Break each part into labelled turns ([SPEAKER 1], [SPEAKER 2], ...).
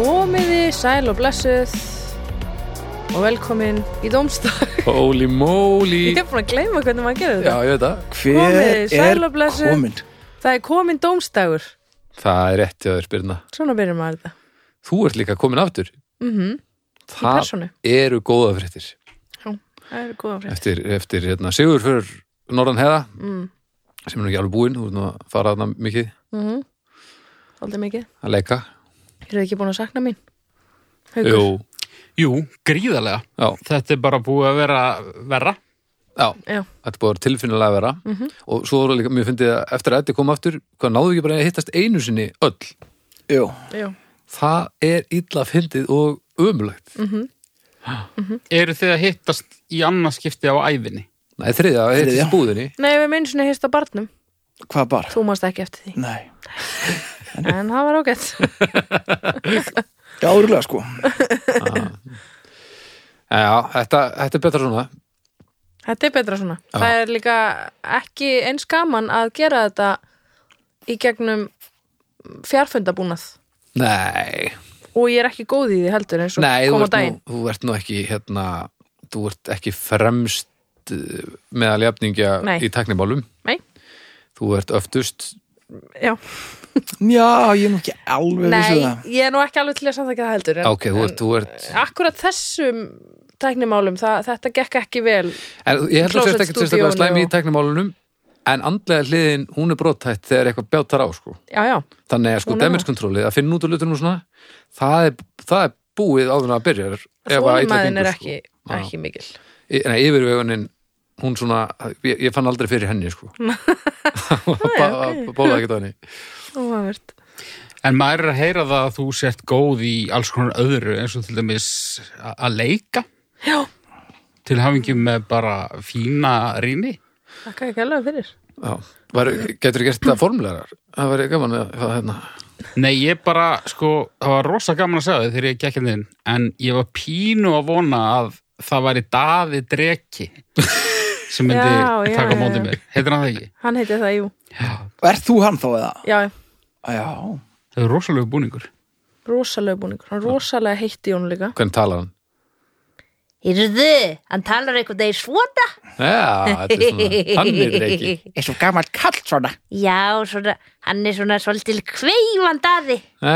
[SPEAKER 1] Verði sæl og blessuð og velkomin í Dómstag.
[SPEAKER 2] Holy moly
[SPEAKER 1] Ég er búin að gleyma hvernig maður gerir
[SPEAKER 2] Já,
[SPEAKER 1] þetta.
[SPEAKER 2] ég veit það
[SPEAKER 3] Hver
[SPEAKER 1] Komið, sæl og
[SPEAKER 3] er
[SPEAKER 1] blessuð.
[SPEAKER 3] komin?
[SPEAKER 1] Það er komin Dómstagur.
[SPEAKER 2] Það er rétt hjá þér, Birna
[SPEAKER 1] Svona byrjum maður þetta.
[SPEAKER 2] Þú ert líka komin aftur
[SPEAKER 1] Mm Í
[SPEAKER 2] Það
[SPEAKER 1] personu.
[SPEAKER 2] eru góða fréttir
[SPEAKER 1] Það eru góða frétt.
[SPEAKER 2] Eftir, eftir hérna, sigur fyrir Norðan Heða
[SPEAKER 1] Mm.
[SPEAKER 2] sem er nú ekki alveg búinn, þú ert nú að fara þarna mikið
[SPEAKER 1] Mm Aldrei mikið.
[SPEAKER 2] að leika
[SPEAKER 1] Eru þið ekki búin að sakna mín? Haukur.
[SPEAKER 2] Jú,
[SPEAKER 4] Jú, gríðarlega.
[SPEAKER 2] já,
[SPEAKER 4] Þetta er bara búið að vera verra.
[SPEAKER 2] já,
[SPEAKER 1] Já.
[SPEAKER 2] þetta er búið tilfinnilega að vera
[SPEAKER 1] Mhm.
[SPEAKER 2] og svo voru líka, mér fyndi að eftir að þetta kom aftur hvað náðu ekki bara að hittast einu sinni öll
[SPEAKER 3] Jú,
[SPEAKER 1] Jú.
[SPEAKER 2] það er illa fyndið og ömulegt
[SPEAKER 4] Eru þið að hittast í annað skipti á æfinni?
[SPEAKER 2] Nei, þriðja, að hittist í
[SPEAKER 3] Þriðja.
[SPEAKER 2] búðinni
[SPEAKER 1] Nei, við minnum svona hérst á barnum.
[SPEAKER 3] hvað bar?
[SPEAKER 1] Þú mást ekki eftir því.
[SPEAKER 3] Nei,
[SPEAKER 1] En það var ágætt.
[SPEAKER 3] já, úrlega sko
[SPEAKER 2] Já, já, þetta, þetta er betra svona
[SPEAKER 1] Þetta er betra svona.
[SPEAKER 2] Já.
[SPEAKER 1] Það er líka ekki eins gaman að gera þetta í gegnum fjarfundabúnað.
[SPEAKER 2] Nei,
[SPEAKER 1] Og ég er ekki góð í því heldur eins og
[SPEAKER 2] Nei, þú
[SPEAKER 1] kom á
[SPEAKER 2] ert,
[SPEAKER 1] daginn.
[SPEAKER 2] nú, þú ert nú ekki hérna, þú ert ekki fremst uh, meðal jafningja
[SPEAKER 1] Nei.
[SPEAKER 2] í teknimálum
[SPEAKER 1] Nei.
[SPEAKER 2] þú ert öftust
[SPEAKER 1] Já.
[SPEAKER 3] Já, ég er nú ekki alveg um vissu
[SPEAKER 1] Nei,
[SPEAKER 3] það
[SPEAKER 1] ég er nú ekki alveg til að samþækja það heldur. En,
[SPEAKER 2] ok, þú ert, þú ert
[SPEAKER 1] en akkurat þessum tæknimálum, það, þetta gekk ekki vel.
[SPEAKER 2] en, ég held að
[SPEAKER 1] Closet
[SPEAKER 2] þetta ekki sérstaklega
[SPEAKER 1] stúdíónu
[SPEAKER 2] slæmi
[SPEAKER 1] og-
[SPEAKER 2] í teknimálunum en andlega hliðin, hún er brotætt þegar eitthvað bjátar á, sko
[SPEAKER 1] Já, já,
[SPEAKER 2] þannig að sko
[SPEAKER 1] Hún er það.
[SPEAKER 2] damage controlið, að finna út úr lutunum og svona það er, það er búið áður en að sko. byrja
[SPEAKER 1] þólimaðin er ekki, ekki mikil.
[SPEAKER 2] Nei, yfirvegunin, hún svona ég, ég fann aldrei fyrir henni, sko Bá- bólaði ekki á henni
[SPEAKER 1] Óhæfvert.
[SPEAKER 4] En maður er að heyra það að þú sért góð í alls konar öðru eins og til dæmis a- að leika
[SPEAKER 1] Já,
[SPEAKER 4] til hafingjum með bara fína rými.
[SPEAKER 1] þakka ekki alveg fyrir.
[SPEAKER 2] Já, var, getur gert það formulegar það væri gaman að það hérna
[SPEAKER 4] Nei, ég bara, sko, það var rosa gaman að segja þið þegar ég gekk hérna inn en ég var pínu að vona að það væri daði dreki sem myndi
[SPEAKER 1] Já, já,
[SPEAKER 4] taka
[SPEAKER 1] já,
[SPEAKER 4] á
[SPEAKER 1] já.
[SPEAKER 4] móti mér. Heitir hann það ekki?
[SPEAKER 1] Hann heiti það, jú.
[SPEAKER 4] Já,
[SPEAKER 3] Er þú hann þá eða?
[SPEAKER 1] Já, já.
[SPEAKER 3] Já,
[SPEAKER 4] það er rosalega búningur.
[SPEAKER 1] rosalega búningur. Hann rosalega heitti hún líka.
[SPEAKER 2] hvernig talar hann?
[SPEAKER 5] Hyrðu, hann talar einhvern veginn svona.
[SPEAKER 2] Já, þetta er svona, hann er ekki
[SPEAKER 3] er svo gammal kall svona
[SPEAKER 5] Já, svona, hann er svona svolítil kveifandaði.
[SPEAKER 3] Já,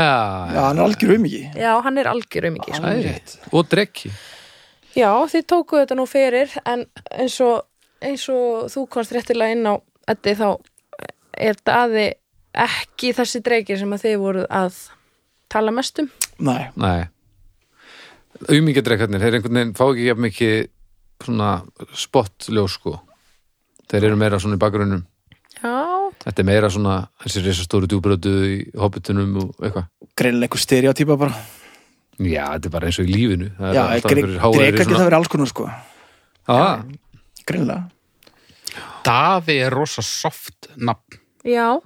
[SPEAKER 2] Já,
[SPEAKER 3] hann er algjör um ekki
[SPEAKER 1] Já, hann er sko. algjörum ekki.
[SPEAKER 3] Hann
[SPEAKER 2] það
[SPEAKER 3] er
[SPEAKER 2] er
[SPEAKER 3] rétt.
[SPEAKER 2] rétt og drekki,
[SPEAKER 1] Já, þið tókuðu þetta nú fyrir en eins og, eins og þú komst réttilega inn á Eddi þá er daði ekki þessi dreikir sem að þið voruð að tala mest um.
[SPEAKER 3] Nei,
[SPEAKER 2] nei umingidrekkarnir, þeir einhvern veginn fá ekki jafn mikið svona spottljós sko þeir eru meira svona í bakgrunum
[SPEAKER 1] Já,
[SPEAKER 2] þetta er meira svona, þessi risa stóru djúbrötu í hobbitunum og eitthvað
[SPEAKER 3] greinlega einhver stereotýpa bara
[SPEAKER 2] Já, þetta er bara eins og í lífinu það
[SPEAKER 3] Já,
[SPEAKER 2] er alltaf
[SPEAKER 3] grek-
[SPEAKER 2] einhverjir háværir
[SPEAKER 3] drekar geta
[SPEAKER 2] svona-
[SPEAKER 3] verið alls konar sko
[SPEAKER 2] Ah,
[SPEAKER 3] Greinlega
[SPEAKER 4] Daði er rosa soft nafn.
[SPEAKER 1] já,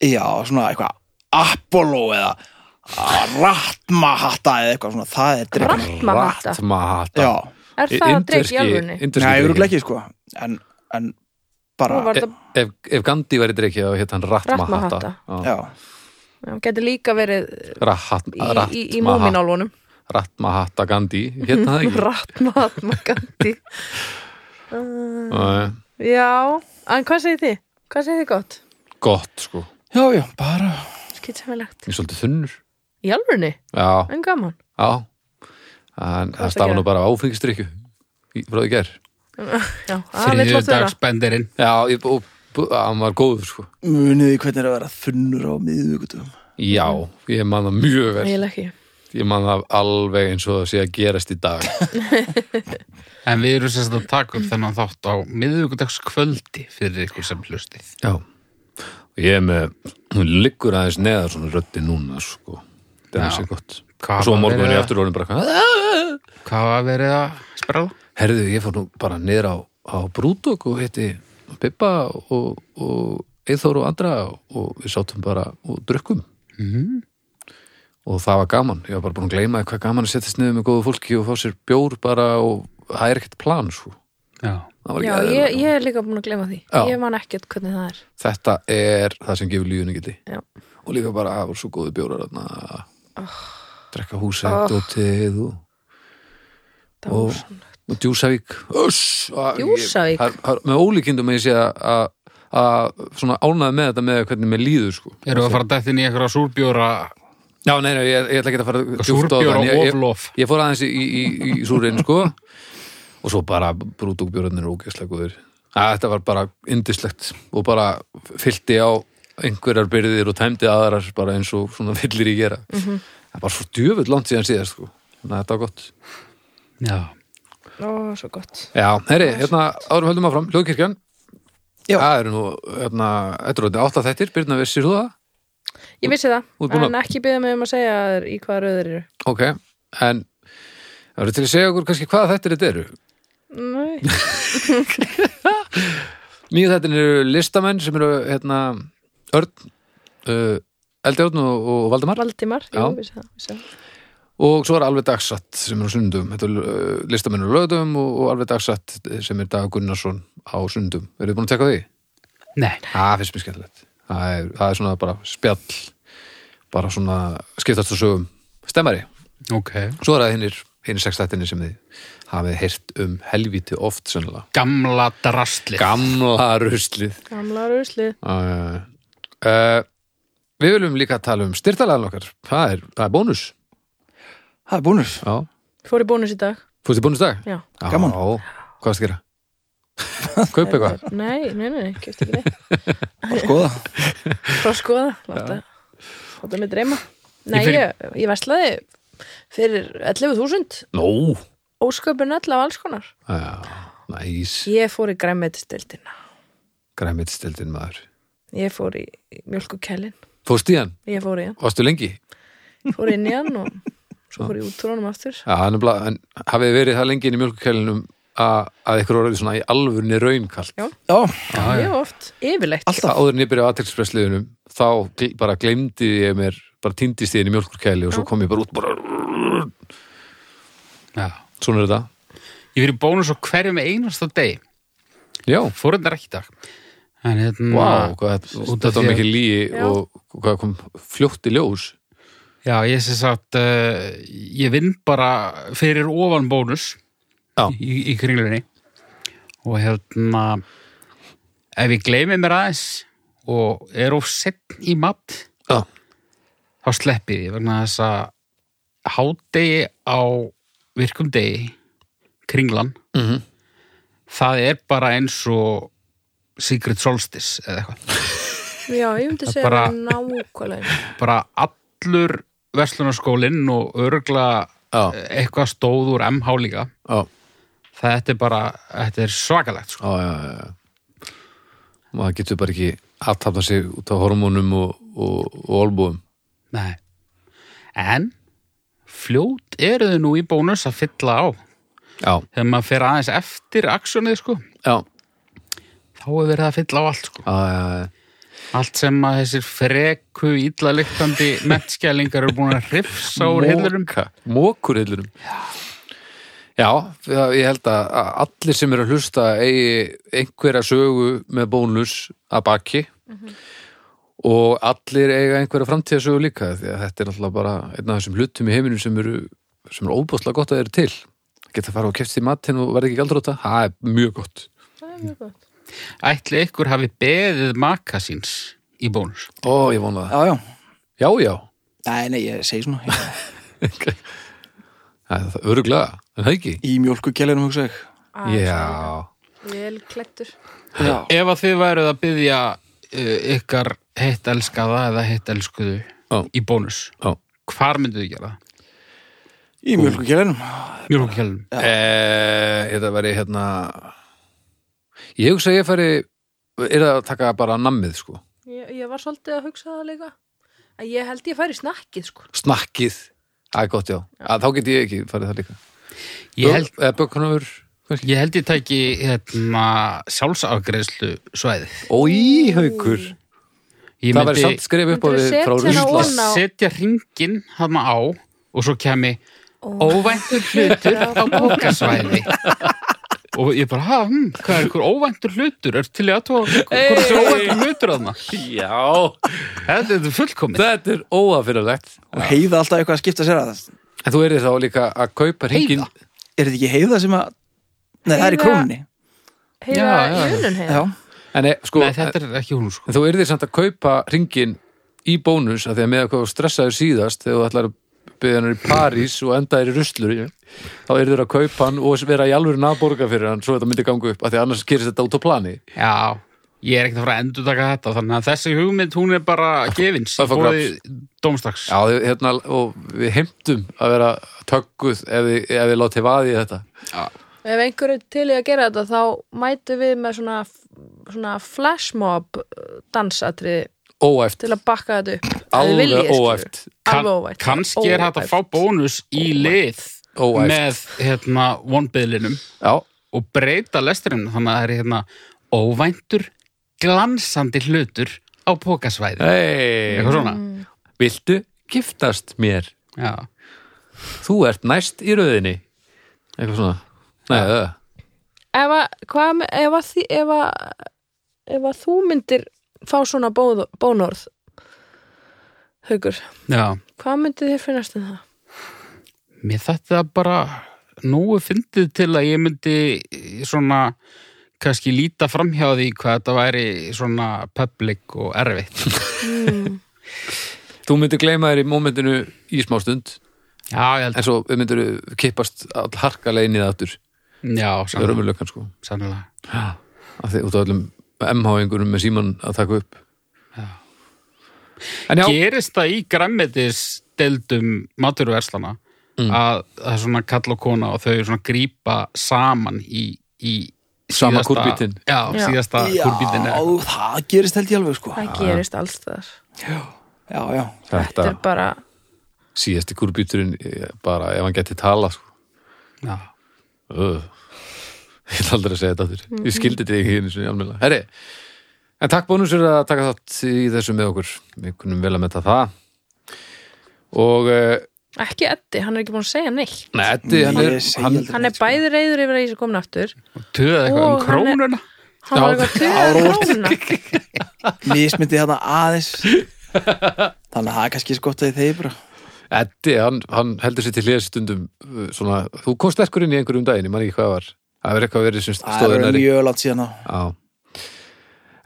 [SPEAKER 3] Já, svona eitthvað Apollo eða ah, Ratmahatta eða eitthvað svona Það er drekar
[SPEAKER 1] Ratmahata.
[SPEAKER 2] Ratmahata.
[SPEAKER 3] Já,
[SPEAKER 1] er það að dreik í
[SPEAKER 2] Indverski-
[SPEAKER 1] alvörni?
[SPEAKER 2] indverski
[SPEAKER 3] nei,
[SPEAKER 2] drekki.
[SPEAKER 3] öruglega ekki sko En, en bara
[SPEAKER 1] Nú var
[SPEAKER 2] E-
[SPEAKER 1] þetta,
[SPEAKER 2] ef, ef Gandhi væri drekki þá hétt hann Ratmahata
[SPEAKER 1] Ratmahata.
[SPEAKER 2] Já.
[SPEAKER 3] Já,
[SPEAKER 1] já, gæti líka verið
[SPEAKER 2] Rahat-
[SPEAKER 1] í, í, í
[SPEAKER 2] Ratmaha-
[SPEAKER 1] múminálunum.
[SPEAKER 2] Ratmahata Gandhi hétt hann það ekki
[SPEAKER 1] Ratmahatma gandi.
[SPEAKER 2] Nei,
[SPEAKER 1] Já, en hvað segir þið? Hvað segir þið gott?
[SPEAKER 2] gott sko,
[SPEAKER 3] já, já, bara
[SPEAKER 1] Skitsamilegt.
[SPEAKER 2] ég er svolítið þunnur
[SPEAKER 1] Í alvörni?
[SPEAKER 2] já,
[SPEAKER 1] En gaman.
[SPEAKER 2] já en
[SPEAKER 1] ertu að
[SPEAKER 2] það stafa nú
[SPEAKER 1] gera?
[SPEAKER 2] bara áfengistrykju frá því ger
[SPEAKER 1] Já, það vil lótt vera.
[SPEAKER 4] Þriðudagsbendirinn.
[SPEAKER 2] já, ég, og, og hann var góður sko
[SPEAKER 3] Muniði hvernig er að vera þunnur á miðvíkutum
[SPEAKER 2] já, ég man það mjög vel
[SPEAKER 1] Eiginlega ekki.
[SPEAKER 2] ég man það alveg eins og það sé að gerast í dag
[SPEAKER 4] En við erum sérst að taka upp þennan þátt á miðvíkudagskvöldi fyrir ykkur sem hlustið.
[SPEAKER 2] já, og ég er með hún liggur aðeins neðar svona röddi núna sko, það er
[SPEAKER 4] Já.
[SPEAKER 2] sér gott
[SPEAKER 4] Hvað
[SPEAKER 2] og svo
[SPEAKER 4] var
[SPEAKER 2] morgun er
[SPEAKER 4] verið
[SPEAKER 2] ég
[SPEAKER 4] að-
[SPEAKER 2] aftur orðin bara hvað
[SPEAKER 4] Hvað var verið að sprala?
[SPEAKER 2] Herðu, ég fór nú bara niður á, á Brúdók og hitti Pippa og, og Eithor og andra og við sátum bara og drukkum
[SPEAKER 4] Mhm.
[SPEAKER 2] og það var gaman, ég var bara búin að gleyma því hvað gaman að setjast niður með góðu fólki og fá sér bjór bara og það er ekkert plan svo
[SPEAKER 4] Já.
[SPEAKER 2] Það var ekki
[SPEAKER 1] Já,
[SPEAKER 2] eðlilega
[SPEAKER 1] ég, ég er líka búin að glema því.
[SPEAKER 2] Já.
[SPEAKER 1] Ég man ekkert hvernig það er.
[SPEAKER 2] gaman. þetta er það sem gefur lífinu gildi
[SPEAKER 1] Já.
[SPEAKER 2] "Ah,
[SPEAKER 1] Ah.
[SPEAKER 2] og líka bara að það voru svo góðu bjórar þarna. drekka húsið oh. dótið og, og, og Djúsavík Öss, að- ég-
[SPEAKER 1] Djúsavík?
[SPEAKER 2] það er- það er með ólíkindum að ég sé að- að að svona ánæða með þetta með hvernig mér líður sko.
[SPEAKER 4] Erum við að fara að dættin í einhverja súrbjóra
[SPEAKER 2] Já, nei, nei, ég, ég ætla ekki að fara djúpt á
[SPEAKER 4] Súrbjóra
[SPEAKER 2] það, en ég, ég,
[SPEAKER 4] oflof
[SPEAKER 2] ég fór aðeins í, í, í, í súrin sko og svo bara brúdúkbjörðin er ógeðslega góður að þetta var bara indislegt og bara fyllti á einhverjar byrðir og tæmdi aðrar bara eins og svona villir í gera það var svo djöfull langt síðan síðar sko þannig að þetta var gott
[SPEAKER 4] Já,
[SPEAKER 1] Ó, svo gott
[SPEAKER 2] Já, herri, hérna árum höldum áfram, Ljóðkirkjan
[SPEAKER 3] Já.
[SPEAKER 2] Það eru nú, hérna, þetta eru þetta átta þettir Byrna vissir þú það?
[SPEAKER 1] Ég vissi það,
[SPEAKER 2] Þú ert búin að-
[SPEAKER 1] en ekki byggða mig um að segja þér í hvaða röður eru
[SPEAKER 2] Ok, en það eru til að segja okkur kannski hvaða þettir þetta eru
[SPEAKER 1] Nei,
[SPEAKER 2] Nýju þettin eru listamenn sem eru hérna, Örn uh, Eldjörn og, og Valdimar
[SPEAKER 1] Valdimar,
[SPEAKER 2] Já.
[SPEAKER 1] jú, vissi það, vissi það. og
[SPEAKER 2] og svo er alveg dagsatt sem er á sundum Þetta eru uh, listamenn og lögdum og, og alveg dagsatt sem er Dag Gunnarsson á sundum Eru þið búin að tekka því?
[SPEAKER 4] nei
[SPEAKER 2] Það finnst mér skemmtilegt. Það er, það er svona bara spjall, bara svona skiptast og sögum stemmari.
[SPEAKER 4] Ok,
[SPEAKER 2] Svo er það hinnir, hinnir sextættinni sem þið hafið heyrt um helvíti oft sennilega.
[SPEAKER 4] gamla drastli
[SPEAKER 2] Gamla ruslið.
[SPEAKER 1] Gamla ruslið
[SPEAKER 2] Uh, uh, við viljum líka tala um styrtalaðan okkar. Það er, það er bónus.
[SPEAKER 3] Það er búnur
[SPEAKER 2] Já.
[SPEAKER 1] Fór í bónus í dag
[SPEAKER 2] Fórstu í bónusdag?
[SPEAKER 1] Já.
[SPEAKER 3] Gaman.
[SPEAKER 2] Já. Hvað varstu að gera? Kaupa eitthvað?
[SPEAKER 1] Eh, Nei, nei, nei, nei, kefti ekki neitt
[SPEAKER 3] Bara skoða
[SPEAKER 1] Frá skoða, láta Láta mig dreyma Nei,
[SPEAKER 4] Ég fer í-
[SPEAKER 1] ég, ég veslaði fyrir 11.000
[SPEAKER 2] Nó.
[SPEAKER 1] Ósköpun öll af alls konar
[SPEAKER 2] Já, næs.
[SPEAKER 1] Ég fór í græmmetisdeildina
[SPEAKER 2] Græmitstildin maður.
[SPEAKER 1] Ég fór í mjölkukælin
[SPEAKER 2] Fórstu í hann?
[SPEAKER 1] Ég fór í hann,
[SPEAKER 2] Varstu lengi?
[SPEAKER 1] fór inn í hann og svo fór ég út úr honum aftur
[SPEAKER 2] Já, hann er bara, en hafið þið verið það lengi inn í mjölkukælinum að, að ykkur orðið svona í alvörni raunkalt.
[SPEAKER 1] Já.
[SPEAKER 3] Já,
[SPEAKER 1] Já, ég oft, yfirleitt
[SPEAKER 2] Alltaf. Áður en ég byrjaði á aðtilspressliðunum, þá gl- bara glemdi ég mér, bara týndist ég inn í mjölkukæli og svo kom ég bara út, bara,
[SPEAKER 4] Já.
[SPEAKER 2] svona er þetta.
[SPEAKER 4] Ég fyrir bónus á hverjum einasta deg
[SPEAKER 2] Já,
[SPEAKER 4] Fórundar ekki í dag En hérna
[SPEAKER 2] wow, hvað, þetta-
[SPEAKER 4] Út af
[SPEAKER 2] þetta
[SPEAKER 4] því
[SPEAKER 2] var
[SPEAKER 4] að-
[SPEAKER 2] mikið líi
[SPEAKER 1] Já.
[SPEAKER 2] og hvað kom fljótt í ljós.
[SPEAKER 4] Já, ég sé satt, uh, ég vinn bara fyrir ofan bónus
[SPEAKER 2] Já.
[SPEAKER 4] í, í kringlunni og hérna, ef ég gleymi mér aðeins og er of sett í mat,
[SPEAKER 2] Já,
[SPEAKER 4] þá sleppi ég vegna þess að hádegi á virkum degi, kringlan,
[SPEAKER 2] Mhm.
[SPEAKER 4] það er bara eins og Secret Solstice eða eitthvað.
[SPEAKER 1] Já, ég myndi segja
[SPEAKER 4] bara-
[SPEAKER 1] bara... nákvæmlega eins.
[SPEAKER 4] bara allur verslunarskólinn og örgla
[SPEAKER 2] Já.
[SPEAKER 4] eitthvað stóð úr MH líka
[SPEAKER 2] já,
[SPEAKER 4] þetta er bara, þetta er svakalegt sko.
[SPEAKER 2] já, já, já, já. Maður getur bara ekki aðtapna sig út af hormónum og, og, og olbúum.
[SPEAKER 4] Nei. en fljót eru þau nú í bónus að fylla á
[SPEAKER 2] Já,
[SPEAKER 4] þegar maður fer aðeins eftir aksjónið sko,
[SPEAKER 2] já,
[SPEAKER 4] þá er verið að fylla á allt sko.
[SPEAKER 2] já, já, já.
[SPEAKER 4] allt sem að þessir freku illaliktandi mettskjælingar eru búin að hrifsa úr hillurum
[SPEAKER 2] Mókurhillurum Já, það- ég held að að allir sem eru að hlusta eigi einhverja sögu með bónus að baki og allir eiga einhverja framtíðasögu líka því að þetta er alltaf bara einn af þessum hlutum í heiminum sem eru, sem eru óbúðslega gott að eru til geta að fara og kefst í matinn og verða ekki galdróta það er mjög gott
[SPEAKER 1] Það er mjög gott.
[SPEAKER 4] ætli ykkur hafi beðið maka síns í bónus
[SPEAKER 2] Ó, ég vona það
[SPEAKER 3] já, já
[SPEAKER 2] Já, já,
[SPEAKER 3] Nei, nei, ég segi svona ég-
[SPEAKER 2] það er öruglega, en það ekki
[SPEAKER 3] Í mjólkukjælinum hugsa ég
[SPEAKER 2] Já,
[SPEAKER 1] Vel klettur.
[SPEAKER 3] Já,
[SPEAKER 4] Ef að þið væruð að byggja uh, ykkar heitt elskaða eða heitt elskuðu
[SPEAKER 2] Já.
[SPEAKER 4] í bónus,
[SPEAKER 2] já
[SPEAKER 4] hvar mynduð þið gera það?
[SPEAKER 3] í mjólkukjælinum
[SPEAKER 4] Mjölkjálum.
[SPEAKER 2] Eh, þetta væri hérna ég hugsa að ég færi er það að taka bara nammið sko
[SPEAKER 1] Ég, ég var svolítið að hugsa það líka. Að ég held ég færi í snakkið, sko.
[SPEAKER 2] snakkið, það er gott já, Að, þá get ég ekki farið það líka
[SPEAKER 4] Ég held,
[SPEAKER 2] Bö- eða bökunarur
[SPEAKER 4] ég held ég tæki hérna, sjálfsafgreðslu svæðið.
[SPEAKER 2] og íhaukur,
[SPEAKER 4] Ég
[SPEAKER 2] það væri samt skrif upp á
[SPEAKER 1] Myndirðu
[SPEAKER 2] við
[SPEAKER 1] setja
[SPEAKER 2] frá
[SPEAKER 1] hana
[SPEAKER 2] Rússland
[SPEAKER 1] ofan á-
[SPEAKER 4] setja ringin hana á og svo kemi óvæntur hlutur á bókasvæði. og ég bara, ha, hm, hvað er einhver óvæntur hlutur er til í aðtóa, hvað er þessi óvæntur hlutur þarna
[SPEAKER 2] Já,
[SPEAKER 4] þetta er fullkomið
[SPEAKER 2] þetta er óafinnulegt
[SPEAKER 3] Og heiða alltaf eitthvað að skipta sér að
[SPEAKER 2] En þú erir þá líka að kaupa hringin
[SPEAKER 4] Heiða.
[SPEAKER 3] Er þetta ekki heiða sem að Nei, það er í
[SPEAKER 1] Heiða-
[SPEAKER 3] krónunni
[SPEAKER 1] Heiða
[SPEAKER 4] Já, já.
[SPEAKER 1] í unun heiða
[SPEAKER 3] Já,
[SPEAKER 2] En e, sko,
[SPEAKER 4] Nei, þetta er ekki hún sko
[SPEAKER 2] En þú yrðir samt að kaupa ringin í bónus af því að með hvað þú stressaður síðast þegar þú ætlar að byggja hann í París og enda þér í ruslur þá yrðir að kaupa hann og vera í alvöru naðborga fyrir hann svo þetta myndi ganga upp af því að annars gerist þetta út á plani
[SPEAKER 4] Já, ég er ekkert að fara að endurtaka þetta þannig að þessi hugmynd, hún er bara gefins
[SPEAKER 2] Það er for
[SPEAKER 4] bóði dómstags
[SPEAKER 2] Já, þau- hérna, og við heimtum að vera tögguð ef við, ef við látið vaðið í þetta
[SPEAKER 1] Ef einhverju til í að gera þetta þá mætu við með svona, svona flashmob uh, dansatriði
[SPEAKER 2] Óæft,
[SPEAKER 1] til að bakka þetta upp Ef þið
[SPEAKER 2] alveg
[SPEAKER 1] viljið, skilur.
[SPEAKER 2] óæft
[SPEAKER 4] Kann-
[SPEAKER 1] Alveg óvægt
[SPEAKER 4] kannski er hægt að fá
[SPEAKER 1] Óvægt.
[SPEAKER 4] bónus í lið
[SPEAKER 2] Óæft.
[SPEAKER 4] með hérna vonbyðlinum
[SPEAKER 2] Já,
[SPEAKER 4] og breyta lesturinn þannig að það er hérna óvæntur glansandi hlutur á pókasvæði
[SPEAKER 2] hei
[SPEAKER 4] eitthvað svona
[SPEAKER 2] Viltu giftast mér?
[SPEAKER 4] já.
[SPEAKER 2] Þú ert næst í röðinni Eitthvað svona Nei, það
[SPEAKER 1] Ef að, hvað, með- ef að, því- ef að, ef að þú myndir fá svona bóð, bónorð Haukur,
[SPEAKER 4] já,
[SPEAKER 1] hvað myndið þér finnast um það?
[SPEAKER 4] mér þetta bara nógu fyndið til að ég myndi eh, svona kannski líta framhjá því hvað þetta væri svona public og erfitt
[SPEAKER 2] Þú myndir gleyma þér í mómentinu í smástund
[SPEAKER 4] já, ég held
[SPEAKER 2] en svo myndir kippast all harkalega inn í það aftur
[SPEAKER 4] já,
[SPEAKER 2] Það er
[SPEAKER 4] sannlega,
[SPEAKER 2] ömurlökan sko
[SPEAKER 4] sannlega.
[SPEAKER 2] af því út af öllum MH-ingurum með síman að taka upp En já,
[SPEAKER 4] gerist það í græmmetis deildum maturverslana
[SPEAKER 2] Mm.
[SPEAKER 4] að það er svona kall og kona og þau svona grípa saman í, í
[SPEAKER 2] Sama
[SPEAKER 4] síðasta-
[SPEAKER 2] kúrbítinn.
[SPEAKER 4] já,
[SPEAKER 1] Já.
[SPEAKER 4] síðasta
[SPEAKER 3] já
[SPEAKER 4] kúrbítin er
[SPEAKER 3] það gerist held ég alveg sko
[SPEAKER 1] Það gerist alls þar
[SPEAKER 3] Já, já
[SPEAKER 1] Þetta
[SPEAKER 2] þetta
[SPEAKER 1] er bara,
[SPEAKER 2] síðasti kúrbíturinn eh, bara ef hann geti tala sko
[SPEAKER 4] já.
[SPEAKER 2] Öh. Ég ætla aldrei að segja þetta aftur Ég skildi þetta ekki hérna svona almennilega Herri, en takk bónus fyrir að taka þátt í þessu með okkur Við kunum vel að metta það Og uh,
[SPEAKER 1] ekki Eddi, hann er ekki búin að segja neitt
[SPEAKER 2] Nei, Eddi, hann er,
[SPEAKER 3] Ég segi
[SPEAKER 2] hann,
[SPEAKER 3] aldrei
[SPEAKER 1] Hann er bæði reyður yfir að ég sé komin aftur
[SPEAKER 4] töða eitthvað um
[SPEAKER 1] Og hann er-
[SPEAKER 4] krónuna
[SPEAKER 1] Hann var eitthvað að tuga króna
[SPEAKER 3] Mísmyndi þarna aðeins Þannig að það er kannski skott að þeir bara
[SPEAKER 2] Eddi, hann, hann heldur sér til hliða stundum uh, svona, þú kom sterkur inn í einhverjum daginn, ég man ekki hvað var það verið eitthvað verið sem
[SPEAKER 3] Það
[SPEAKER 2] stóður
[SPEAKER 3] er
[SPEAKER 2] næri
[SPEAKER 3] mjög langt síðan á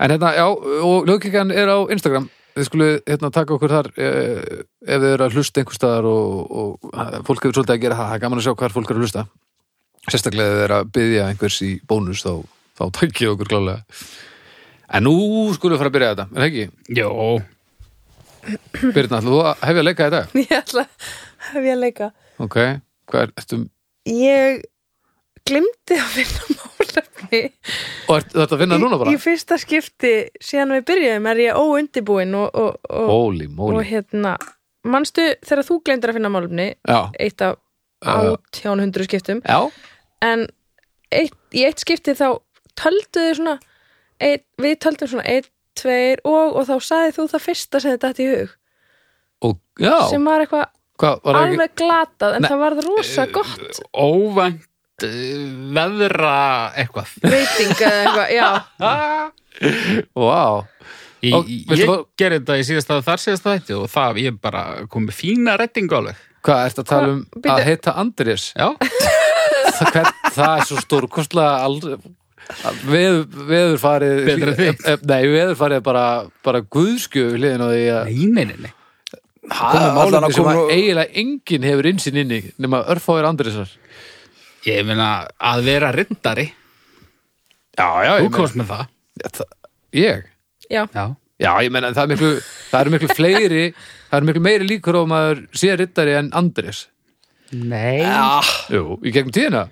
[SPEAKER 2] En hérna, já, og lögkikkan er á Instagram við skulum hérna taka okkur þar eh, ef við erum að hlusta einhvers staðar og, og eh, fólk hefur svolítið að gera það, það er gaman að sjá hvar fólk er að hlusta sérstaklega ef við erum að byggja einhvers í bónus þá, þá takkið okkur klálega En nú skulum við fara að byrja þetta, er það ekki?
[SPEAKER 4] Jó,
[SPEAKER 2] Byrna, ætlar þú að hefja að leika í dag?
[SPEAKER 1] Ég ætla hef ég að leika
[SPEAKER 2] Ok, hvað er, ertu,
[SPEAKER 1] Ég glimti að finna málefni
[SPEAKER 2] og ert, þetta að vinna núna bara?
[SPEAKER 1] í, í fyrsta skipti síðan við byrjuðum er ég óundibúin og, og, og,
[SPEAKER 2] Holy
[SPEAKER 1] og
[SPEAKER 2] moly
[SPEAKER 1] hérna manstu þegar þú glemdir að finna málefni
[SPEAKER 2] Já,
[SPEAKER 1] eitt af
[SPEAKER 2] Uh.
[SPEAKER 1] 1800 skiptum
[SPEAKER 2] já,
[SPEAKER 1] en eitt, í eitt skipti þá töldu þið svona eitt, við töldum svona eitt, tveir og, og þá sagði þú það fyrsta sem þetta í hug
[SPEAKER 2] og já
[SPEAKER 1] sem var eitthvað
[SPEAKER 2] Hvað var það ekki? Eh,
[SPEAKER 1] alveg glatað en
[SPEAKER 2] Nei.
[SPEAKER 1] það varð rosa gott
[SPEAKER 4] óvænt eh, veðra eitthvað
[SPEAKER 1] veiting eða eitthvað, já
[SPEAKER 2] Vá,
[SPEAKER 4] Ég,
[SPEAKER 2] Og,
[SPEAKER 4] ég
[SPEAKER 2] veistu hvað-
[SPEAKER 4] gerði þetta í síðasta þar síðasta þætti og það ég bara kom með fína rettingu alveg
[SPEAKER 2] hvað ert að tala um
[SPEAKER 1] Hva- bíddu.
[SPEAKER 2] að heita Andrés?
[SPEAKER 4] Já,
[SPEAKER 2] Það, hvern, það er svo stórkostlega aldrei Veður, veðurfarið
[SPEAKER 4] Betra en þitt.
[SPEAKER 2] Eh, Nei, veðurfarið er bara, bara guðskjöf hliðin á því að
[SPEAKER 4] nei, nei, nei, nei.
[SPEAKER 2] koma
[SPEAKER 3] Allan að
[SPEAKER 2] málefni sem
[SPEAKER 3] koma
[SPEAKER 2] að
[SPEAKER 3] nú-
[SPEAKER 2] eiginlega enginn hefur innsinn inni nema örfáir Andrésar
[SPEAKER 4] Ég meina að vera rittari
[SPEAKER 2] Já, já,
[SPEAKER 4] Þú
[SPEAKER 2] ég meina
[SPEAKER 4] komst með það
[SPEAKER 2] það- Ég?
[SPEAKER 1] já,
[SPEAKER 4] Já,
[SPEAKER 2] Já, ég meina það er miklu, það eru miklu fleiri það eru miklu meiri líkur á að maður sé rittari en Andrés
[SPEAKER 4] Nei
[SPEAKER 2] Jú, í gegnum tíðina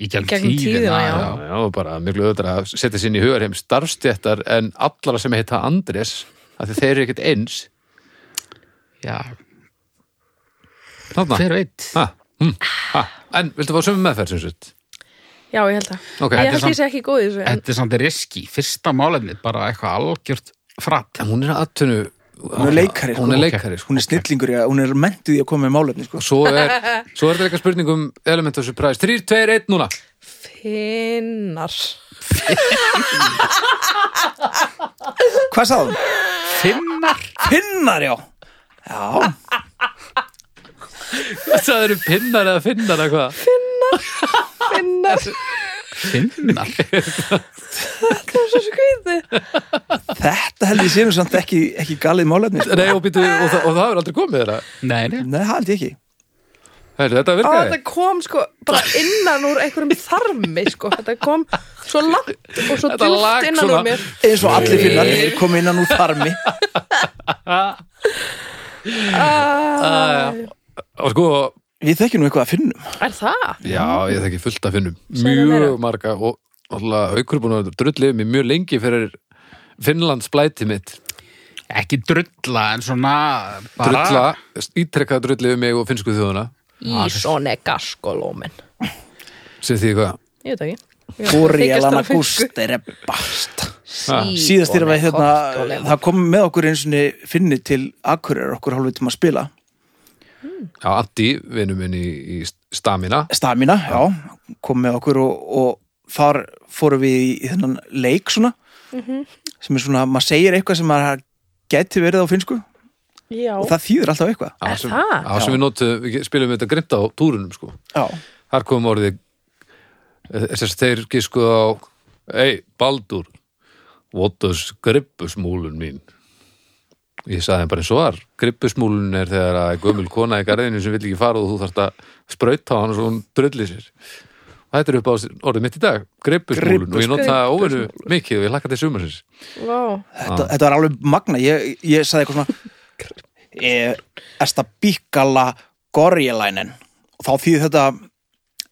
[SPEAKER 4] Í gegnum,
[SPEAKER 1] Gegnum tíðina, já.
[SPEAKER 2] Já, já, og bara miklu öðra að setja sér inn í hugarheim starfstjættar en allara sem heita Andrés af því þeir eru ekkert eins
[SPEAKER 4] já.
[SPEAKER 2] Þarna,
[SPEAKER 4] Hver veit
[SPEAKER 2] ha, hm, ha. En viltu fá sömu meðferð sem sett?
[SPEAKER 1] já, ég held að
[SPEAKER 2] Ok,
[SPEAKER 1] ég
[SPEAKER 2] en
[SPEAKER 1] held
[SPEAKER 4] samt-
[SPEAKER 1] ég sé ekki góð í þessu en
[SPEAKER 4] Þetta er samt riski, fyrsta málefni bara eitthvað algjört fratt
[SPEAKER 2] hún er aðtunnu
[SPEAKER 3] Hún er leikari, sko.
[SPEAKER 2] hún er leikari sko.
[SPEAKER 3] Hún er snillingur, í að- hún er mentuð í að koma með málefni, sko.
[SPEAKER 2] og svo er, svo er þetta eitthvað spurning um element of surprise, 3, 2, 1 núna
[SPEAKER 1] Finnar
[SPEAKER 3] Hvað sagði hún?
[SPEAKER 4] Finnar?
[SPEAKER 3] Finnar, já. Já,
[SPEAKER 2] það eru pinnar eða finnar eða hvað
[SPEAKER 1] Finnar,
[SPEAKER 4] Finnar?
[SPEAKER 1] það er svo skrýði
[SPEAKER 3] þetta held ég séum samt ekki, ekki galið málefni, sko.
[SPEAKER 2] Nei, og, býtu, og, það, og það er aldrei komið þeirra
[SPEAKER 4] Nei, nei.
[SPEAKER 3] Nei, það held ég ekki.
[SPEAKER 2] Heyrðu, þetta
[SPEAKER 1] Á,
[SPEAKER 2] virkaði
[SPEAKER 1] þetta kom sko bara innan úr einhverjum þarmi sko, þetta kom svo langt og svo
[SPEAKER 2] Þetta lak
[SPEAKER 1] djúpt innan
[SPEAKER 2] svona-
[SPEAKER 1] úr mér
[SPEAKER 3] Eins og allir finnar, þeir komi innan úr þarmi.
[SPEAKER 1] ah,
[SPEAKER 2] og sko,
[SPEAKER 3] Við þekkjum nú eitthvað að finnum.
[SPEAKER 1] Er það?
[SPEAKER 2] já, ég þekki fullt að finnum
[SPEAKER 1] Segðu meira.
[SPEAKER 2] mjög marga og alltaf haukur er búin að drullið mér mjög lengi fyrir Finnlands blæti mitt
[SPEAKER 4] Ekki drulla, en svona bara...
[SPEAKER 2] drulla, ítrekkað drullið mig og finnsku þjóðuna
[SPEAKER 1] Ísone gaskolómin
[SPEAKER 2] sem því hvað
[SPEAKER 1] Ég veit ekki Ég þykist
[SPEAKER 3] Bórielana
[SPEAKER 1] vera finnsku.
[SPEAKER 3] Gústerebast.
[SPEAKER 2] Ah.
[SPEAKER 3] Síðast er við
[SPEAKER 1] Kortskóli.
[SPEAKER 3] hérna, það kom með okkur eins og finni til Akureyrar okkur hálfveit um að spila.
[SPEAKER 2] Já, Andi, vinnu minn í, í stamina
[SPEAKER 3] Stamina, já, kom með okkur og, og þar fórum við í þennan leik svona
[SPEAKER 1] Mhm.
[SPEAKER 3] sem er svona, maður segir eitthvað sem maður geti verið á finnsku
[SPEAKER 1] Já,
[SPEAKER 3] og það þýðir alltaf eitthvað
[SPEAKER 2] Já,
[SPEAKER 1] Er
[SPEAKER 2] sem, Ah.
[SPEAKER 1] það?
[SPEAKER 2] á, sem við notu, við spilum þetta grinda á túrunum sko.
[SPEAKER 3] Já,
[SPEAKER 2] þar kom orðið eh, þess að þeir giskuð á ei, Baldur what does grippusmúlun mín ég saði þeim bara eins og var grippusmúlun er þegar að gömul kona í garðinu sem vill ekki fara og þú þarft að sprauta á hann og hún drullir sér og þetta er upp á orðið mitt í dag grippusmúlun og ég nota það óveru mikið og ég lakka til sumarsins
[SPEAKER 1] vá
[SPEAKER 3] þetta, þetta var alveg magna ég, ég sagði eitthvað svona eh, Esta bíkala gorjelænin og þá þýðir þetta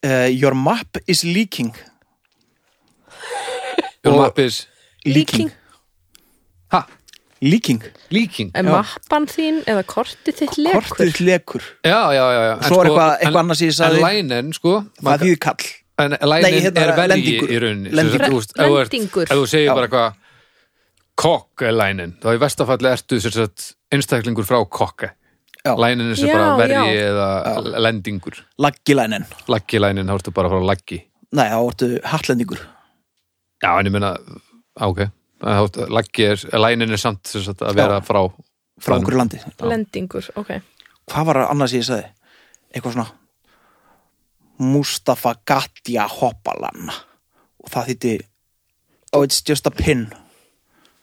[SPEAKER 3] uh, Your map is leaking
[SPEAKER 2] og mappis,
[SPEAKER 1] Líking
[SPEAKER 2] ha,
[SPEAKER 3] Leaking,
[SPEAKER 2] líking
[SPEAKER 1] Er
[SPEAKER 3] Já.
[SPEAKER 1] mappan þín eða kortið þitt lekur?
[SPEAKER 3] kortið lekur
[SPEAKER 2] Já, já, já, já. En sko,
[SPEAKER 3] Svo er eitthvað- eitthvað annað sem ég sagði.
[SPEAKER 2] En lænin, sko
[SPEAKER 3] það þýðir kall
[SPEAKER 2] En
[SPEAKER 3] Nei,
[SPEAKER 2] lænin
[SPEAKER 3] hérna,
[SPEAKER 2] er vergi
[SPEAKER 3] lendingur.
[SPEAKER 2] í rauninni
[SPEAKER 3] Lendingur.
[SPEAKER 2] Sem sagt, þú veist, ef þú ert-
[SPEAKER 1] Lendingur.
[SPEAKER 2] Ef þú segir
[SPEAKER 3] Já.
[SPEAKER 2] bara eitthvað Kokk er lænin Þá í vestafalli ertu sem sagt, einstaklingur frá kokke
[SPEAKER 3] Já.
[SPEAKER 2] Lænin er sem
[SPEAKER 1] Já,
[SPEAKER 2] bara vergi
[SPEAKER 1] já.
[SPEAKER 2] eða lendingur
[SPEAKER 3] Laggilænin,
[SPEAKER 2] Laggi lænin, þá ertu bara frá laggi
[SPEAKER 3] nei þá ertu hatlendingur
[SPEAKER 2] Já, en ég meina, á, ok En þá ertu- Laggi er, lænin er samt sem sagt, að vera
[SPEAKER 3] Já.
[SPEAKER 2] frá
[SPEAKER 3] frá okkur landi
[SPEAKER 1] Lendingur, ok
[SPEAKER 3] hvað var annars ég sagði eitthvað svona Mustafa Gatja Hoppalan og það þýtti oh it's just a pin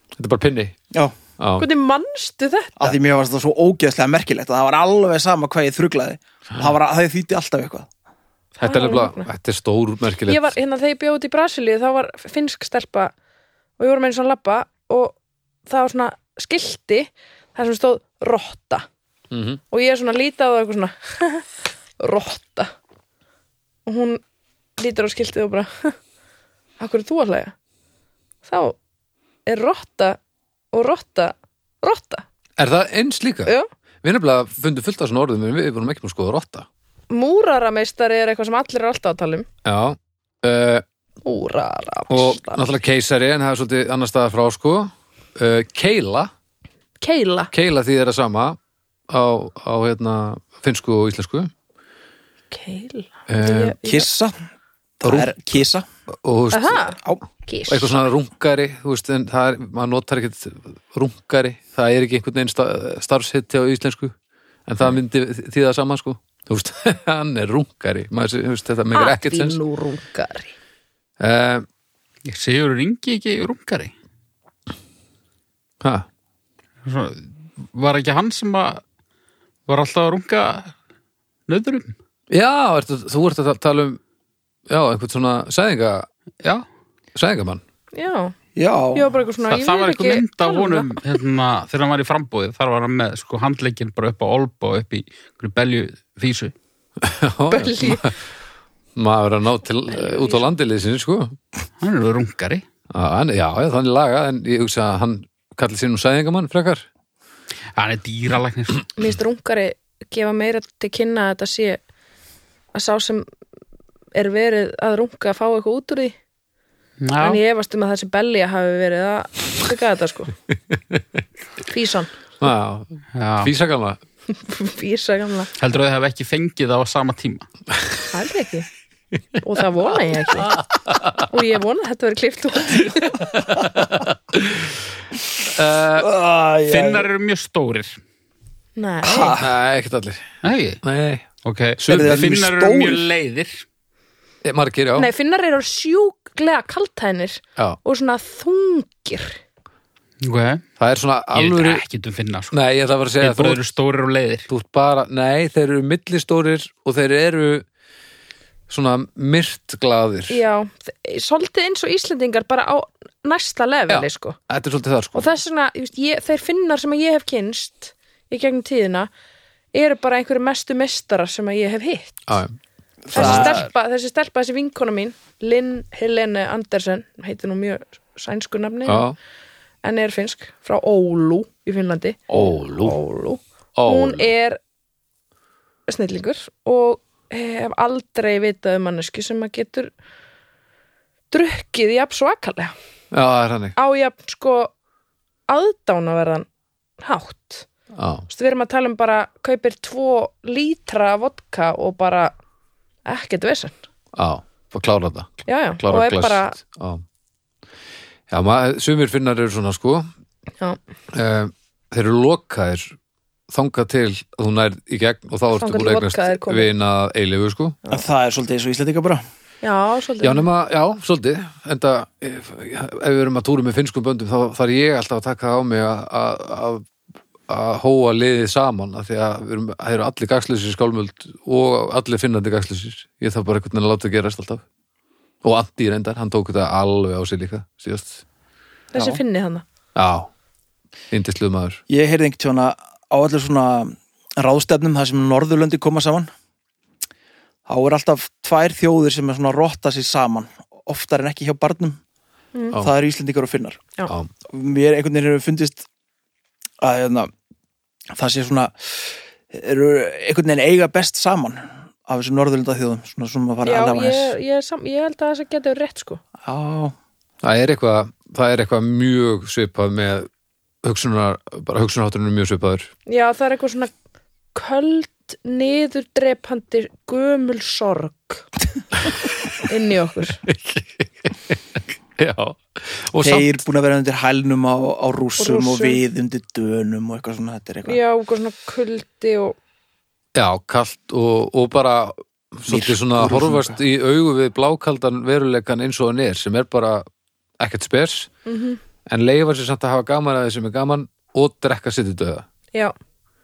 [SPEAKER 2] Þetta er bara pinni
[SPEAKER 3] já,
[SPEAKER 2] Já.
[SPEAKER 1] Hvernig mannstu þetta?
[SPEAKER 3] að því mér varst það svo ógeðslega merkilegt að það var alveg sama hvað ég þruglaði það, var, það þýtti alltaf eitthvað
[SPEAKER 2] Þetta er,
[SPEAKER 1] Það er
[SPEAKER 2] nefnilega-
[SPEAKER 1] magnað.
[SPEAKER 2] þetta er stór merkilegt
[SPEAKER 1] Ah, Ég var, hérna þegar ég bjóð út í Brasilíu þá var finnsk stelpa og ég voru með eins og labba og það var svona skilti þar sem stóð rotta
[SPEAKER 2] Mhm.
[SPEAKER 1] og ég er svona lítið á það eitthvað svona rotta og hún lítur á skiltið og bara Akkur er þú að hlæja? Þá er rotta og rotta rotta,
[SPEAKER 2] Er það eins líka?
[SPEAKER 1] já
[SPEAKER 2] Við nefnilega fundum fullt af svona orðum en við vorum ekki búin að skoða rotta.
[SPEAKER 1] Múrarameistari er eitthvað sem allir er alltaf að tala um
[SPEAKER 2] Já. Uh, og
[SPEAKER 1] Múrarameistari
[SPEAKER 2] náttúrulega keisari en það er svolítið annar staðar frá sko. Uh, keila,
[SPEAKER 1] Keila
[SPEAKER 2] keila því er það sama á, á hérna, finnsku og íslensku.
[SPEAKER 1] Keila
[SPEAKER 4] Eh,
[SPEAKER 2] Uh,
[SPEAKER 1] Ég- ég-
[SPEAKER 3] kissa, það er kissa
[SPEAKER 2] og þú veist,
[SPEAKER 1] Aha,
[SPEAKER 3] á,
[SPEAKER 5] Kiss.
[SPEAKER 2] eitthvað svona rungari, þú veist, en það er, maður notar ekkert rungari, það er ekki einhvern veginn sta, starfshitti á íslensku, en það myndi því það sama sko. Þú veist, hann er rungari, maður, sé- þú veist, þetta megar ekkert sens.
[SPEAKER 1] Atvinnurungari
[SPEAKER 2] Uh,
[SPEAKER 4] Sigur ringi ekki rungari.
[SPEAKER 2] ha,
[SPEAKER 4] Svo, var ekki hann sem að var alltaf að runga nöðrum?
[SPEAKER 2] Já, ertu, þú ert að tala um já, einhvern svona sæðinga
[SPEAKER 4] Já.
[SPEAKER 2] sæðingamann
[SPEAKER 1] Já,
[SPEAKER 3] já,
[SPEAKER 1] ég var bara eitthvað svona
[SPEAKER 4] Það,
[SPEAKER 1] ég
[SPEAKER 4] það
[SPEAKER 1] vil
[SPEAKER 4] var eitthvað
[SPEAKER 1] ekki
[SPEAKER 4] mynd af
[SPEAKER 1] tala um
[SPEAKER 4] honum hérna, þegar hann var í frambúið, þar var hann með sko, handleikin bara upp á olba og upp í einhverju belju físu.
[SPEAKER 1] það. Belli.
[SPEAKER 2] maður er að ná til eh, út á landilýsinu sko
[SPEAKER 4] Hann er rungari.
[SPEAKER 2] Ah, hann, já, já, þannig laga en ég hugsa að hann kallir sér nú sæðingamann frekar
[SPEAKER 4] Hann er dýralæknir.
[SPEAKER 1] Mér finnst rungari gefa meira til kynna að þetta sé að sá sem er verið að runga að fá eitthvað út úr því en
[SPEAKER 4] Já,
[SPEAKER 1] ég efast um að þessi belli hafi verið að byggja þetta sko Físan
[SPEAKER 2] Já,
[SPEAKER 4] Já.
[SPEAKER 2] físakamla
[SPEAKER 1] Fýrsa gamla,
[SPEAKER 4] Heldur að þið hef ekki fengið það á sama tíma?
[SPEAKER 1] það er ekki og það vona ég ekki og ég vona að þetta verið klift út
[SPEAKER 3] Æ,
[SPEAKER 4] Finnar eru mjög stórir.
[SPEAKER 1] Nei,
[SPEAKER 2] Nei, ekkert allir
[SPEAKER 4] Nei,
[SPEAKER 2] Nei,
[SPEAKER 4] ok.
[SPEAKER 3] Eru þeir allir mjög
[SPEAKER 4] Finnar eru mjög
[SPEAKER 3] stórir?
[SPEAKER 4] leiðir.
[SPEAKER 2] eh, margir, já,
[SPEAKER 1] Nei finnar eru sjúklega kaltænir
[SPEAKER 2] já.
[SPEAKER 1] og svona þungir
[SPEAKER 4] Ok.
[SPEAKER 2] Það er svona
[SPEAKER 4] Ég veit
[SPEAKER 2] alvöru
[SPEAKER 4] ekki um finna, sko.
[SPEAKER 2] Nei, ég ætla bara að
[SPEAKER 4] Þeir
[SPEAKER 2] segja
[SPEAKER 4] bara
[SPEAKER 2] þú,
[SPEAKER 4] eru stórir og leiðir.
[SPEAKER 2] þú ert bara, nei, þeir eru millistórir og þeir eru svona myrtglaðir
[SPEAKER 1] Já, þ- svolítið eins og Íslendingar bara á næsta leveli sko
[SPEAKER 2] Þetta er svolítið það, sko
[SPEAKER 1] og þess vegna, ég veist, ég, þeir finnar sem að ég hef kynst í gegnum tíðina eru bara einhverju mestu mestara sem að ég hef hitt
[SPEAKER 2] Já, já.
[SPEAKER 1] þessi
[SPEAKER 3] Það-
[SPEAKER 1] stelpa, þessi stelpa, þessi vinkona mín Lynn Helene Andersen hún heitir nú mjög sænsku nafni
[SPEAKER 2] já.
[SPEAKER 1] en er finnsk, frá Ólu í Finnlandi
[SPEAKER 2] Ólu
[SPEAKER 1] Ólu, hún
[SPEAKER 2] Ólu
[SPEAKER 1] er snillingur og hef aldrei vitað um mannesku sem að getur drukkið jafn svakalega
[SPEAKER 2] Já, það er hannig
[SPEAKER 1] á jafn sko aðdánaverðan hátt
[SPEAKER 2] Já,
[SPEAKER 1] Þú veist, við erum að tala um bara kaupir tvo lítra af vodka og bara ekkert vesen
[SPEAKER 2] já, og klára þetta
[SPEAKER 1] já, já. og
[SPEAKER 2] Klára
[SPEAKER 1] er bara
[SPEAKER 2] glæst Já, já maður, sumir finnar eru svona, sko
[SPEAKER 1] já,
[SPEAKER 2] Eh, þeir eru lokaðir þangað til að þú nær í gegn og þá ertu
[SPEAKER 1] Þangað
[SPEAKER 2] búin
[SPEAKER 1] til
[SPEAKER 2] að
[SPEAKER 1] vodka er
[SPEAKER 2] eignast
[SPEAKER 1] komið.
[SPEAKER 2] vina eilifu sko
[SPEAKER 3] En það er svolítið eins og Íslandika bara
[SPEAKER 1] já, svolítið
[SPEAKER 2] já, nema, já, svolítið enda eh, ef, ef við erum að túra með finnskum böndum þá þarf ég alltaf að taka á mig að- að að- að hóa liðið saman af því að við erum, það eru allir gagslusir skálmöld og allir finnandi gagslusir ég þarf bara einhvern veginn að láta það gerast alltaf og Andi reyndar, hann tók þetta alveg á sig líka síðast,
[SPEAKER 1] þessi
[SPEAKER 3] já.
[SPEAKER 1] finni hann
[SPEAKER 2] já indisluð maður,
[SPEAKER 3] Ég heyrði einhvern tjóna á allir svona ráðstefnum þar sem Norðurlöndi koma saman þá er alltaf tvær þjóðir sem er svona rotta sér saman oftar en ekki hjá barnum það eru Íslandikar og Finnar
[SPEAKER 1] Mm. Já.
[SPEAKER 2] Já.
[SPEAKER 3] Mér einhvern veginn hefur fundist að hérna, það sé svona eru einhvern veginn eiga best saman af þessum Norðurlönda þjóðum svona sem að fara
[SPEAKER 1] já,
[SPEAKER 3] allavega
[SPEAKER 1] ég,
[SPEAKER 3] eins.
[SPEAKER 1] ég, er sam, ég held að þess að geta verið rétt sko
[SPEAKER 3] Já,
[SPEAKER 2] það er eitthvað það er eitthvað mjög svipað með hugsunar, bara hugsunarhátturinn er mjög svipaður
[SPEAKER 1] já, það er eitthvað svona köld niðurdrepandi gömul sorg inn í okkur
[SPEAKER 2] já, og
[SPEAKER 3] þeir búin að vera undir hælnum á, á rússum og,
[SPEAKER 1] Rússum.
[SPEAKER 3] við undir dönum og eitthvað svona, þetta er eitthvað
[SPEAKER 1] já, eitthvað svona kuldi og
[SPEAKER 2] samt já, kalt og, og bara svolítið
[SPEAKER 3] Myrkur
[SPEAKER 2] svona
[SPEAKER 3] og
[SPEAKER 2] horfast í augu við blákaldan veruleikan eins og hann er sem er bara ekkert spers
[SPEAKER 3] Mhm.
[SPEAKER 2] en leifar sér samt að hafa gaman að því sem er gaman og drekka sitt í döða
[SPEAKER 1] já,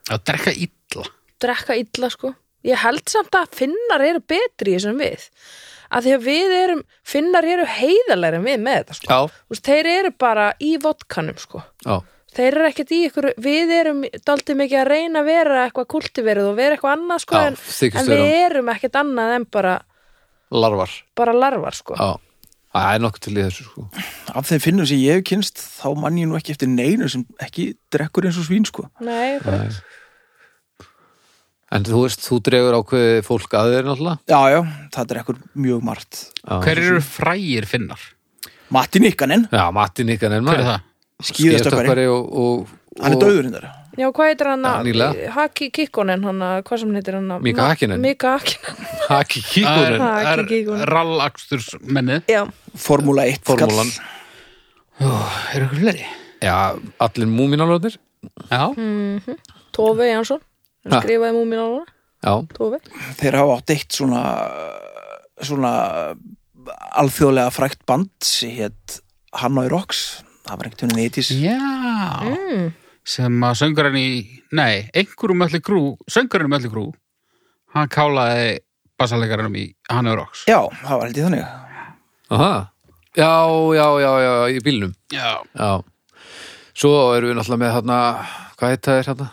[SPEAKER 4] Það drekka illa.
[SPEAKER 1] drekka illa sko ég held samt að finnar eru betri í þessum við að því að við erum finnar eru heiðalegri en við með þetta sko.
[SPEAKER 2] já,
[SPEAKER 1] Þú veist, þeir eru bara í vodkanum sko.
[SPEAKER 2] já,
[SPEAKER 1] þeir eru ekkert í ykkur við erum daldið mikið að reyna að vera eitthvað kultiverið og vera eitthvað annað sko,
[SPEAKER 2] Já,
[SPEAKER 1] en,
[SPEAKER 2] þykist
[SPEAKER 1] en
[SPEAKER 2] vera.
[SPEAKER 1] við erum ekkert annað en bara,
[SPEAKER 2] larvar
[SPEAKER 1] bara larvar sko.
[SPEAKER 2] já, það er nokkuð til í þessu sko
[SPEAKER 3] af þeim finnum sem ég hef kynst þá mann ég nú ekki eftir neinu sem ekki drekkur eins og svín sko
[SPEAKER 1] Nei, bara,
[SPEAKER 2] en þú veist, þú dregur ákveði fólk að þeir náttúrulega
[SPEAKER 3] já, já, það drekkur mjög margt
[SPEAKER 2] Já.
[SPEAKER 4] Hver eru frægir finnar?
[SPEAKER 3] Matti Nikkanen,
[SPEAKER 2] Já, Matti Nikkan er
[SPEAKER 4] Hver
[SPEAKER 2] maður
[SPEAKER 4] er það?
[SPEAKER 3] Skíðastökkvari.
[SPEAKER 2] Skíðastökkvari og, og, og
[SPEAKER 3] hann er döður hindar
[SPEAKER 1] já, hvað heitir hann að-
[SPEAKER 2] Já, nýlega.
[SPEAKER 1] Haki Kikkonen hann að, hvað sem heitir hann að-
[SPEAKER 2] Mika Hakkinen.
[SPEAKER 1] Mika Hakkinen,
[SPEAKER 2] Haki kíkurinn
[SPEAKER 1] Ha-
[SPEAKER 4] Er-
[SPEAKER 1] ekki- ekki-
[SPEAKER 4] er Rallakstursmennið.
[SPEAKER 1] já,
[SPEAKER 3] Formúla 1 kall.
[SPEAKER 2] Formúlan
[SPEAKER 4] Er ykkur fleiri?
[SPEAKER 2] Já, allir múminálóðir
[SPEAKER 4] Já.
[SPEAKER 1] Tove Jansson hann
[SPEAKER 2] Ha.
[SPEAKER 1] skrifaði múmin á hana,
[SPEAKER 2] Já,
[SPEAKER 1] Tove
[SPEAKER 3] þeir hafa átt eitt svona svona alþjóðlega frækt band sem hétt Hanoi Rocks það var einhvern veginn 80s
[SPEAKER 4] Já. Sem að söngurinn í, nei, einhverjum öllu grú, söngurinn um öllu grú, hann kálaði bassalegarinn í Hanna Rocks.
[SPEAKER 3] já, það var held ég þannig
[SPEAKER 2] Aha. já, já, já, já, í bílnum
[SPEAKER 4] Já.
[SPEAKER 2] Já Svo erum við náttúrulega með hérna Hvað heita þér hérna?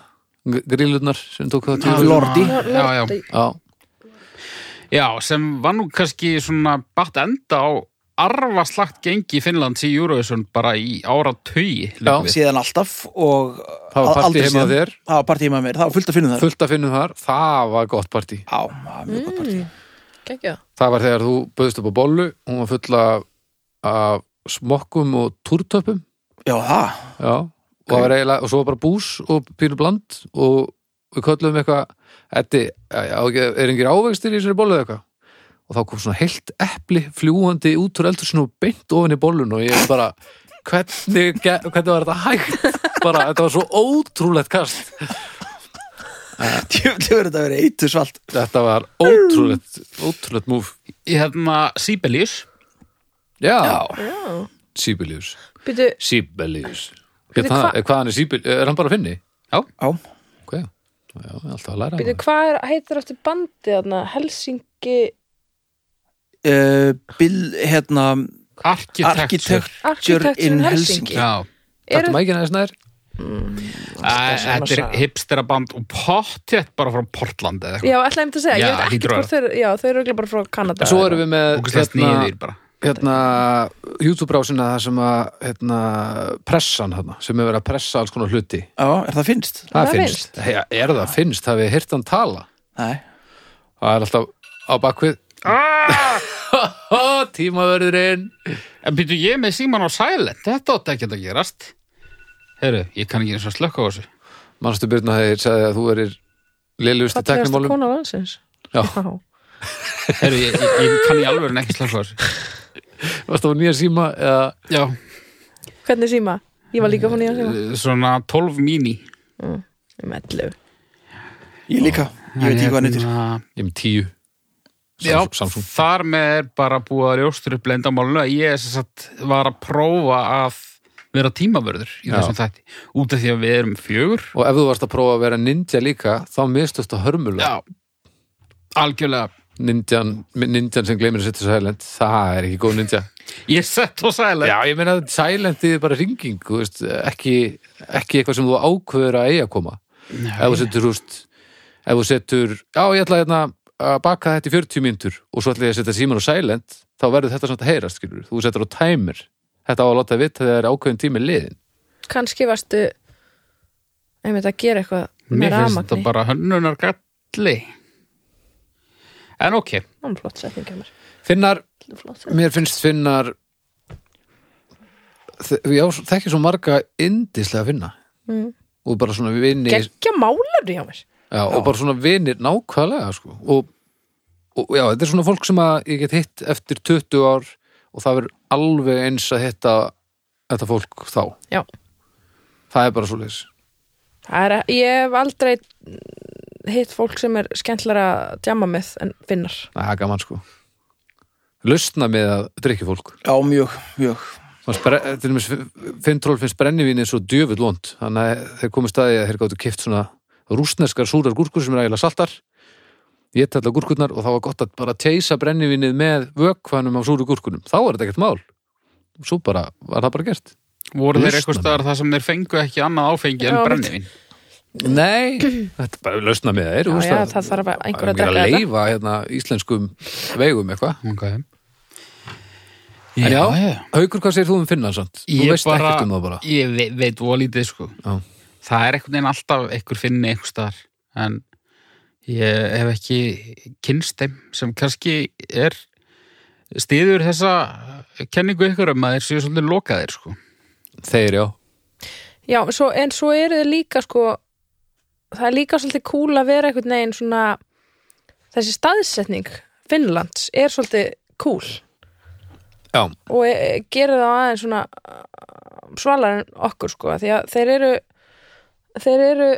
[SPEAKER 2] Grílurnar sem tók það til
[SPEAKER 3] Lordi.
[SPEAKER 4] Já, já.
[SPEAKER 2] Já,
[SPEAKER 4] Já, sem var nú kannski svona bætt enda á arfaslagt gengi Finnlands í Eurovision bara í ára tugi.
[SPEAKER 2] Já.
[SPEAKER 3] síðan alltaf og
[SPEAKER 2] Það var
[SPEAKER 3] al-
[SPEAKER 2] partí
[SPEAKER 3] aldrei
[SPEAKER 2] heima
[SPEAKER 3] síðan.
[SPEAKER 2] á þér.
[SPEAKER 3] það var partí heima á mér, það var fullt að finna þar
[SPEAKER 2] fullt að finnum þar Það var gott partí
[SPEAKER 3] já, það var mjög gott partí
[SPEAKER 1] Kekja.
[SPEAKER 2] Það var þegar þú bauðst upp á bollu Hún var full af, af smokkum og túrtöpum
[SPEAKER 3] já, það
[SPEAKER 2] Já, og, það var eiginlega, og svo var bara bús og pínu bland og við köllum eitthvað Eddi, á ekki- er engir ávegstir í þessari bollu eða eitthvað og þá kom svona heilt epli fljúandi út úr eldursinu og beint ofan í bollun og ég bara hvernig, ge- hvernig var þetta hægt bara, þetta var svo ótrúlegt kast
[SPEAKER 3] Djöfnlega verður þetta að vera eitur svalt
[SPEAKER 2] þetta var ótrúlegt ótrúlegt múf
[SPEAKER 4] Hérna, Sibelius
[SPEAKER 2] já,
[SPEAKER 1] Já.
[SPEAKER 2] síbelius
[SPEAKER 1] Býtu,
[SPEAKER 2] síbelius
[SPEAKER 1] Bíddu, hva-
[SPEAKER 2] hvað hann er síbelius, er hann bara að finni?
[SPEAKER 3] Já,
[SPEAKER 2] ok, já, alltaf að læra
[SPEAKER 1] býtu hvað er, heitir aftur bandið þarna? Helsingi
[SPEAKER 3] uh, Bill, hérna
[SPEAKER 4] Arkitektur
[SPEAKER 3] Architecture,
[SPEAKER 1] Architecture
[SPEAKER 3] in
[SPEAKER 1] in Helsingi.
[SPEAKER 3] Helsingi,
[SPEAKER 4] Já,
[SPEAKER 2] Takk
[SPEAKER 1] Eru-
[SPEAKER 2] mækina þess nær
[SPEAKER 4] Æ,
[SPEAKER 1] svona
[SPEAKER 4] þetta er
[SPEAKER 1] saga.
[SPEAKER 4] hipsteraband og pottjett bara frá Portland eða eitthvað
[SPEAKER 1] Já, ætlaði einmitt að segja,
[SPEAKER 4] Já,
[SPEAKER 1] ég veit
[SPEAKER 4] hlýtur
[SPEAKER 1] ekkert
[SPEAKER 4] að
[SPEAKER 1] hvort þau eru, já, þau eru örugglega bara frá Kanada.
[SPEAKER 2] Svo erum við með
[SPEAKER 4] og hverslega sniðir bara
[SPEAKER 2] hérna YouTube-rásina það sem að hérna, pressan hérna, sem er verið að pressa alls konar hluti
[SPEAKER 3] já, er það finnst?
[SPEAKER 1] Það finnst.
[SPEAKER 2] Hey, er það finnst, það við heyrt hann tala
[SPEAKER 3] Nei,
[SPEAKER 2] það er alltaf á bakvið tímaverðurinn
[SPEAKER 4] En býtu ég er með síman á silent, þetta átti ekki að gerast Heru, ég kann ekki eins og slökka á þessu
[SPEAKER 2] mannstu byrna þegar ég sagði að þú erir liðlust í
[SPEAKER 1] Fallegasta
[SPEAKER 2] teknimálum
[SPEAKER 1] kona landsins.
[SPEAKER 2] Já.
[SPEAKER 4] Heru, ég, ég, ég kann í alveg ekki slökka á þessu
[SPEAKER 2] varst á nýja síma eða,
[SPEAKER 4] Já,
[SPEAKER 1] Hvernig síma? Ég var líka hún í að síma.
[SPEAKER 4] eh, svona 12 mini
[SPEAKER 1] Um 11.
[SPEAKER 3] ég líka, ég veit ekki hvað hann heitir
[SPEAKER 4] Hérna,
[SPEAKER 2] ég með tíu
[SPEAKER 4] Já,
[SPEAKER 2] Samsung, Samsung.
[SPEAKER 4] þar með er bara búið að ljóstur upp lendamálinu að ég sem sagt, var að prófa að vera tímavörður í
[SPEAKER 2] Já.
[SPEAKER 4] þessum þætti út af því að við erum fjögur
[SPEAKER 2] og ef þú varst að prófa að vera ninja líka þá mistust að hörmulega
[SPEAKER 4] Já, algjörlega
[SPEAKER 2] ninjan, ninjan sem gleymir að setja svo heilend það er ekki góð ninja
[SPEAKER 4] Ég sett og sæla
[SPEAKER 2] Já, ég meina að silent er bara ringing, þú veist, ekki, ekki eitthvað sem þú ákveður að eiga að koma. Ef þú setur, þú veist, ef þú setur, já, ég ætla hérna að baka þetta í 40 mínútur og svo ætla ég að setja síman á silent, þá verður þetta samt að heyrast, skilur. Þú setur á timer. Þetta á að láta vita þegar ákveðin tími er liðin.
[SPEAKER 1] Kanski varstu, einmitt að gera eitthvað með
[SPEAKER 4] Mér finnst þetta
[SPEAKER 1] ramagni.
[SPEAKER 4] bara hönnunar galli En ok,
[SPEAKER 1] Það var flott setning hjá mér.
[SPEAKER 2] Finnar,
[SPEAKER 1] Flott setning.
[SPEAKER 2] mér finnst finnar, þe- já, þekki svo marga indislega finna.
[SPEAKER 1] Mm.
[SPEAKER 2] Og bara svona vinni
[SPEAKER 1] Gekkja málar hjá mér.
[SPEAKER 2] Já, og bara svona vinir nákvæmlega sko. og, og já, þetta er svona fólk sem að ég get hitt eftir 20 ár og það verður alveg eins að hitta þetta fólk þá
[SPEAKER 1] Já.
[SPEAKER 2] það er bara svo leis
[SPEAKER 1] Það er, ég hef aldrei hitt fólk sem er skemmtilega að djama með en finnar.
[SPEAKER 2] það er gaman sko lausna með að drikja fólk
[SPEAKER 3] Já, mjög, mjög
[SPEAKER 2] Fintról finnst brennivíni svo djöfull vond þannig að þeir komið staði að þeir gáttu kift svona rúsneskar súrar gúrkur sem er ægilega saltar ég tætla gúrkurnar og þá var gott að bara teisa brennivínið með vökvanum á súru gúrkunum þá var þetta ekkert mál svo bara var það bara gert
[SPEAKER 4] voru þeir
[SPEAKER 2] Lausnamenn.
[SPEAKER 4] eitthvað staðar þar sem þeir fengu ekki annað áfengi en
[SPEAKER 1] Já, mitt.
[SPEAKER 4] brennivín
[SPEAKER 2] Nei, þetta er bara lausna með þeir
[SPEAKER 1] Já, já, það þarf að einhver að drekka
[SPEAKER 2] að
[SPEAKER 1] þetta.
[SPEAKER 2] leifa hérna, íslenskum vegum eitthvað
[SPEAKER 4] okay.
[SPEAKER 2] En já,
[SPEAKER 4] já.
[SPEAKER 2] Haukur, hvað segir þú um Finnlandsand? Þú
[SPEAKER 4] Ég
[SPEAKER 2] veist
[SPEAKER 4] bara-
[SPEAKER 2] ekkert um það bara
[SPEAKER 4] Ég ve veit volítið sko
[SPEAKER 2] Já.
[SPEAKER 4] Það er einhvern veginn alltaf einhver finni einhver staðar en ég hef ekki kynst þeim sem kannski er stiður þessa kenningu ykkur um að þeir séu svolítið lokaðir sko.
[SPEAKER 2] Þeir, já
[SPEAKER 1] Já, svo, en svo eru þið líka sko það er líka svolítið cool að vera einhvern veginn svona þessi staðsetning Finnlands er svolítið cool
[SPEAKER 2] Já,
[SPEAKER 1] og e, e, gerir það aðeins svona uh, svalar en okkur sko því að þeir eru þeir eru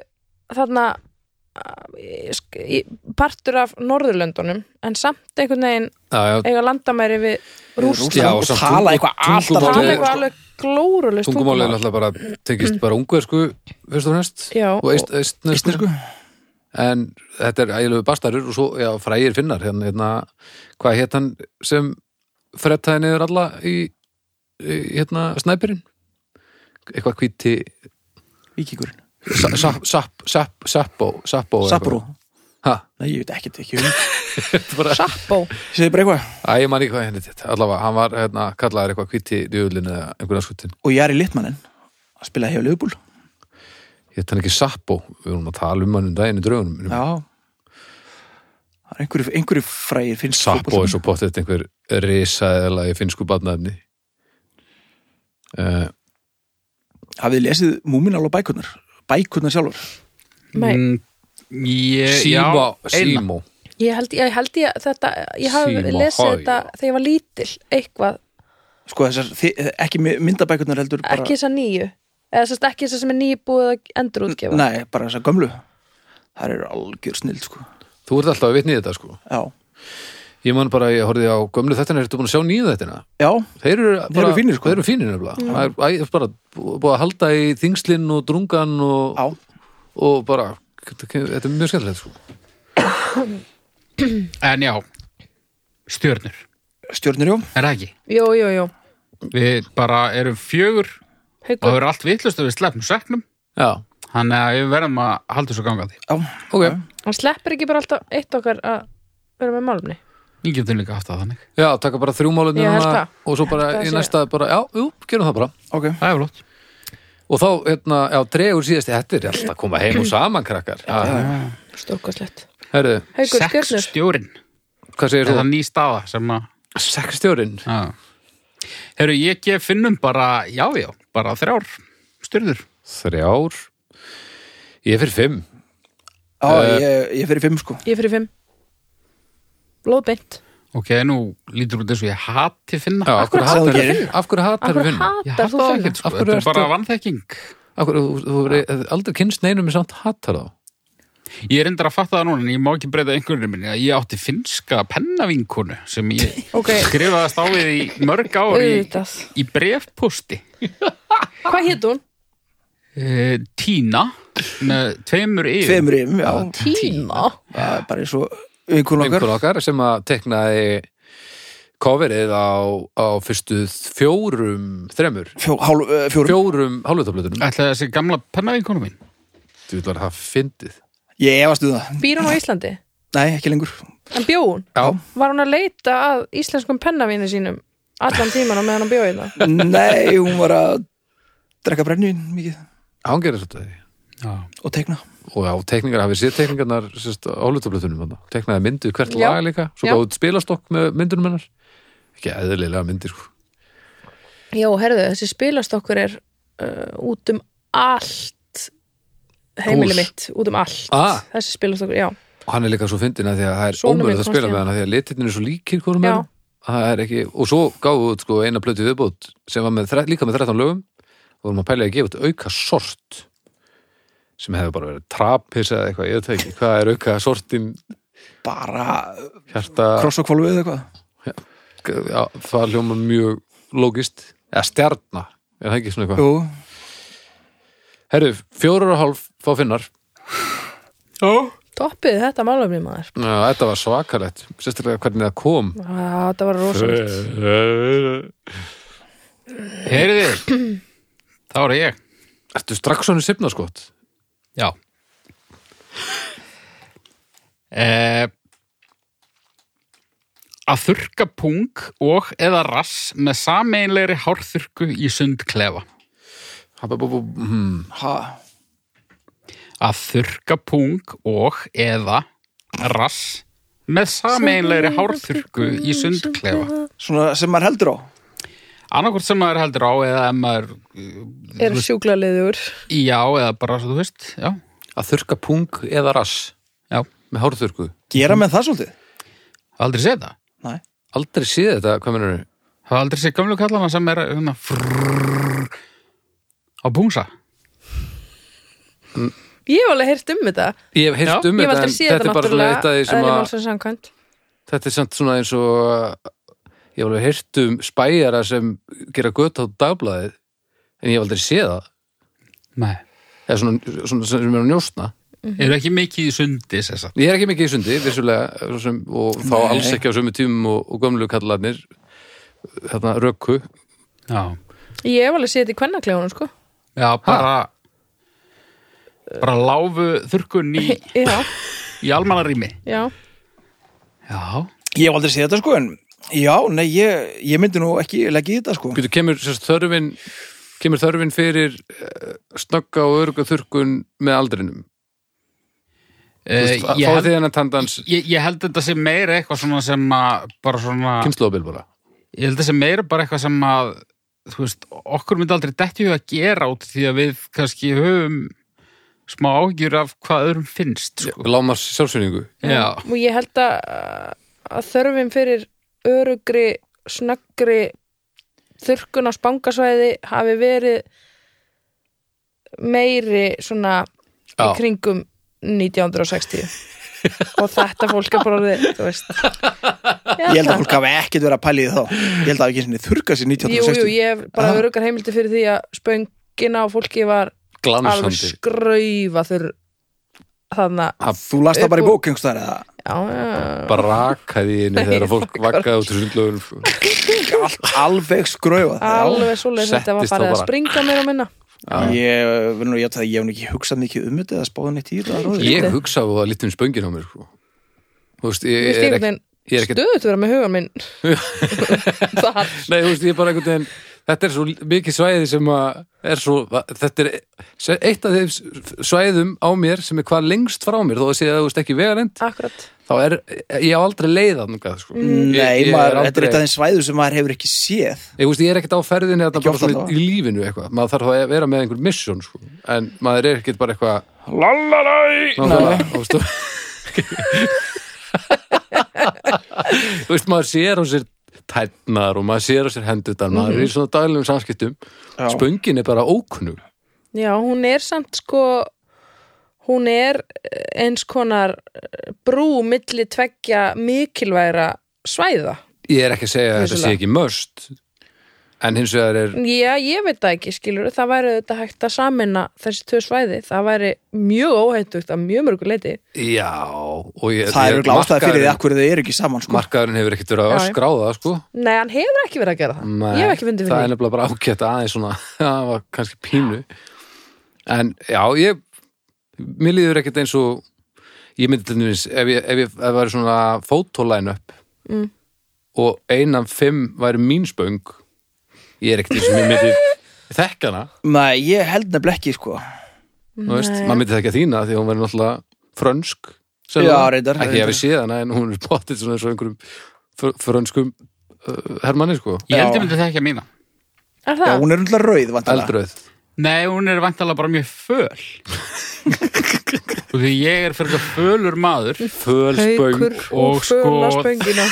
[SPEAKER 1] þarna uh, í- sk- í- partur af Norðurlöndunum en samt einhvern veginn
[SPEAKER 2] já, já,
[SPEAKER 1] eiga landamæri við Rússland
[SPEAKER 2] Já,
[SPEAKER 3] og
[SPEAKER 2] samt
[SPEAKER 3] tala
[SPEAKER 2] tungu-
[SPEAKER 3] eitthvað allt
[SPEAKER 2] tungumálið-
[SPEAKER 1] það
[SPEAKER 3] annað
[SPEAKER 1] er
[SPEAKER 3] tungumál,
[SPEAKER 1] eitthvað alveg glórulust
[SPEAKER 2] tungumálið er alltaf bara tekist bara unguðsku fyrst og fremst
[SPEAKER 1] Já,
[SPEAKER 2] og eist, eistnesku en þetta er ægilegu bastarur og svo já, frægir finnar hérna, hérna, hvað hétt hann sem frettaði niður alla í, í hérna snæpirinn eitthvað hvíti
[SPEAKER 3] Víkingurinn,
[SPEAKER 2] Sa- Sap- Sap- Sap- Sappo Sappo eitthvað.
[SPEAKER 3] Sapurú
[SPEAKER 2] Ha,
[SPEAKER 3] Nei, ég veit ekkert ekki um Ég
[SPEAKER 2] bara-
[SPEAKER 1] Sappó
[SPEAKER 3] segi bara eitthvað
[SPEAKER 2] Æ, ég man ekki hvað henni þetta allavega, hann var hérna, kallaður eitthvað hvíti djöðlinn eða einhverja skutin
[SPEAKER 3] Og Jari Littmannin, að spilaði hefur lögbúl
[SPEAKER 2] hétt hann ekki Sappo, við vorum að tala um hann um daginn í draugunum mínum.
[SPEAKER 3] Já Það er einhverju, einhverju frægir finnst
[SPEAKER 2] Sappo er svo pottið einhver Eh, risaðilega í finnsku badnaefni uh,
[SPEAKER 3] hafið þið lesið múmin alveg bækunar bækunar sjálfur
[SPEAKER 1] Nei,
[SPEAKER 4] Mm,
[SPEAKER 1] Eh,
[SPEAKER 4] Ég,
[SPEAKER 2] Símo,
[SPEAKER 4] já, eina.
[SPEAKER 2] Símo
[SPEAKER 1] ég held, ég held ég að þetta, ég hafi
[SPEAKER 2] Símahói.
[SPEAKER 1] lesið þetta þegar ég var lítil, eitthvað,
[SPEAKER 3] sko þessar, þi- ekki mi- myndabækunar heldur bara,
[SPEAKER 1] ekki þess að nýju, eða sérst ekki þess að sem er nýbúið að endurútgefa.
[SPEAKER 3] nei, bara þessar gömlu það eru algjör snill sko
[SPEAKER 2] Þú ert alltaf að vitni í þetta sko
[SPEAKER 3] já,
[SPEAKER 2] Ég man bara, ég horfði á gömlu þettina Ertu búin að sjá nýju þettina?
[SPEAKER 3] já,
[SPEAKER 2] Þeir eru, bara,
[SPEAKER 3] eru fínir, sko.
[SPEAKER 2] Þeir eru fínir nefnilega Það er- æ, er bara búið að halda í þingslinn og drungan og,
[SPEAKER 3] já
[SPEAKER 2] og bara Þetta er mjög skemmtilegt sko
[SPEAKER 4] En já, stjörnur,
[SPEAKER 3] stjórnir, já,
[SPEAKER 4] er það ekki?
[SPEAKER 1] Jú, jú, jú,
[SPEAKER 4] Við bara erum fjögur og það
[SPEAKER 1] haukur,
[SPEAKER 4] er allt vitlust og við sleppum seknum
[SPEAKER 2] Já,
[SPEAKER 4] þannig að við verðum að halda þessu gangandi
[SPEAKER 3] já,
[SPEAKER 2] ok
[SPEAKER 4] Ah.
[SPEAKER 1] hann sleppir ekki bara alltaf eitt okkar að vera með málumni.
[SPEAKER 4] Við getum líka haft það þannig
[SPEAKER 2] Já, taka bara þrjú málunni
[SPEAKER 1] Ég held
[SPEAKER 2] núna
[SPEAKER 1] það.
[SPEAKER 2] og svo bara
[SPEAKER 1] Held það
[SPEAKER 2] í
[SPEAKER 1] sé-
[SPEAKER 2] næsta bara, já, jú, gerum það bara
[SPEAKER 3] ok
[SPEAKER 4] Það er flott
[SPEAKER 2] og þá, hérna, já, dregur síðasti þetta er alltaf að koma heim og saman krakkar Já.
[SPEAKER 1] Stórkostlegt.
[SPEAKER 2] Herðu,
[SPEAKER 1] Haukur,
[SPEAKER 4] Sex
[SPEAKER 1] skjörnur.
[SPEAKER 4] stjórinn,
[SPEAKER 2] hvað segir
[SPEAKER 4] er það
[SPEAKER 2] þú?
[SPEAKER 4] ný staða sem að
[SPEAKER 2] Sexstjórin
[SPEAKER 4] Já. Herru, ég gef finnum bara, já, já, bara þrjár stjörnur.
[SPEAKER 2] Þrjár Ég fyrir fimm
[SPEAKER 3] já, ég, ég fyrir fimm sko
[SPEAKER 1] Ég fyrir fimm. Blóðbeint.
[SPEAKER 4] Ok, nú lítur út eins og ég hati finna.
[SPEAKER 2] Já, af hverju
[SPEAKER 1] Akkur
[SPEAKER 2] hatar
[SPEAKER 3] hatar
[SPEAKER 2] þú Af hverju hatar þú
[SPEAKER 1] Akkur
[SPEAKER 3] þú
[SPEAKER 2] vinnu?
[SPEAKER 4] ég
[SPEAKER 1] hatar
[SPEAKER 4] hata
[SPEAKER 1] þú
[SPEAKER 4] það
[SPEAKER 1] finna?
[SPEAKER 4] ekkert, sko.
[SPEAKER 2] Af hverju
[SPEAKER 4] Þetta er
[SPEAKER 2] ertu-
[SPEAKER 4] bara vanþekking.
[SPEAKER 2] Af hverju, þú, þú, þú hefur aldrei kynst neinum en samt hatar þá
[SPEAKER 4] Ég er endur að fatta það núna, en ég má ekki breyta einhverjum minni. að Ég átti finska pennavinkonu sem ég
[SPEAKER 1] Ok.
[SPEAKER 4] skrifaðast á við í mörg ár sko, í,
[SPEAKER 1] Auðvitað.
[SPEAKER 4] í brefposti.
[SPEAKER 1] Hvað hétt hún?
[SPEAKER 4] Uh, Tína, með tveimur yfir.
[SPEAKER 3] tveimur yfir, já,
[SPEAKER 1] Tíma.
[SPEAKER 3] það er bara eins og vinkun okkar
[SPEAKER 2] einhver okkar sem að teknaði coverið á, á fyrstu fjórum þremur,
[SPEAKER 3] Fjó, hálf, eh, fjórum.
[SPEAKER 2] fjórum hálfutablutunum
[SPEAKER 4] Ætli það þessi gamla pennavinkonu mín.
[SPEAKER 2] Þú vil var það fyndið
[SPEAKER 3] ég efast um það,
[SPEAKER 1] Býr hún á Íslandi?
[SPEAKER 3] nei, ekki lengur
[SPEAKER 1] En bjó hún?
[SPEAKER 2] Já,
[SPEAKER 1] Var hún að leita að íslenskum pennavínu sínum allan tíman á meðan hann bjó hérna? í það?
[SPEAKER 3] nei, hún var að drekka brennin mikið
[SPEAKER 2] hann gerir þetta því
[SPEAKER 4] Já.
[SPEAKER 3] og tekna
[SPEAKER 2] og já, tekningar, hafið séð tekningarnar sérst, á hálfutablutunum, teknaði myndu hvert
[SPEAKER 1] Já,
[SPEAKER 2] lag líka, svo
[SPEAKER 1] já.
[SPEAKER 2] gáðu spilastokk með myndunum hennar ekki eðlilega myndir sko.
[SPEAKER 1] Já, herðu, þessi spilastokkur er uh, út um allt heimili
[SPEAKER 2] Hús.
[SPEAKER 1] mitt, út um allt
[SPEAKER 2] Ah.
[SPEAKER 1] þessi spilastokkur, já,
[SPEAKER 2] og hann er líka svo fyndin að því að það er
[SPEAKER 1] Sonur minn
[SPEAKER 2] ómögulegt að
[SPEAKER 1] komst
[SPEAKER 2] spila
[SPEAKER 1] í
[SPEAKER 2] með
[SPEAKER 1] hann.
[SPEAKER 2] hann að því að litirnir er svo líkir hvorum
[SPEAKER 1] Já.
[SPEAKER 2] er það er ekki, og svo gáðu út sko, eina plötu viðbót sem var með, þre- líka með 13 lögum og vorum að pæla í að gefa út auka sort sem hefur bara verið trapis eða eitthvað, ég veit það ekki, hvað er auka sortin
[SPEAKER 3] bara eh,
[SPEAKER 2] hjarta
[SPEAKER 3] kross og kvalvu eða eitthvað
[SPEAKER 2] já, það hljóma mjög lógist, eða stjarna er það ekki svona eitthvað,
[SPEAKER 3] jú,
[SPEAKER 2] herru, fjórar og hálf fá finnar,
[SPEAKER 1] toppið þetta málumni maður
[SPEAKER 2] Ná, þetta var svakalegt sérstaklega hvernig það kom
[SPEAKER 1] ah, þetta var rosalegt
[SPEAKER 4] Heyriði, þá er ég.
[SPEAKER 2] Ertu strax svona sifna skot?
[SPEAKER 4] Já eh, Að þurka pung og eða rass með sameinlegri hárþurku í sundklefa
[SPEAKER 2] Habababú, hmm
[SPEAKER 3] ha
[SPEAKER 4] Að þurka pung og eða rass með sameinlegri hárþurku í sundklefa
[SPEAKER 3] svona sem maður heldur á
[SPEAKER 4] Annarkvort sem maður heldur á eða ef maður
[SPEAKER 1] er sjúklaliður
[SPEAKER 4] já eða bara svo þú veist já,
[SPEAKER 2] að þurka pung eða rass
[SPEAKER 4] já,
[SPEAKER 2] með hárþurku
[SPEAKER 3] gera með það svolítið
[SPEAKER 4] aldrei séð það
[SPEAKER 3] nei,
[SPEAKER 2] aldrei séð þetta, hvað mennur þau?
[SPEAKER 4] Það aldrei sé gamlu kallana sem er hérna, frrrr, á pungsa.
[SPEAKER 1] ég hef alveg heyrt um þetta
[SPEAKER 2] Ég hef heyrt
[SPEAKER 4] Já,
[SPEAKER 2] um
[SPEAKER 1] ég
[SPEAKER 2] þetta
[SPEAKER 1] hef
[SPEAKER 2] en
[SPEAKER 1] aldrei séð
[SPEAKER 2] þetta er
[SPEAKER 1] þetta
[SPEAKER 2] bara svona eitt af því
[SPEAKER 1] náttúrulega
[SPEAKER 2] sem
[SPEAKER 1] eðli
[SPEAKER 2] að
[SPEAKER 1] málsins samkvæmt
[SPEAKER 2] þetta er samt svona eins og uh, ég hef alveg heyrt um spæjara sem gera gött á dagblæðið en ég hef aldrei séð það
[SPEAKER 4] Nei.
[SPEAKER 2] eða svona, svona sem er að njósna
[SPEAKER 4] Eru ekki mikið í sundi, sér satt.
[SPEAKER 2] Ég er ekki mikið í sundi, vissulega svo sem, og þá
[SPEAKER 3] Nei.
[SPEAKER 2] alls ekki á sömu tímum og, og gömlu kallarnir þarna rökku
[SPEAKER 4] Já.
[SPEAKER 1] ég hef alveg séð þetta í kvennaklefunum sko
[SPEAKER 4] Já, bara, bara láfu þurkun í,
[SPEAKER 1] já,
[SPEAKER 4] í almannarými.
[SPEAKER 1] já,
[SPEAKER 4] Já.
[SPEAKER 3] ég hef aldrei séð þetta sko en já, nei, ég, ég myndi nú ekki leggja í þetta sko
[SPEAKER 2] Getur kemur sérst, þörfin kemur þörfin fyrir uh, snögga og öruga þurrkun með aldrinum
[SPEAKER 4] Uh,
[SPEAKER 2] Þú veist,
[SPEAKER 4] ég,
[SPEAKER 2] fáið
[SPEAKER 4] held,
[SPEAKER 2] þið hennar tandans
[SPEAKER 4] ég, ég held þetta sem meira eitthvað svona sem að bara svona,
[SPEAKER 2] kynnslóðabil bara
[SPEAKER 4] ég held þetta sem meira bara eitthvað sem að þú veist, okkur myndi aldrei detti við að gera út því að við kannski höfum smá ágjur af hvað öðrum finnst sko.
[SPEAKER 2] Lámars sjálfsynningu
[SPEAKER 4] Já,
[SPEAKER 1] og ég held að, að þörfin fyrir örugri, snöggri þurrkun á spangasvæði hafi verið meiri svona í
[SPEAKER 2] Já.
[SPEAKER 1] kringum 1960 og þetta fólk er bara orðið, þú veist
[SPEAKER 3] Ég held að fólk hafi ekkert verið að pæli því þá Ég held að hafi ekki sinni þurka sér
[SPEAKER 1] Jú, jú,
[SPEAKER 3] 1960
[SPEAKER 1] ég hef bara
[SPEAKER 3] Aha.
[SPEAKER 1] örugar heimildi fyrir því að spöngina á fólki var alveg
[SPEAKER 2] Glansandi
[SPEAKER 1] skraufa þurr þannig að
[SPEAKER 3] Þú las það bara í
[SPEAKER 1] Upp úr-
[SPEAKER 3] bók einhverstaðar eða
[SPEAKER 1] já, já,
[SPEAKER 2] Brakaði í henni þegar fólk vaggaði út úr sko. sundlögun
[SPEAKER 3] Allt alveg skröfa
[SPEAKER 1] alveg svoleiðis þetta var
[SPEAKER 2] Settist þá
[SPEAKER 1] farið að
[SPEAKER 2] bara.
[SPEAKER 1] springa mér og minna
[SPEAKER 3] Ég verður nú að játa það, ég hef nú ekki hugsað mikið um þetta eða spáðið neitt í þetta ráðið.
[SPEAKER 2] Ég hugsa að það lítið um spöngin á mér sko. Þú veist, ég,
[SPEAKER 1] Mér
[SPEAKER 2] ég er
[SPEAKER 1] stígur
[SPEAKER 2] ekki
[SPEAKER 1] þinn
[SPEAKER 2] Ég er ekki
[SPEAKER 1] stöðut vera með hugan minn þar
[SPEAKER 2] Nei, þú veist, ég er bara einhvern veginn Þetta er svo mikið svæði sem að er svo, þetta er e- eitt af þeim svæðum á mér sem er hvað lengst frá mér, þó að segja að þú veist ekki vegarend,
[SPEAKER 1] Akkurat
[SPEAKER 2] þá er, ég hef aldrei leiða þangað, sko.
[SPEAKER 3] Nei,
[SPEAKER 2] ég, ég
[SPEAKER 3] maður, þetta er
[SPEAKER 2] aldrei,
[SPEAKER 3] eitt af þeim svæðu sem maður hefur ekki séð
[SPEAKER 2] Ég, þú veist, ég er ekkert á ferðinni þetta
[SPEAKER 3] Ekki
[SPEAKER 2] bara
[SPEAKER 3] oft
[SPEAKER 2] svona
[SPEAKER 3] allavega.
[SPEAKER 2] í lífinu eitthvað, maður þarf þá að vera með einhver mission, sko, en maður er ekkert bara eitthvað
[SPEAKER 3] Lalalai
[SPEAKER 2] Nákvæmlega, og veist, þú- Þú veist, maður sér á sér tætnar og maður sér á sér hendutar maður
[SPEAKER 3] Mhm.
[SPEAKER 2] er í svona daglegum samskiptum spöngin er bara ókunnug
[SPEAKER 1] Já, hún er samt sko hún er eins konar brú milli tveggja mikilværa svæða
[SPEAKER 2] ég er ekki að segja að þetta sé
[SPEAKER 1] Vissulega.
[SPEAKER 2] ekki möst en hins vegar er
[SPEAKER 1] Já, ég veit það ekki, skilur það væri þetta hægt að samina þessi tvö svæði það væri mjög óhættugt að mjög mörgu leiti
[SPEAKER 2] já, og ég,
[SPEAKER 3] Það eru
[SPEAKER 2] ég-
[SPEAKER 3] glástaði fyrir
[SPEAKER 2] markaðurinn-
[SPEAKER 3] því að hverju þau eru ekki saman sko.
[SPEAKER 2] markaðurinn hefur ekkert verið
[SPEAKER 1] Já,
[SPEAKER 2] að
[SPEAKER 1] já.
[SPEAKER 2] öskra á það sko
[SPEAKER 1] Nei, hann hefur ekki verið að gera það Ég hef ekki fundið
[SPEAKER 2] það er
[SPEAKER 1] fyrir því
[SPEAKER 2] nefnilega bara ágætt aðeins svona það var kannski pínu en já, ég mér líður ekkert eins og ég myndi til dæmis, ef ég, ef ég ef væri svona fótólæn upp
[SPEAKER 1] Mm.
[SPEAKER 2] og einan fimm væri mín spöng ég er ekkert eins og mér myndi þekka hana,
[SPEAKER 3] Nei, ég held nefnilega ekki sko.
[SPEAKER 2] þú veist,
[SPEAKER 1] Nei.
[SPEAKER 2] maður myndi þekka þína því hún verið náttúrulega frönsk sem
[SPEAKER 3] Já,
[SPEAKER 2] það-
[SPEAKER 3] reyndar,
[SPEAKER 2] ekki ef
[SPEAKER 3] reyndar.
[SPEAKER 2] ég séð hana en hún er bóttið svona eins og einhverjum fr- frönskum uh, hermanni sko,
[SPEAKER 4] ég held
[SPEAKER 3] Já.
[SPEAKER 4] ég myndi það ekki að mína
[SPEAKER 1] Er
[SPEAKER 3] Já,
[SPEAKER 1] það?
[SPEAKER 3] hún er náttúrulega rauð vantala.
[SPEAKER 2] eldröð
[SPEAKER 4] Nei, hún er vantalega bara mjög föl og því ég er fyrir fölur maður
[SPEAKER 2] fölspöng
[SPEAKER 1] Haukur
[SPEAKER 4] og
[SPEAKER 1] og
[SPEAKER 4] sko-
[SPEAKER 1] föla spöngina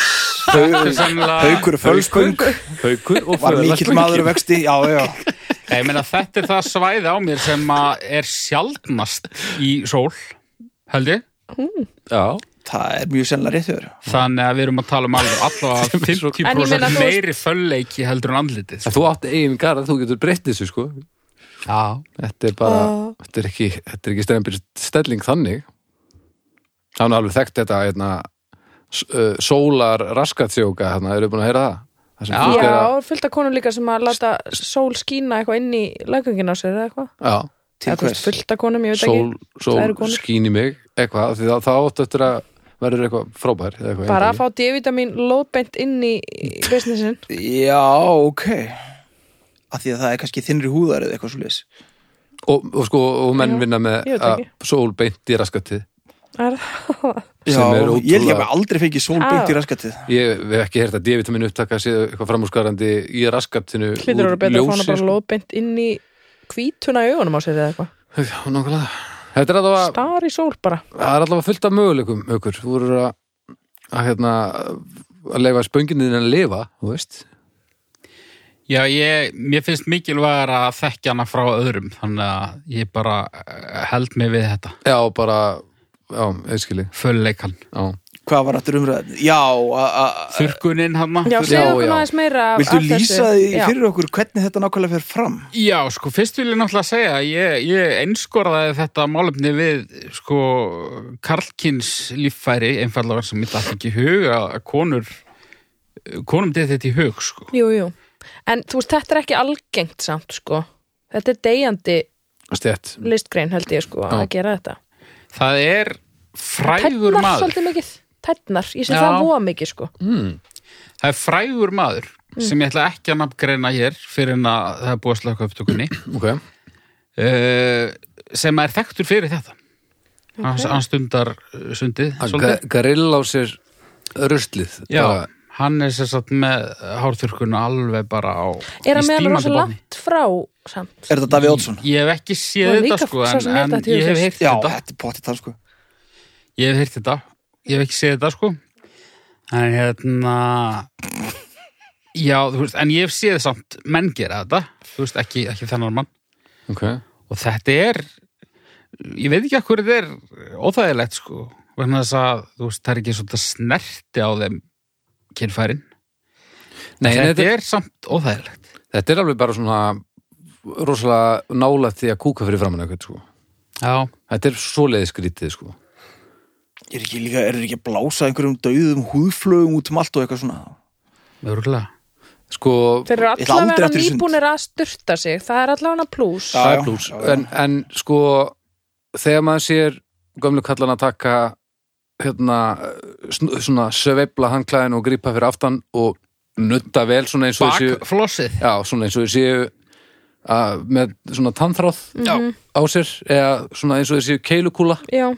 [SPEAKER 4] Þetta er sennilega-
[SPEAKER 3] Haukur er fölspöng
[SPEAKER 2] haukur og
[SPEAKER 3] Var mikill maður og vexti Já, já,
[SPEAKER 4] Nei, ég meina, Þetta er það svæði á mér sem að er sjaldnast í sól held ég
[SPEAKER 2] já,
[SPEAKER 3] það er mjög sennilega rétt hjá
[SPEAKER 4] Þannig að við erum að tala um alveg allavega
[SPEAKER 1] En ég meina, þú
[SPEAKER 4] 50%
[SPEAKER 1] veist-
[SPEAKER 4] meiri fölleiki heldur en andlitið.
[SPEAKER 2] en
[SPEAKER 4] sko.
[SPEAKER 2] þú átt eigin garð þú getur breytt þessu sko
[SPEAKER 4] Já.
[SPEAKER 2] þetta er bara,
[SPEAKER 1] Já.
[SPEAKER 2] þetta er ekki, þetta er ekki stefnbyrð stelling þannig hann er alveg þekkt þetta hérna, s- uh, sólar raskatsjóka hérna, eru búin að heyra það það sem
[SPEAKER 4] Já.
[SPEAKER 2] fólk er að,
[SPEAKER 1] Já, fullt af konum líka sem að láta sól skína eitthvað inn í laggöngin á sér eða eitthvað
[SPEAKER 2] já,
[SPEAKER 1] Eða, þú veist,
[SPEAKER 3] þér
[SPEAKER 1] fullt af konum, ég veit
[SPEAKER 2] sól,
[SPEAKER 1] ekki
[SPEAKER 2] sól
[SPEAKER 1] Það eru konur.
[SPEAKER 2] skín í mig eitthvað, því það, það átt eftir að verður eitthvað frábær eða eitthvað,
[SPEAKER 1] bara að
[SPEAKER 2] einhverju.
[SPEAKER 1] fá D-vitamin lóðbent inn í í businessin
[SPEAKER 3] Já, ok Af því að það er kannski þinnri húðar eða eitthvað svo leis
[SPEAKER 2] og, og sko, og menn
[SPEAKER 1] Já,
[SPEAKER 2] vinna með
[SPEAKER 1] ég veit
[SPEAKER 2] að
[SPEAKER 1] ekki.
[SPEAKER 2] sól beint í raskatið
[SPEAKER 1] Er-
[SPEAKER 3] Já,
[SPEAKER 2] Sem er
[SPEAKER 3] ég held ekki að
[SPEAKER 2] ótrúlega-
[SPEAKER 3] maður aldrei fengið sól
[SPEAKER 1] Ah.
[SPEAKER 3] beint í raskatið
[SPEAKER 2] Ég hef ekki hert að D-vitamin upptaka séð eitthvað framúrskarandi í raskatinu
[SPEAKER 1] hlýtur að vera betra að fá hana
[SPEAKER 2] sko.
[SPEAKER 1] bara lóðbent inn í hvítuna í augunum á sér eða eitthvað
[SPEAKER 2] Já, nákvæmlega Þetta er allavega,
[SPEAKER 1] star í sól bara
[SPEAKER 2] það er allavega fullt af möguleikum haukur, þú voru að, að hérna, að leifa spönginni þinn að lifa, þú veist
[SPEAKER 4] Já, ég, mér finnst mikilvægur að þekkja hana frá öðrum, þannig að ég bara eh, held mig við þetta,
[SPEAKER 2] Já, bara, já, einskili
[SPEAKER 4] fölleikan.
[SPEAKER 2] Já,
[SPEAKER 3] Hvað var aftur umræðin? Já, a- a-
[SPEAKER 4] Þurkunin hann
[SPEAKER 1] já, segðu okkur
[SPEAKER 2] já.
[SPEAKER 1] aðeins meira af,
[SPEAKER 3] viltu
[SPEAKER 1] af þessu.
[SPEAKER 3] lýsa því
[SPEAKER 1] Já.
[SPEAKER 3] fyrir okkur hvernig þetta nákvæmlega fer fram?
[SPEAKER 4] Já, sko, fyrst vil ég náttúrulega segja að ég, ég einskorðaði þetta málefni við, sko, Karlkins líffæri, einfallega sem ég dætti ekki í hug að að konur, konum dætti þetta í hug, sko.
[SPEAKER 1] jú, jú. en þú veist, þetta er ekki algengt samt sko. þetta er deyjandi
[SPEAKER 2] stjætt
[SPEAKER 1] listgrein held ég sko að
[SPEAKER 2] Já.
[SPEAKER 1] gera þetta
[SPEAKER 4] Það er frægur
[SPEAKER 1] tætnar
[SPEAKER 4] maður.
[SPEAKER 1] svolítið mikið tætnar, ég sé
[SPEAKER 4] Já.
[SPEAKER 1] það voða mikið sko
[SPEAKER 2] mm.
[SPEAKER 4] Það er frægur maður
[SPEAKER 1] Mm.
[SPEAKER 4] sem ég ætla ekki að nafngreina hér fyrir en að það er búið að slaka upptökunni
[SPEAKER 2] Ok,
[SPEAKER 4] uh, sem er þekktur fyrir þetta hann, hann stundar uh, sundið
[SPEAKER 2] að
[SPEAKER 4] svolítið.
[SPEAKER 2] ga- grill á sér ruslið
[SPEAKER 4] Já,
[SPEAKER 2] bara,
[SPEAKER 4] Hann er sér satt með hárþurkuna alveg bara á
[SPEAKER 1] Er
[SPEAKER 4] í
[SPEAKER 1] hann með hann
[SPEAKER 4] stímandi
[SPEAKER 1] rosa
[SPEAKER 4] botni.
[SPEAKER 1] langt frá samt?
[SPEAKER 3] Er þetta Davíð Ótsson?
[SPEAKER 4] Ég hef ekki
[SPEAKER 1] Það
[SPEAKER 4] séð
[SPEAKER 1] er líka
[SPEAKER 4] þetta sko
[SPEAKER 1] sá
[SPEAKER 4] en,
[SPEAKER 1] sem mér
[SPEAKER 4] en
[SPEAKER 1] datt í
[SPEAKER 4] ég hef
[SPEAKER 1] hug
[SPEAKER 4] heyrt
[SPEAKER 3] Já,
[SPEAKER 4] þetta
[SPEAKER 3] þetta er potið það sko
[SPEAKER 4] Ég hef heyrt þetta Ég hef ekki séð þetta sko En hérna Já, þú veist, en ég hef séð samt menn gera þetta Þú veist, ekki, ekki þennan mann
[SPEAKER 2] Ok.
[SPEAKER 4] Og þetta er Ég veit ekki að hverju þetta er óþægilegt sko Vegna þess að, þú veist, það er ekki svona snerti á þeim
[SPEAKER 2] Nei,
[SPEAKER 4] kynfærin
[SPEAKER 2] þetta,
[SPEAKER 4] Þetta,
[SPEAKER 2] þetta, er,
[SPEAKER 4] er samt óþægilegt
[SPEAKER 2] þetta er alveg bara svona rosalega nálægt því að kúka fyrir framann eitthvað, sko.
[SPEAKER 4] Já,
[SPEAKER 2] Þetta er svoleiði skrítið, sko.
[SPEAKER 3] Er ekki líka, er ekki að blása einhverjum dauðum húðflögum út um allt og eitthvað svona
[SPEAKER 4] mörgulega
[SPEAKER 2] Sko,
[SPEAKER 1] Þeir eru
[SPEAKER 3] Ég ætla aldrei
[SPEAKER 1] allavega
[SPEAKER 3] aftur í sund.
[SPEAKER 1] nýbúnir að styrta sig Það er allavega plús
[SPEAKER 3] Já,
[SPEAKER 2] það
[SPEAKER 3] já,
[SPEAKER 2] er plús.
[SPEAKER 3] já, já.
[SPEAKER 2] En, en sko, þegar maður sér gömlu kallan að taka hérna, sn- svona sveifla handklæðin og grípa fyrir aftan og nutta vel svona eins og þessu
[SPEAKER 4] Bakflossið
[SPEAKER 2] já, svona eins og þessu að, með svona tannþráð á sér eða svona eins og þessu keilukúla
[SPEAKER 1] Já,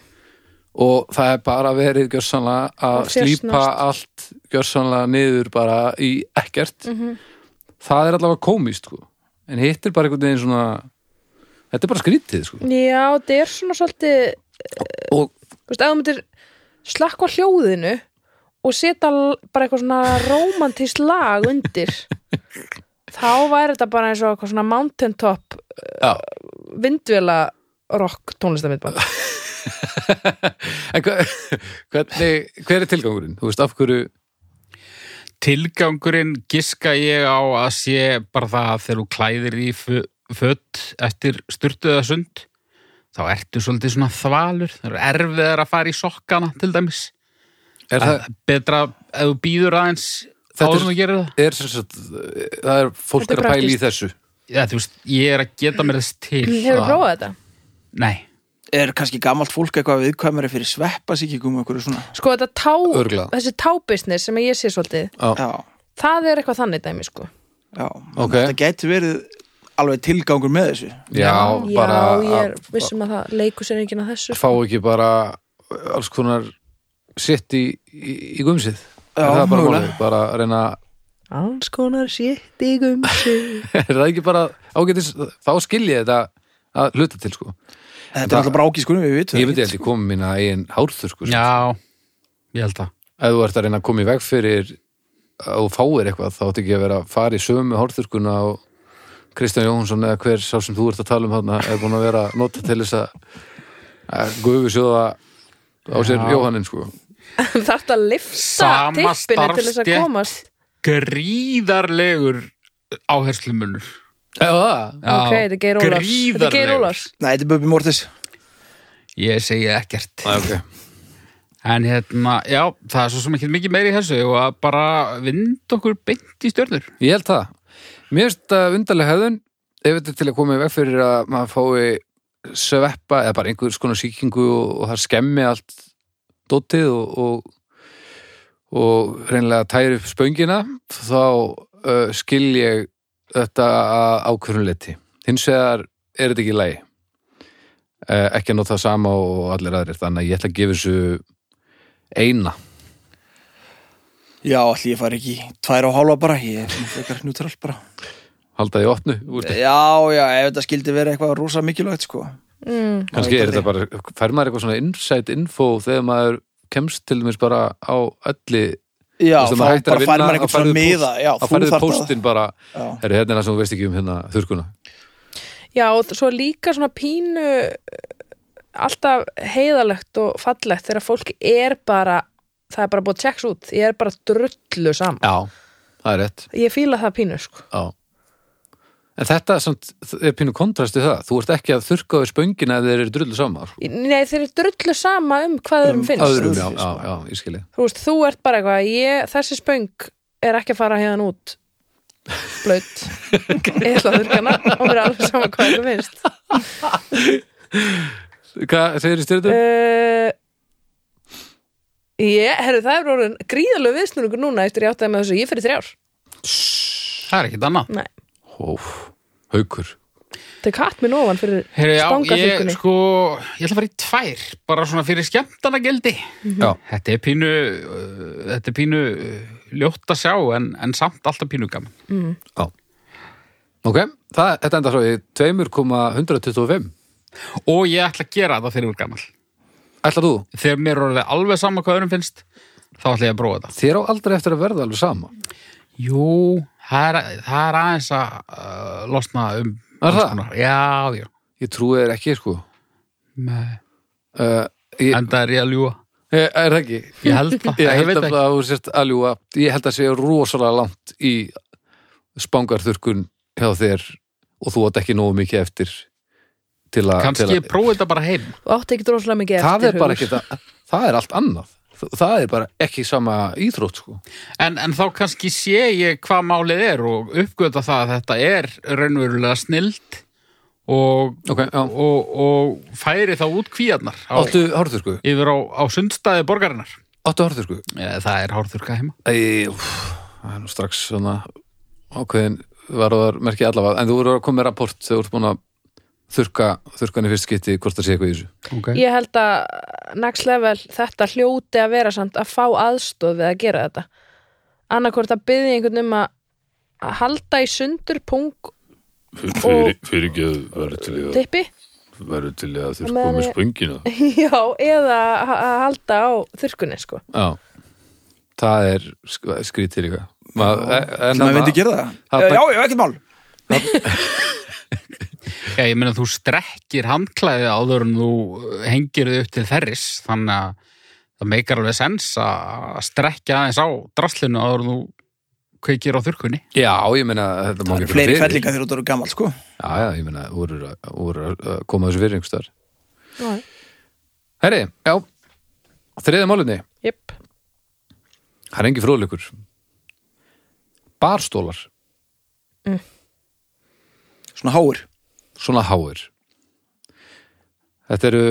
[SPEAKER 2] og það er bara verið gjörsanlega
[SPEAKER 1] Að
[SPEAKER 2] að
[SPEAKER 1] þjösnast.
[SPEAKER 2] slípa allt gjörsanlega niður bara í ekkert
[SPEAKER 3] Mhm.
[SPEAKER 2] það er allavega komist sko. en hitt er bara einhvern veginn svona þetta er bara skrítið sko.
[SPEAKER 1] já þetta er svona svolítið
[SPEAKER 2] og
[SPEAKER 1] Þú veist, ef þú myndir slakka á hljóðinu og setja l- bara eitthvað svona romantískt lag undir þá væri þetta bara eins og eitthvað svona mountaintop
[SPEAKER 2] já,
[SPEAKER 1] vindvila rock tónlistamindband
[SPEAKER 2] en hva, hvernig, hver er tilgangurinn? Þú veist, af hverju
[SPEAKER 4] Tilgangurinn giska ég á að sé bara það að þegar þú klæðir í fö- föt eftir sturtuða sund þá ertu svolítið svona þvalur það eru erfiðar að fara í sokkana til dæmis
[SPEAKER 2] er það,
[SPEAKER 4] það... betra ef þú býður aðeins
[SPEAKER 2] Þetta er-
[SPEAKER 4] áður en þú gerir það
[SPEAKER 2] er sem sagt það er fólk
[SPEAKER 1] Þetta er
[SPEAKER 2] er að pæla í þessu
[SPEAKER 4] Já, þú veist, ég er að geta mér þess til
[SPEAKER 1] Hefur
[SPEAKER 4] að-
[SPEAKER 1] prófað þetta?
[SPEAKER 4] Nei,
[SPEAKER 3] Er kannski gamalt fólk eitthvað viðkvæmari fyrir sveppasíkingum og einhverju svona
[SPEAKER 1] Sko þetta tá,
[SPEAKER 2] Örugglega.
[SPEAKER 1] þessi tábisnis sem ég sé svolítið
[SPEAKER 3] Já,
[SPEAKER 1] það er eitthvað þannig dæmi sko
[SPEAKER 3] já
[SPEAKER 2] Ok.
[SPEAKER 3] Þetta gæti verið alveg tilgangur með þessu
[SPEAKER 2] já, bara
[SPEAKER 1] Já, ég er
[SPEAKER 2] að
[SPEAKER 1] vissum að það leikur sér enginn að þessu
[SPEAKER 2] fá ekki bara alls konar sitt í, í, í gumsið
[SPEAKER 3] Já,
[SPEAKER 2] er það bara,
[SPEAKER 3] mögulega.
[SPEAKER 2] málið? bara að reyna að
[SPEAKER 1] Alls konar sétt í gumsi
[SPEAKER 2] er það ekki bara ágætis þá skil ég þetta að hluta til sko
[SPEAKER 3] Þetta er alltaf bara ágískunum, við vitum
[SPEAKER 2] ég myndi held ég koma mína eigin hárþur sko
[SPEAKER 4] já, ég held að
[SPEAKER 2] ef þú ert að reyna að koma í veg fyrir að þú fáir eitthvað þá átti ekki að vera að fara í sömu hárþurkuna og Kristján Jóhansson eða hver sá sem þú ert að tala um hann er búin að vera að nota til þess að að gufu sjóða á sér
[SPEAKER 4] Já.
[SPEAKER 2] Jóhannin sko
[SPEAKER 1] Þarf þetta að lifta tippinu
[SPEAKER 4] Sama
[SPEAKER 1] til þess að
[SPEAKER 4] starfsstétt.
[SPEAKER 1] komast
[SPEAKER 4] Gríðarlegur áherslumunur
[SPEAKER 2] eða það
[SPEAKER 4] Já,
[SPEAKER 1] Ok, þetta er Geir Ólafs. Þetta er Geir
[SPEAKER 4] gríðarlegur.
[SPEAKER 1] Ólafs.
[SPEAKER 3] Nei, þetta er Bubbi Mortis
[SPEAKER 4] Ég segi ekkert
[SPEAKER 2] Æ, okay.
[SPEAKER 4] En hérna, já, það er svo sem ekki mikið meiri í þessu og að bara vind okkur beint í stjörnur.
[SPEAKER 2] Ég held það. Mér finnst þetta undarlega hefðun ef þetta er til að koma í veg fyrir að maður fái sveppa eða bara einhvers konar sýkingu og, og það skemmi allt dótið og, og, og reynilega tæri upp spöngina þá uh, skil ég þetta að ákvörunleiti. Hins vegar er þetta ekki í lagi. Uh, ekki að nota það sama og allir aðrir þannig að ég ætla að gefa þessu eina.
[SPEAKER 3] Já, allir ég fari ekki í tvær og hálfa bara Ég er svona frekar njútrál bara
[SPEAKER 2] Halda því opnu úr þetta.
[SPEAKER 3] Já, já, ef þetta skildi verið eitthvað rosa mikilvægt sko
[SPEAKER 1] mm.
[SPEAKER 2] kannski
[SPEAKER 3] Á
[SPEAKER 2] er þetta
[SPEAKER 3] Ítalíu.
[SPEAKER 2] bara, fær maður eitthvað svona insight info þegar maður kemst til dæmis bara á öllu
[SPEAKER 3] Já,
[SPEAKER 2] Þú veist,
[SPEAKER 3] þá
[SPEAKER 2] ef maður hættir
[SPEAKER 3] bara
[SPEAKER 2] að
[SPEAKER 3] fær
[SPEAKER 2] vinna,
[SPEAKER 3] maður
[SPEAKER 2] þá
[SPEAKER 3] eitthvað
[SPEAKER 2] færðu
[SPEAKER 3] svona miða
[SPEAKER 2] póst-
[SPEAKER 3] Já,
[SPEAKER 2] þá
[SPEAKER 3] þú
[SPEAKER 2] færðu
[SPEAKER 3] þarf það
[SPEAKER 2] póstinn bara
[SPEAKER 3] Já.
[SPEAKER 2] er hérna er það sem þú veist ekki um hérna þurrkuna
[SPEAKER 1] Já, og svo líka svona pínu eh, alltaf heiðalegt og fallegt þegar fólk er bara það er bara búið að checks út, ég er bara drullu saman.
[SPEAKER 2] já, það er rétt
[SPEAKER 1] Ég fíla það pínu, sko.
[SPEAKER 2] já. en þetta samt, er pínu kontrast við það, þú ert ekki að þurrka við spöngina ef þeir eru drullu saman sko.
[SPEAKER 1] Nei, þeir eru drullu sama um hvað þeim
[SPEAKER 3] Um
[SPEAKER 1] finnst.
[SPEAKER 2] öðrum, já, já,
[SPEAKER 3] Öðru, sko.
[SPEAKER 2] já, ég skilji
[SPEAKER 1] Þú veist, þú ert bara eitthvað, ég, þessi spöng er ekki að fara hérna út blöitt eða þurrkana og mér er alveg sama hvað þeim finnst.
[SPEAKER 2] hvað segir þið styrðum?
[SPEAKER 1] Uh, ég, herru, það er orðin gríðalegu viðsnúringur núna eftir ég áttaði með þessu, ég fyrir þrjár.
[SPEAKER 4] Það er ekkert annað.
[SPEAKER 1] Nei.
[SPEAKER 2] hóf, haukur
[SPEAKER 1] Þetta er katt minn ofan fyrir
[SPEAKER 4] Heri, já, ég,
[SPEAKER 1] stangaþurkunni.
[SPEAKER 4] sko, ég ætla að fara í tvær,
[SPEAKER 1] Mhm.
[SPEAKER 4] bara svona fyrir skemmtana gildi.
[SPEAKER 2] já,
[SPEAKER 4] Þetta er pínu, uh, þetta er pínu uh, ljótt að sjá en, en samt alltaf pínu gaman.
[SPEAKER 2] Ok, það, þetta enda svo í 2,125
[SPEAKER 4] Og ég ætla að gera þetta þegar ég er gaman.
[SPEAKER 2] Ætlar þú?
[SPEAKER 4] Þegar mér er orðið alveg sama hvað öðrum finnst, þá ætla ég að prófa þetta.
[SPEAKER 2] Þér á aldrei eftir að verða alveg sama
[SPEAKER 4] Jú, það er, það er aðeins að uh, losna um...
[SPEAKER 2] Er
[SPEAKER 4] alls
[SPEAKER 2] það?
[SPEAKER 4] konar. Já, já.
[SPEAKER 2] Ég trúi þér ekki, sko
[SPEAKER 4] Nei.
[SPEAKER 2] uh, ég,
[SPEAKER 4] En það er ég að ljúa.
[SPEAKER 2] ég, Er það ekki?
[SPEAKER 4] Ég held það.
[SPEAKER 2] Ég held
[SPEAKER 4] veit
[SPEAKER 2] að þú sért að ljúga Ég held að sé rosalega langt í spangarþurkun hjá þér og þú átt ekki nógu mikið eftir til að til
[SPEAKER 4] Kannski
[SPEAKER 2] að-
[SPEAKER 4] ég prófa þetta bara heim.
[SPEAKER 1] og átti ekki droslega mikið
[SPEAKER 2] Það
[SPEAKER 1] eftir
[SPEAKER 2] er bara
[SPEAKER 1] Hugur.
[SPEAKER 2] ekki það Það er allt annað Þ- Það er bara ekki sama íþrótt, sko
[SPEAKER 4] En, en þá kannski sé ég hvað málið er og uppgöta það að þetta er raunverulega snilt og,
[SPEAKER 2] Ok, já
[SPEAKER 4] og, og færi þá út kvíarnar á,
[SPEAKER 2] Áttu hárþurku?
[SPEAKER 4] yfir á, á sundstæði borgarinnar.
[SPEAKER 2] Áttu hárþurku?
[SPEAKER 4] Ja, það er hárþurka heima.
[SPEAKER 2] Æ, úff, það er nú strax svona ákveðin varðar merki allavega, en þú voru að koma með rapport þegar þú ert búin að þurka þurkan í fyrst skipti hvort það sé eitthvað í þessu
[SPEAKER 4] Okay.
[SPEAKER 1] ég held að next level þetta hljóti að vera samt að fá aðstoð við að gera þetta annarkvort að byggja einhvern um að að halda í sundur pung
[SPEAKER 6] fyrir, fyrir ekki að verður til í að
[SPEAKER 1] dippi
[SPEAKER 6] verður til í
[SPEAKER 1] Á
[SPEAKER 6] að þurfa
[SPEAKER 1] meðan
[SPEAKER 6] með
[SPEAKER 1] ég-
[SPEAKER 6] spöngina
[SPEAKER 1] já, eða að- að halda á þurkunni sko
[SPEAKER 2] Já, það er sk- skrítið líka Mað, eh, en
[SPEAKER 3] sem að
[SPEAKER 2] þarna-
[SPEAKER 3] myndi gera það, Eh,
[SPEAKER 2] Það-
[SPEAKER 3] já, já, ekkert mál
[SPEAKER 4] Já, ég meina þú strekkir handklæði áður en þú eh, hengir þau upp til þerris, þannig að það meikar alveg sens að strekkja aðeins á draslinu áður en þú kveikir á þurkunni.
[SPEAKER 2] Já, ég meina þetta má
[SPEAKER 3] það
[SPEAKER 2] ekki
[SPEAKER 3] eru fleiri
[SPEAKER 2] fyrir.
[SPEAKER 3] fellingar þegar þú eru gammal sko.
[SPEAKER 2] Já, já, ég meina, þú voru að, þú voru að koma þessu fyrir einhverstaðar
[SPEAKER 1] Já.
[SPEAKER 2] Herri, já Þriða málunni,
[SPEAKER 1] Jöp.
[SPEAKER 2] það er engi fróðleikur Barstólar,
[SPEAKER 3] svona háir
[SPEAKER 2] svona háir Þetta eru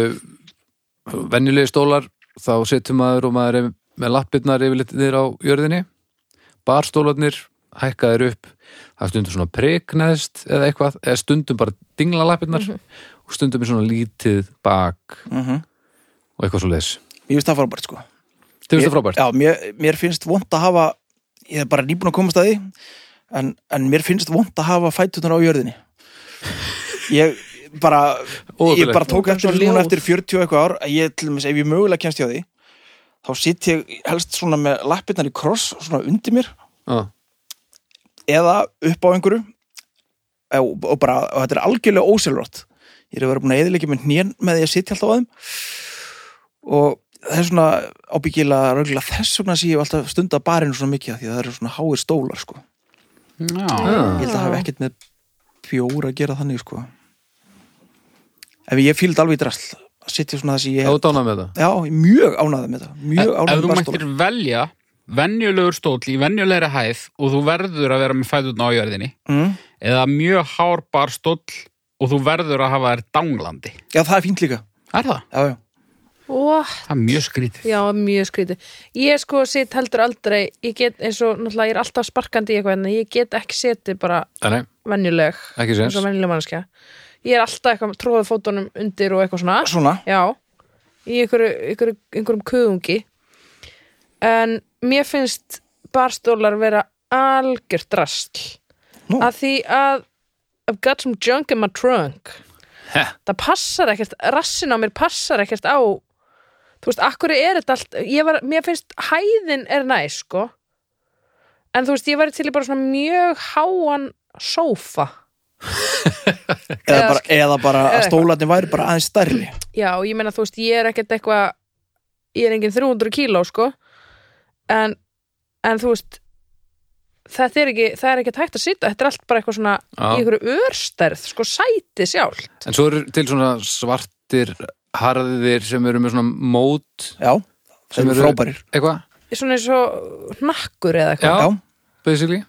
[SPEAKER 2] venjulegi stólar þá setur maður og maður er með lappirnar yfirleitt niður á jörðinni barstólarnir, hækkaðir upp það er stundum svona preknaðist eða eitthvað, eða stundum bara dingla lappirnar og stundum er svona lítið bak
[SPEAKER 3] mm
[SPEAKER 2] og eitthvað svo leis
[SPEAKER 3] ég finnst það frábært sko.
[SPEAKER 2] Þið finnst það
[SPEAKER 3] Ég-
[SPEAKER 2] frábært?
[SPEAKER 3] já, mér, mér finnst vond að hafa ég er bara nýbúin að komast að því en, en mér finnst vond að hafa fætunar á jörðinni ég bara ég
[SPEAKER 2] Óhugulegt.
[SPEAKER 3] bara tók
[SPEAKER 1] Þú ert
[SPEAKER 3] eftir
[SPEAKER 1] svo
[SPEAKER 3] þessu
[SPEAKER 1] ljót.
[SPEAKER 3] núna eftir 40 og eitthvað ár að ég til dæmis, ef ég mögulega kemst hjá því þá sitt ég helst svona með lappirnar í kross svona undir mér
[SPEAKER 2] Já.
[SPEAKER 3] eða upp á einhverju Eh, og, og bara, og þetta er algjörlega ósjálfrátt ég er að vera búin að eðilegja með hnén með því að sitja alltaf á þeim og það er svona ábyggilega röglega þess vegna sé ég hef alltaf stund að barinu svona mikið af því að það eru svona háir stólar sko.
[SPEAKER 4] Já.
[SPEAKER 3] ég held að hafa ekkert með bjór að gera þannig sko. ef ég fíld alveg í drasl að sitja svona þess að
[SPEAKER 2] Já,
[SPEAKER 3] ég
[SPEAKER 2] þú dánað með það
[SPEAKER 3] já, ég er mjög ánæðið með það mjög
[SPEAKER 4] Ef
[SPEAKER 3] ánæðið
[SPEAKER 4] þú
[SPEAKER 3] með
[SPEAKER 4] mættir
[SPEAKER 3] barstólar
[SPEAKER 4] velja venjulegur stóll í venjulegri hæð og þú verður að vera með fæðutna á jörðinni
[SPEAKER 3] mm.
[SPEAKER 4] eða mjög hárbar stóll og þú verður að hafa þær danglandi.
[SPEAKER 3] já, það er fínt líka
[SPEAKER 4] Er það?
[SPEAKER 3] já, já.
[SPEAKER 1] og
[SPEAKER 4] Það er mjög skrítið.
[SPEAKER 1] já, mjög skrítið ég sko sitt heldur aldrei ég get eins og náttúrulega ég er alltaf sparkandi í eitthvað en ég get ekki setið bara
[SPEAKER 2] Ah, Nei, nei,
[SPEAKER 1] venjuleg
[SPEAKER 2] Ekki séns.
[SPEAKER 1] eins og venjuleg mannskja ég er alltaf eitthvað tróðið fótunum undir og eitthvað svona
[SPEAKER 3] svona,
[SPEAKER 1] Já, í einhverju, einhverju, einhverjum kuðungi En mér finnst barstólar vera algjör drastl
[SPEAKER 3] Nú.
[SPEAKER 1] Að því að I've got some junk in my trunk Það passar ekkert, rassin á mér passar ekkert á Þú veist, akkur er þetta allt ég var, Mér finnst hæðin er næ, sko En þú veist, ég væri til í bara svona mjög háan sófa
[SPEAKER 3] eða,
[SPEAKER 1] Eða
[SPEAKER 3] bara,
[SPEAKER 1] eða
[SPEAKER 3] eða bara að
[SPEAKER 1] eitthvað.
[SPEAKER 3] stólarnir væri bara aðeins stærri
[SPEAKER 1] Já, og ég meina þú veist, ég er ekkert eitthvað ég er engin 300 kíló, sko en, en þú veist þetta er ekki, það er ekki hægt að sitja þetta er allt bara eitthvað svona
[SPEAKER 2] Já.
[SPEAKER 1] í einhverju örstærð, sko sæti sjálf
[SPEAKER 2] en svo eru til svona svartir harðir sem eru með svona mót
[SPEAKER 3] já,
[SPEAKER 2] Sem
[SPEAKER 3] það eru
[SPEAKER 2] eru-
[SPEAKER 3] frábærir
[SPEAKER 2] eitthvað,
[SPEAKER 1] svona eins og hnakkur eða
[SPEAKER 2] Já.
[SPEAKER 1] eitthvað
[SPEAKER 3] já.
[SPEAKER 2] basically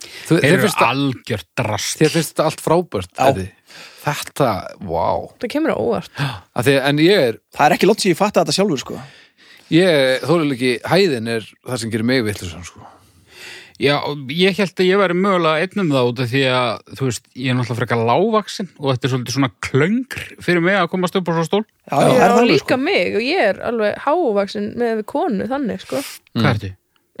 [SPEAKER 2] Þú,
[SPEAKER 4] Þeir
[SPEAKER 2] þér
[SPEAKER 4] eru
[SPEAKER 2] finnst það-
[SPEAKER 4] algjör drast.
[SPEAKER 2] Þér finnst þetta allt frábært
[SPEAKER 3] Já.
[SPEAKER 2] Eddi? Þetta, wow
[SPEAKER 1] það kemur á óvart
[SPEAKER 2] Af því, En ég er,
[SPEAKER 3] Það er ekki lótt sem ég fatta þetta sjálfur sko
[SPEAKER 2] ég þólega ekki Hæðin er það sem gerir mig vitlusan sko.
[SPEAKER 4] Já, ég held að ég væri mögulega einn um það út af því að, þú veist, ég er náttúrulega frekar lágvaksin og þetta er svolítið svona klöngr fyrir mig að komast upp á svo stól.
[SPEAKER 3] Já, já, það er
[SPEAKER 1] og
[SPEAKER 3] það alveg
[SPEAKER 1] líka
[SPEAKER 3] sko
[SPEAKER 1] mig og ég er alveg hávaksin með við konu þannig, sko
[SPEAKER 4] Hvað ertu?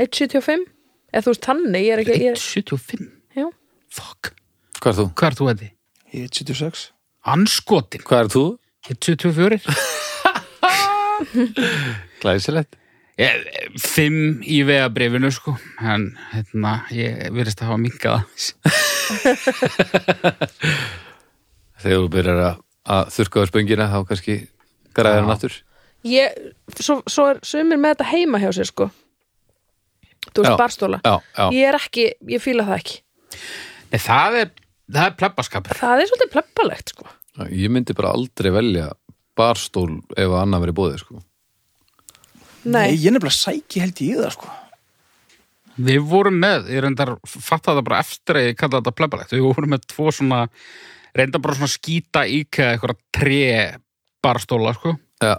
[SPEAKER 1] 1,75 eða þú veist þannig, ég er ekki ég er,
[SPEAKER 4] 1,75
[SPEAKER 1] já,
[SPEAKER 4] Fuck,
[SPEAKER 2] Hvað er þú?
[SPEAKER 4] hvað er þú að því?
[SPEAKER 3] Ég er 76
[SPEAKER 4] Anskotin,
[SPEAKER 2] Hvað er þú?
[SPEAKER 4] ég er 24
[SPEAKER 2] Glæsilegt.
[SPEAKER 4] Ég, fimm í vegabrifinu sko en hérna, ég verðist að hafa minkað aðeins.
[SPEAKER 2] Þegar þú byrjar að, að þurrka á spöngina þá kannski græðar hann aftur.
[SPEAKER 1] ég svo, svo er sumir með þetta heima hjá sér sko þú veist,
[SPEAKER 2] Já.
[SPEAKER 1] barstóla
[SPEAKER 2] Já, já.
[SPEAKER 1] ég er ekki, ég fíla það ekki
[SPEAKER 4] Nei, það er, það er plebbaskapur
[SPEAKER 1] það er svolítið plöppalegt sko
[SPEAKER 2] Ég myndi bara aldrei velja barstól ef að annar verið bóðið, sko.
[SPEAKER 1] nei,
[SPEAKER 3] ég er nefnilega sæki held ég í það sko
[SPEAKER 4] Við vorum með, ég reyndar fatta það bara eftir að ég kalla þetta plebbalegt Við vorum með tvo svona, reyndar bara svona skýta íkæða eitthvað tre barstóla sko
[SPEAKER 2] Já,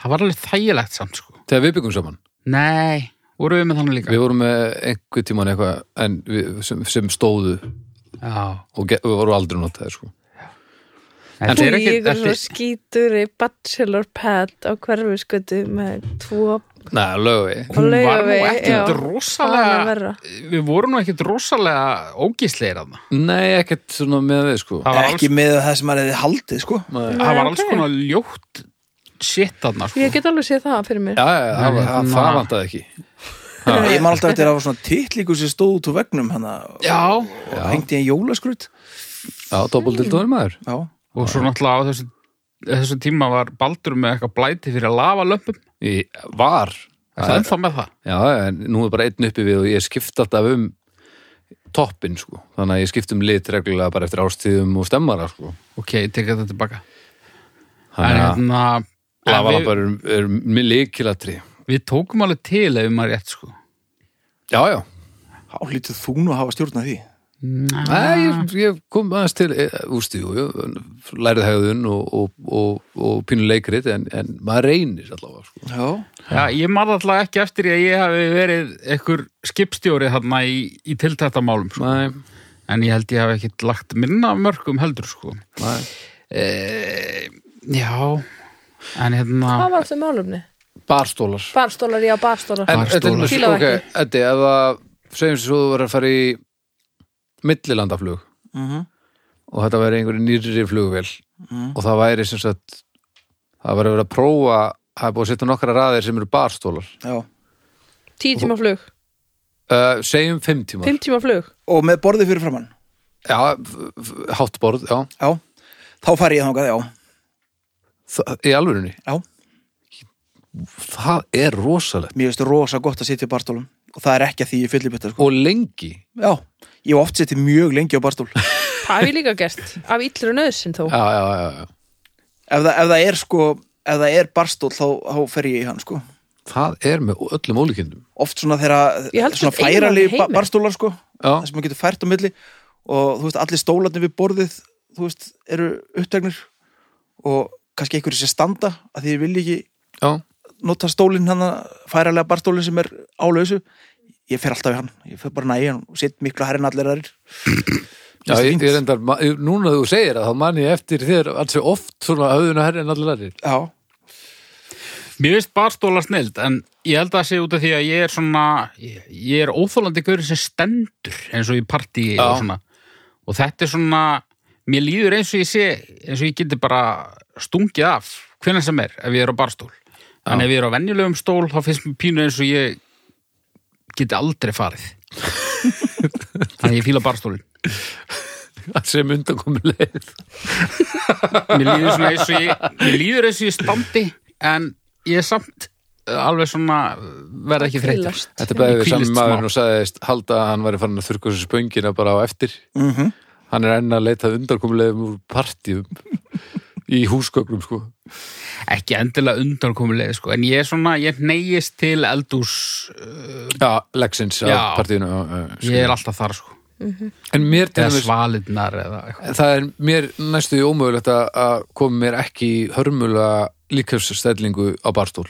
[SPEAKER 4] Það var alveg þægilegt samt sko
[SPEAKER 2] þegar við byggum saman.
[SPEAKER 4] Nei, vorum við með þannig líka
[SPEAKER 2] Við vorum með einhver tíman eitthvað en við, sem, sem stóðu
[SPEAKER 4] Já,
[SPEAKER 2] og ge, við vorum aldrei notaði, sko.
[SPEAKER 1] þú
[SPEAKER 4] en þetta er ekki
[SPEAKER 1] líkur
[SPEAKER 4] þetta
[SPEAKER 1] svo
[SPEAKER 4] er-
[SPEAKER 1] skítur í bachelor pad á hverfi með tvo
[SPEAKER 2] Nei, lögvi.
[SPEAKER 1] á
[SPEAKER 4] Hún var nú
[SPEAKER 1] Laugavegi, já.
[SPEAKER 4] ekkert
[SPEAKER 1] Það er
[SPEAKER 4] rosalega
[SPEAKER 1] verra.
[SPEAKER 4] Við vorum nú ekkert rosalega ógísleir að það
[SPEAKER 2] Nei, ekkert svona með við, sko.
[SPEAKER 4] Það var alls
[SPEAKER 3] Ekki með það sem maður hefði haldið sko
[SPEAKER 2] Nei.
[SPEAKER 4] það
[SPEAKER 1] Nei,
[SPEAKER 4] var alls
[SPEAKER 1] ok.
[SPEAKER 4] konar ljótt shit þarna sko.
[SPEAKER 1] ég get alveg séð það fyrir mér
[SPEAKER 2] Já, já, já, það, var-
[SPEAKER 4] hérna-
[SPEAKER 2] það, það vantaði ekki.
[SPEAKER 3] Ég man alltaf eftir að það var svona titlíku sem stóð út úr vegnum hann að
[SPEAKER 4] já,
[SPEAKER 3] hengdi ég en jólaskrut
[SPEAKER 2] Já, doppeltildóður maður.
[SPEAKER 3] Já,
[SPEAKER 4] og svo náttúrulega á þessu, þessu tíma var Baldur með eitthvað blæti fyrir lavalömpum
[SPEAKER 2] Í, var.
[SPEAKER 4] það er það með það
[SPEAKER 2] Já, en nú er bara einn uppi við og ég skipta alltaf um toppin, sko. Þannig að ég skipta um lit reglulega bara eftir ástíðum og stemmara, sko.
[SPEAKER 4] ok, ég tek þetta tilbaka en
[SPEAKER 2] Þannig að
[SPEAKER 4] hérna en við,
[SPEAKER 2] lavalambar eru er mjög líkilatri.
[SPEAKER 4] við tókum alveg til ef við maður rétt sko
[SPEAKER 2] Já, já.
[SPEAKER 3] þá lítið þú nú að hafa stjórnað því
[SPEAKER 4] Ah.
[SPEAKER 2] Nei, ég, ég kom aðeins til, eh, úst, jú, jú, lærið hegðun og, og, og, og pínu leikrit, en, en maður reynir allavega, sko.
[SPEAKER 3] Já,
[SPEAKER 4] já, ég maður alltaf ekki eftir því að ég hafi verið einhver skipstjóri þarna í, í tiltættamálum sko.
[SPEAKER 2] Nei,
[SPEAKER 4] en ég held ég hafi ekkit lagt minna af mörgum heldur sko
[SPEAKER 2] nei.
[SPEAKER 4] e, já en hérna
[SPEAKER 1] hvað var þetta málumni?
[SPEAKER 2] Barstólar.
[SPEAKER 1] barstólar, já, barstólar
[SPEAKER 2] En, þetta er
[SPEAKER 4] Barstólar.
[SPEAKER 2] mjög,
[SPEAKER 1] Fílaðu
[SPEAKER 2] ok, Eddi, ef að, segjum sér svo þú verður að fara í millilandaflug
[SPEAKER 3] Mhm.
[SPEAKER 2] og þetta væri einhverju nýrri flugvél og það væri sem sagt það væri verið að prófa það er búið að setja nokkra raðir sem eru barstólar
[SPEAKER 3] já
[SPEAKER 1] tíu tíma flug,
[SPEAKER 2] uh, segjum fimm tíma
[SPEAKER 1] fimm tíma flug
[SPEAKER 3] Og með borðið fyrir framann
[SPEAKER 2] já, f- f- hátt borð, já,
[SPEAKER 3] Já, þá fari ég þangað, já
[SPEAKER 2] það, í alvörunni
[SPEAKER 3] Já,
[SPEAKER 2] það er rosalegt
[SPEAKER 3] mér finnst rosa gott að sitja í barstólum Og það er ekki að því ég fyllir betur sko
[SPEAKER 2] og lengi
[SPEAKER 3] Já, ég hef oft setið mjög lengi á barstól ef,
[SPEAKER 1] það hef ég líka gert, af illur nöðsinn þó
[SPEAKER 2] já, já, já, já.
[SPEAKER 3] það, ef það er sko, ef það er barstól þá, þá fer ég í hann sko
[SPEAKER 2] það er með öllum ólíkindum
[SPEAKER 3] Oft svona þegar
[SPEAKER 1] Ég held
[SPEAKER 3] svona
[SPEAKER 1] samt eiginlega
[SPEAKER 3] færali
[SPEAKER 1] í heiminum.
[SPEAKER 3] barstólar sko
[SPEAKER 2] já,
[SPEAKER 3] það sem maður getur fært á milli og þú veist, allir stólarnir við borðið þú veist, eru upptegnir og kannski einhverju sem standa að því ég vil ekki
[SPEAKER 2] já,
[SPEAKER 3] nota stólinn hann færalega barstólinn sem er álausu ég fer alltaf í hann, ég fer bara næja hann og sitt miklu hærinn allir aðrir
[SPEAKER 2] já
[SPEAKER 3] Finnst það
[SPEAKER 2] ég,
[SPEAKER 3] fínt?
[SPEAKER 2] ég reyndar, ma- ég- núna þú segir að þá man ég eftir þér alls oft svona höfðuna herri en allir aðrir
[SPEAKER 3] Já,
[SPEAKER 4] Mér finnst barstóla snild, en ég held að það sé út af því að ég er svona, ég, ég er óþólandi gaurið sem stendur eins og í partí og
[SPEAKER 2] Já.
[SPEAKER 4] svona. Og þetta er svona, mér líður eins og ég sé, eins og ég geti bara stungið af hvernig sem er ef ég er á barstól. En ef ég er á venjulegum stól, þá finnst mér pínu eins og ég geti aldrei farið. Þannig að ég fíla barstólin.
[SPEAKER 2] sem undankomi leið
[SPEAKER 4] Mér líður svona eins og ég, mér líður eins og ég standi, en ég er samt eh, alveg svona, verð ekki þreytur.
[SPEAKER 1] Fílast.
[SPEAKER 2] Þetta bæði við
[SPEAKER 4] Hvílist
[SPEAKER 2] sami
[SPEAKER 4] smá.
[SPEAKER 2] maðurinn og sagðist halda að hann væri farin að þurrka þessu spöngina bara á eftir.
[SPEAKER 3] Mhm.
[SPEAKER 2] Hann er enn að leita undarkomulegum úr partíum í húsgögnum, sko.
[SPEAKER 4] ekki endilega undankomulega sko, en ég er svona, ég neyjist til sko. eldús,
[SPEAKER 2] Já, Lexins á
[SPEAKER 4] Já.
[SPEAKER 2] partíinu. Já, já,
[SPEAKER 4] ég er
[SPEAKER 2] sko.
[SPEAKER 4] alltaf þar sko
[SPEAKER 2] En mér, til
[SPEAKER 4] eða
[SPEAKER 2] dæmis,
[SPEAKER 4] svalirnar eða eitthvað
[SPEAKER 2] það er mér næstu því ómögulegt að- að koma mér ekki í hörmulega líkjöfsstellingu á barstól.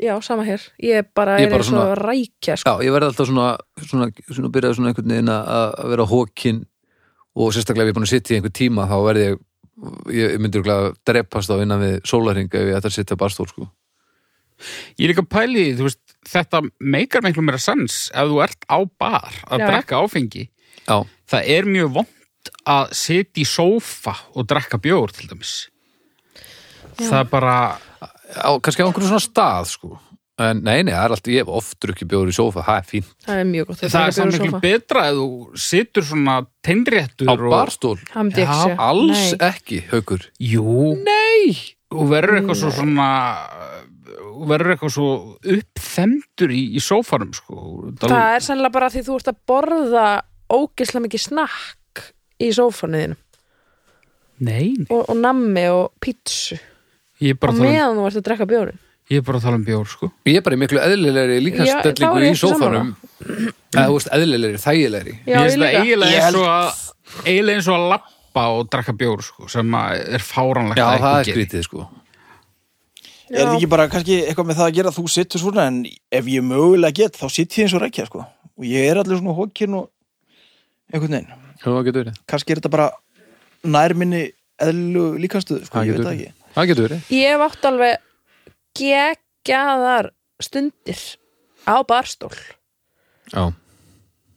[SPEAKER 1] já, sama hér, ég bara
[SPEAKER 2] Ég
[SPEAKER 1] er
[SPEAKER 2] bara
[SPEAKER 1] eins og
[SPEAKER 2] svona-
[SPEAKER 1] rækja sko.
[SPEAKER 2] Já, ég verði alltaf svona, svona, svona byrjaði svona einhvern veginn að að vera hókin og sérstaklega ef ég er búin að sitja í einhver tíma þá verði ég, ég myndi að drepast á innan við sólarhinga ef ég ætti að sitja á barstól, sko.
[SPEAKER 4] ég er líka pæli, þú veist, þetta meikar miklu meira sens ef þú ert á bar að
[SPEAKER 1] Já.
[SPEAKER 4] drekka áfengi
[SPEAKER 2] Já,
[SPEAKER 4] það er mjög vond að sitja í sófa og drekka bjór til dæmis það er bara
[SPEAKER 2] á, kannski á einhverjum svona stað sko. en nei, nei, það er alltaf, ég hef oft drukkið bjóður í sófa, það er fínt
[SPEAKER 1] það er mjög gott að
[SPEAKER 4] það
[SPEAKER 1] taka
[SPEAKER 4] er
[SPEAKER 1] bjór
[SPEAKER 4] samt
[SPEAKER 1] og
[SPEAKER 4] miklu
[SPEAKER 1] sófa.
[SPEAKER 4] betra ef þú situr svona teinréttur
[SPEAKER 2] á
[SPEAKER 4] og-
[SPEAKER 2] barstól,
[SPEAKER 1] Það myndi ég ekki
[SPEAKER 4] Já,
[SPEAKER 1] segja.
[SPEAKER 2] alls
[SPEAKER 1] Nei.
[SPEAKER 2] ekki haukur,
[SPEAKER 4] jú, nei og verður eitthvað svo svona og verður eitthvað svo uppþemdur í, í sófanum sko.
[SPEAKER 1] það er sennilega bara því þú ert að borða ógeðslega mikið snakk í sófanuðinu
[SPEAKER 4] nei, nei.
[SPEAKER 1] og, og nammi og pítsu
[SPEAKER 4] ég er bara
[SPEAKER 1] og
[SPEAKER 4] að tala um,
[SPEAKER 1] meðan þú ert að drekka bjórin
[SPEAKER 4] ég er bara að tala um bjór sko.
[SPEAKER 2] ég er bara í miklu eðlilegri
[SPEAKER 1] Já, þá er
[SPEAKER 2] líkastellingu
[SPEAKER 1] ég
[SPEAKER 2] í
[SPEAKER 1] ekki
[SPEAKER 2] sófanum eða, þú veist, eðlilegri, þægilegri
[SPEAKER 1] Já,
[SPEAKER 4] Mér
[SPEAKER 1] ég
[SPEAKER 4] finnst það
[SPEAKER 1] líka.
[SPEAKER 4] eiginlega
[SPEAKER 2] Ég
[SPEAKER 4] eins og að eiginlega eins og að lappa og drakka bjór sko, sem að er fáranlegt
[SPEAKER 2] Já,
[SPEAKER 4] að
[SPEAKER 2] það
[SPEAKER 4] einhver
[SPEAKER 2] er
[SPEAKER 4] geri.
[SPEAKER 2] skrítið sko
[SPEAKER 1] Já.
[SPEAKER 3] Er það ekki bara kannski eitthvað með það að gera að þú sittur svona en ef ég mögulega get þá sitt ég eins og reykja sko og ég er allir svona hókinn og einhvern veginn.
[SPEAKER 2] Það getur verið
[SPEAKER 3] Kannski er þetta bara nærminni eðlu líkastuð sko,
[SPEAKER 2] Það
[SPEAKER 3] ég
[SPEAKER 2] getur
[SPEAKER 3] veit það
[SPEAKER 2] verið.
[SPEAKER 3] ekki.
[SPEAKER 2] Það getur verið
[SPEAKER 1] ég hef átt alveg geggjaðar stundir á barstól
[SPEAKER 2] Já,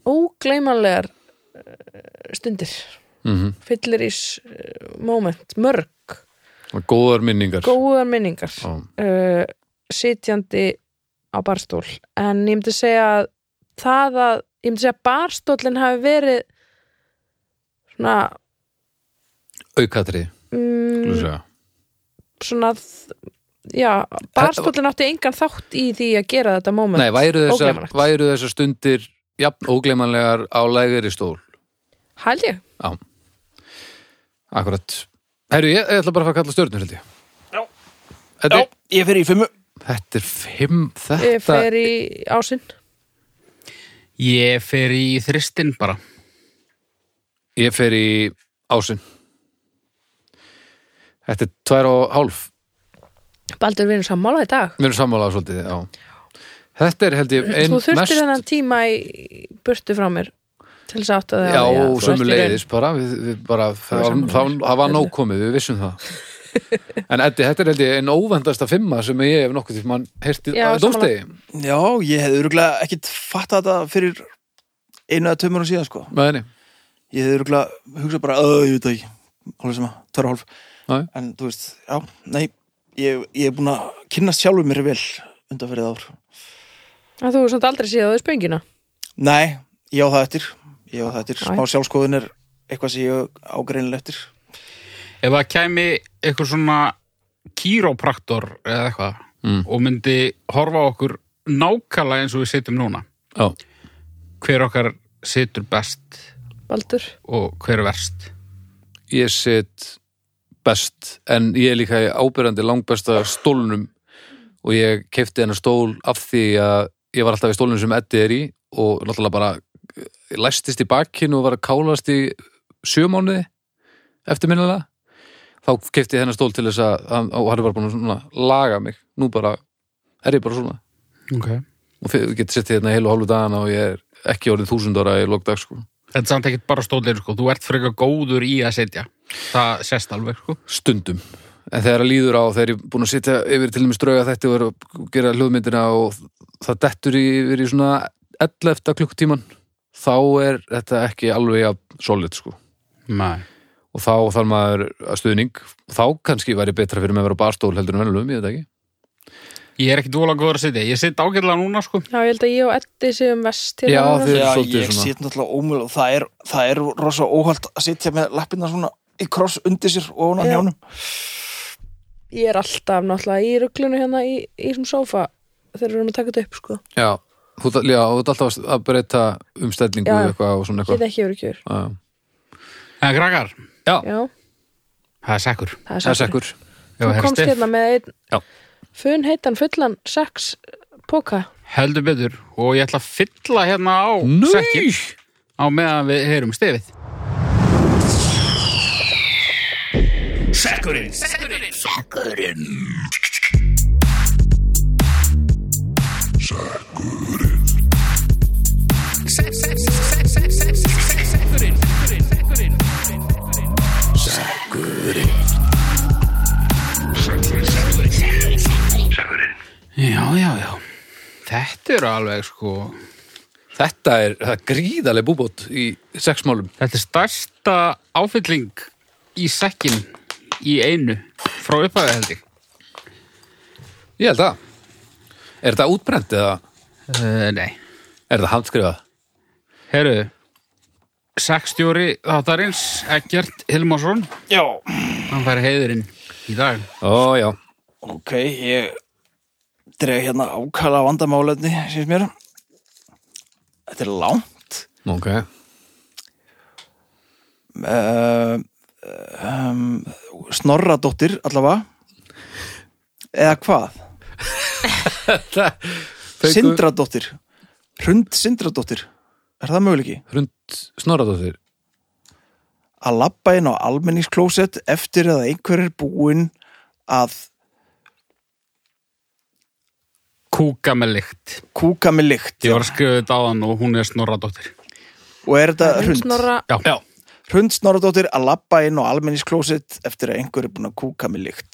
[SPEAKER 1] ógleymanlegar eh, stundir
[SPEAKER 2] mhm,
[SPEAKER 1] fyllir ís moment, mörg
[SPEAKER 2] góðar minningar
[SPEAKER 1] góðar minningar
[SPEAKER 2] Já,
[SPEAKER 1] uh, sitjandi á barstól en ég myndi segja að það að, ég myndi segja að barstólinn hafi verið svona
[SPEAKER 2] aukatri, skulum
[SPEAKER 1] mm,
[SPEAKER 2] segja
[SPEAKER 1] svona þ- já, barstólinn átti engan þátt í því að gera þetta moment
[SPEAKER 2] Nei, væru þessar,
[SPEAKER 1] Ógleymanlegt.
[SPEAKER 2] væru þessar stundir jafn ógleimanlegar á lægri stól
[SPEAKER 1] held ég,
[SPEAKER 2] Akkurat Herru, ég, ég ætla bara að fara að kalla stjörnur held ég Þetta,
[SPEAKER 3] Já,
[SPEAKER 2] er-
[SPEAKER 3] ég fer í fimmu.
[SPEAKER 2] þetta er fimm
[SPEAKER 1] ég
[SPEAKER 2] Þetta
[SPEAKER 1] fer í ásinn
[SPEAKER 4] Ég fer í þristinn bara
[SPEAKER 2] Ég fer í ásinn Þetta er tvær og hálf
[SPEAKER 1] Baldur við erum sammála í dag
[SPEAKER 2] Við erum sammála á svolítið, já Þetta er held ég ein
[SPEAKER 1] þú þurftir
[SPEAKER 2] mest
[SPEAKER 1] þennan tíma í burtu frá mér til þess að átta þig á
[SPEAKER 2] Já,
[SPEAKER 1] því að þú ert í
[SPEAKER 2] sömu
[SPEAKER 1] raun.
[SPEAKER 2] leiðis bara, við, við bara það, var-
[SPEAKER 1] sammála.
[SPEAKER 2] það, það var nóg komið, við vissum það En Eddi, þetta er held ég einn óvendasta fimma sem ég hef nokkuð til mann heyrti
[SPEAKER 1] Já,
[SPEAKER 2] á dómstegi
[SPEAKER 3] Já, ég hefði öruglega ekkit fattað þetta fyrir einu eða tömur og síðan sko.
[SPEAKER 2] með henni
[SPEAKER 3] Ég hefði öruglega hugsað bara, öðu, ég veit það ekki, hálfur sem að, tverra hálf.
[SPEAKER 2] Nei.
[SPEAKER 3] En þú veist, já, nei, ég, ég er búin að kynnast sjálfur mér vel undanferðið ár.
[SPEAKER 1] að þú er samt aldrei séð á því spöngina
[SPEAKER 3] Nei, ég á það eftir Ég á það eftir,
[SPEAKER 1] Æ.
[SPEAKER 3] smá sjálfskoðun er eitthvað sem ég ágreinlega eftir
[SPEAKER 4] Ef það kæmi eitthvað svona kýrópraktor eða eitthvað
[SPEAKER 2] Mm.
[SPEAKER 4] og myndi horfa á okkur nákvæmlega eins og við sitjum núna
[SPEAKER 2] Já,
[SPEAKER 4] hver okkar situr best
[SPEAKER 1] Baldur
[SPEAKER 4] og hver verst
[SPEAKER 2] ég set best en ég er líka í ábyrjandi langbesta stólnum og ég kefti hennar stól af því að ég var alltaf í stólnum sem Eddi er í og náttúrulega bara eh, læstist í bakkinu og var að kálast í sjö mánuði eftirminnilega þá kefti ég hennar stól til þess að hann- og hann er bara búin að svona laga mig nú bara er ég bara svona
[SPEAKER 4] okay.
[SPEAKER 2] og fyrir- ég geti sett hérna heilu og hálfu dagana og ég er ekki orðin þúsund ára í lokdag sko.
[SPEAKER 4] Þetta er samt ekkert bara stóðleir sko. þú ert frekar góður í að sitja það sést alveg sko.
[SPEAKER 2] stundum en þegar að líður á, þegar ég er búin að sitja yfir til dæmis drauga þetta og er að gera hljóðmyndina og það dettur í- yfir í svona 11 klukkutíman þá er þetta ekki alveg að solid sko
[SPEAKER 4] Nei.
[SPEAKER 2] og þá þarf maður að stuðning þá kannski væri betra fyrir mig að vera á barstól heldur en venjulegum, ég veit ekki
[SPEAKER 4] Ég er ekki dvolega góður að sitja ég sit ágætlega núna sko.
[SPEAKER 1] Já, ég held að ég og Eddi séum vest
[SPEAKER 2] Já,
[SPEAKER 1] hérna.
[SPEAKER 2] þið- er
[SPEAKER 3] Já,
[SPEAKER 2] svolítið
[SPEAKER 3] ég
[SPEAKER 2] svona.
[SPEAKER 3] sit náttúrulega ómjölu og það er, það er rosa óhald að sitja með lappina svona í kross undir sér og hún á
[SPEAKER 1] Já.
[SPEAKER 3] njánum
[SPEAKER 1] Ég er alltaf náttúrulega í ruglunu hérna í, í þessum sófa þegar við erum að taka þetta upp sko.
[SPEAKER 2] Já, þú já, þú ert alltaf að breyta um stellingu
[SPEAKER 1] Já.
[SPEAKER 2] eitthvað og svona
[SPEAKER 1] Ég
[SPEAKER 2] eitthvað
[SPEAKER 1] er ekki verið kjör
[SPEAKER 2] Já,
[SPEAKER 4] En krakkar,
[SPEAKER 1] Já,
[SPEAKER 4] það er sekkur
[SPEAKER 1] það
[SPEAKER 2] það
[SPEAKER 1] er
[SPEAKER 2] er
[SPEAKER 1] sagt
[SPEAKER 2] sekkur
[SPEAKER 1] Þú
[SPEAKER 4] Ef það er
[SPEAKER 1] komst
[SPEAKER 4] stef.
[SPEAKER 1] hérna með
[SPEAKER 2] Já.
[SPEAKER 1] einn fun heitan fullan sex póka
[SPEAKER 4] Heldur betur og ég ætla að fylla hérna á
[SPEAKER 2] Nei!
[SPEAKER 4] sekkin á meðan við heyrum stefið. Já, já, já. þetta eru alveg sko
[SPEAKER 2] Þetta er, það er gríðaleg búbót í sexmálum.
[SPEAKER 4] Þetta er stærsta áfylling í sekkin í einu frá upphæðu held ég
[SPEAKER 2] Ég held það. Er þetta útbrent eða
[SPEAKER 4] uh, Nei,
[SPEAKER 2] er þetta handskrifað?
[SPEAKER 4] herru Sekstjóri þáttarins Eggert Hilmarsson
[SPEAKER 3] Já.
[SPEAKER 4] Hann fær heiðurinn í dag
[SPEAKER 2] Ó, já.
[SPEAKER 3] Ok, ég dreg hérna ákala vandamálefni, síns mér. Þetta er langt.
[SPEAKER 2] Ok.
[SPEAKER 3] Uh, um, Snorradóttir allavega. Eða hvað?
[SPEAKER 2] Fengu-
[SPEAKER 3] Sindradóttir. Hrund Sindradóttir. Er það möguleiki?
[SPEAKER 2] Hrund snorraðóttir.
[SPEAKER 3] að labba inn á almenningsklósett eftir að einhver er búinn að
[SPEAKER 4] Kúka með lykt
[SPEAKER 3] kúka með lykt
[SPEAKER 4] Ég var að skrifa þetta á hann og hún er snorradóttir
[SPEAKER 3] og er þetta hund
[SPEAKER 1] Snorra,
[SPEAKER 4] Já,
[SPEAKER 3] hund snorradóttir að labba inn á almenningsklósett eftir að einhver er búinn að kúka með lykt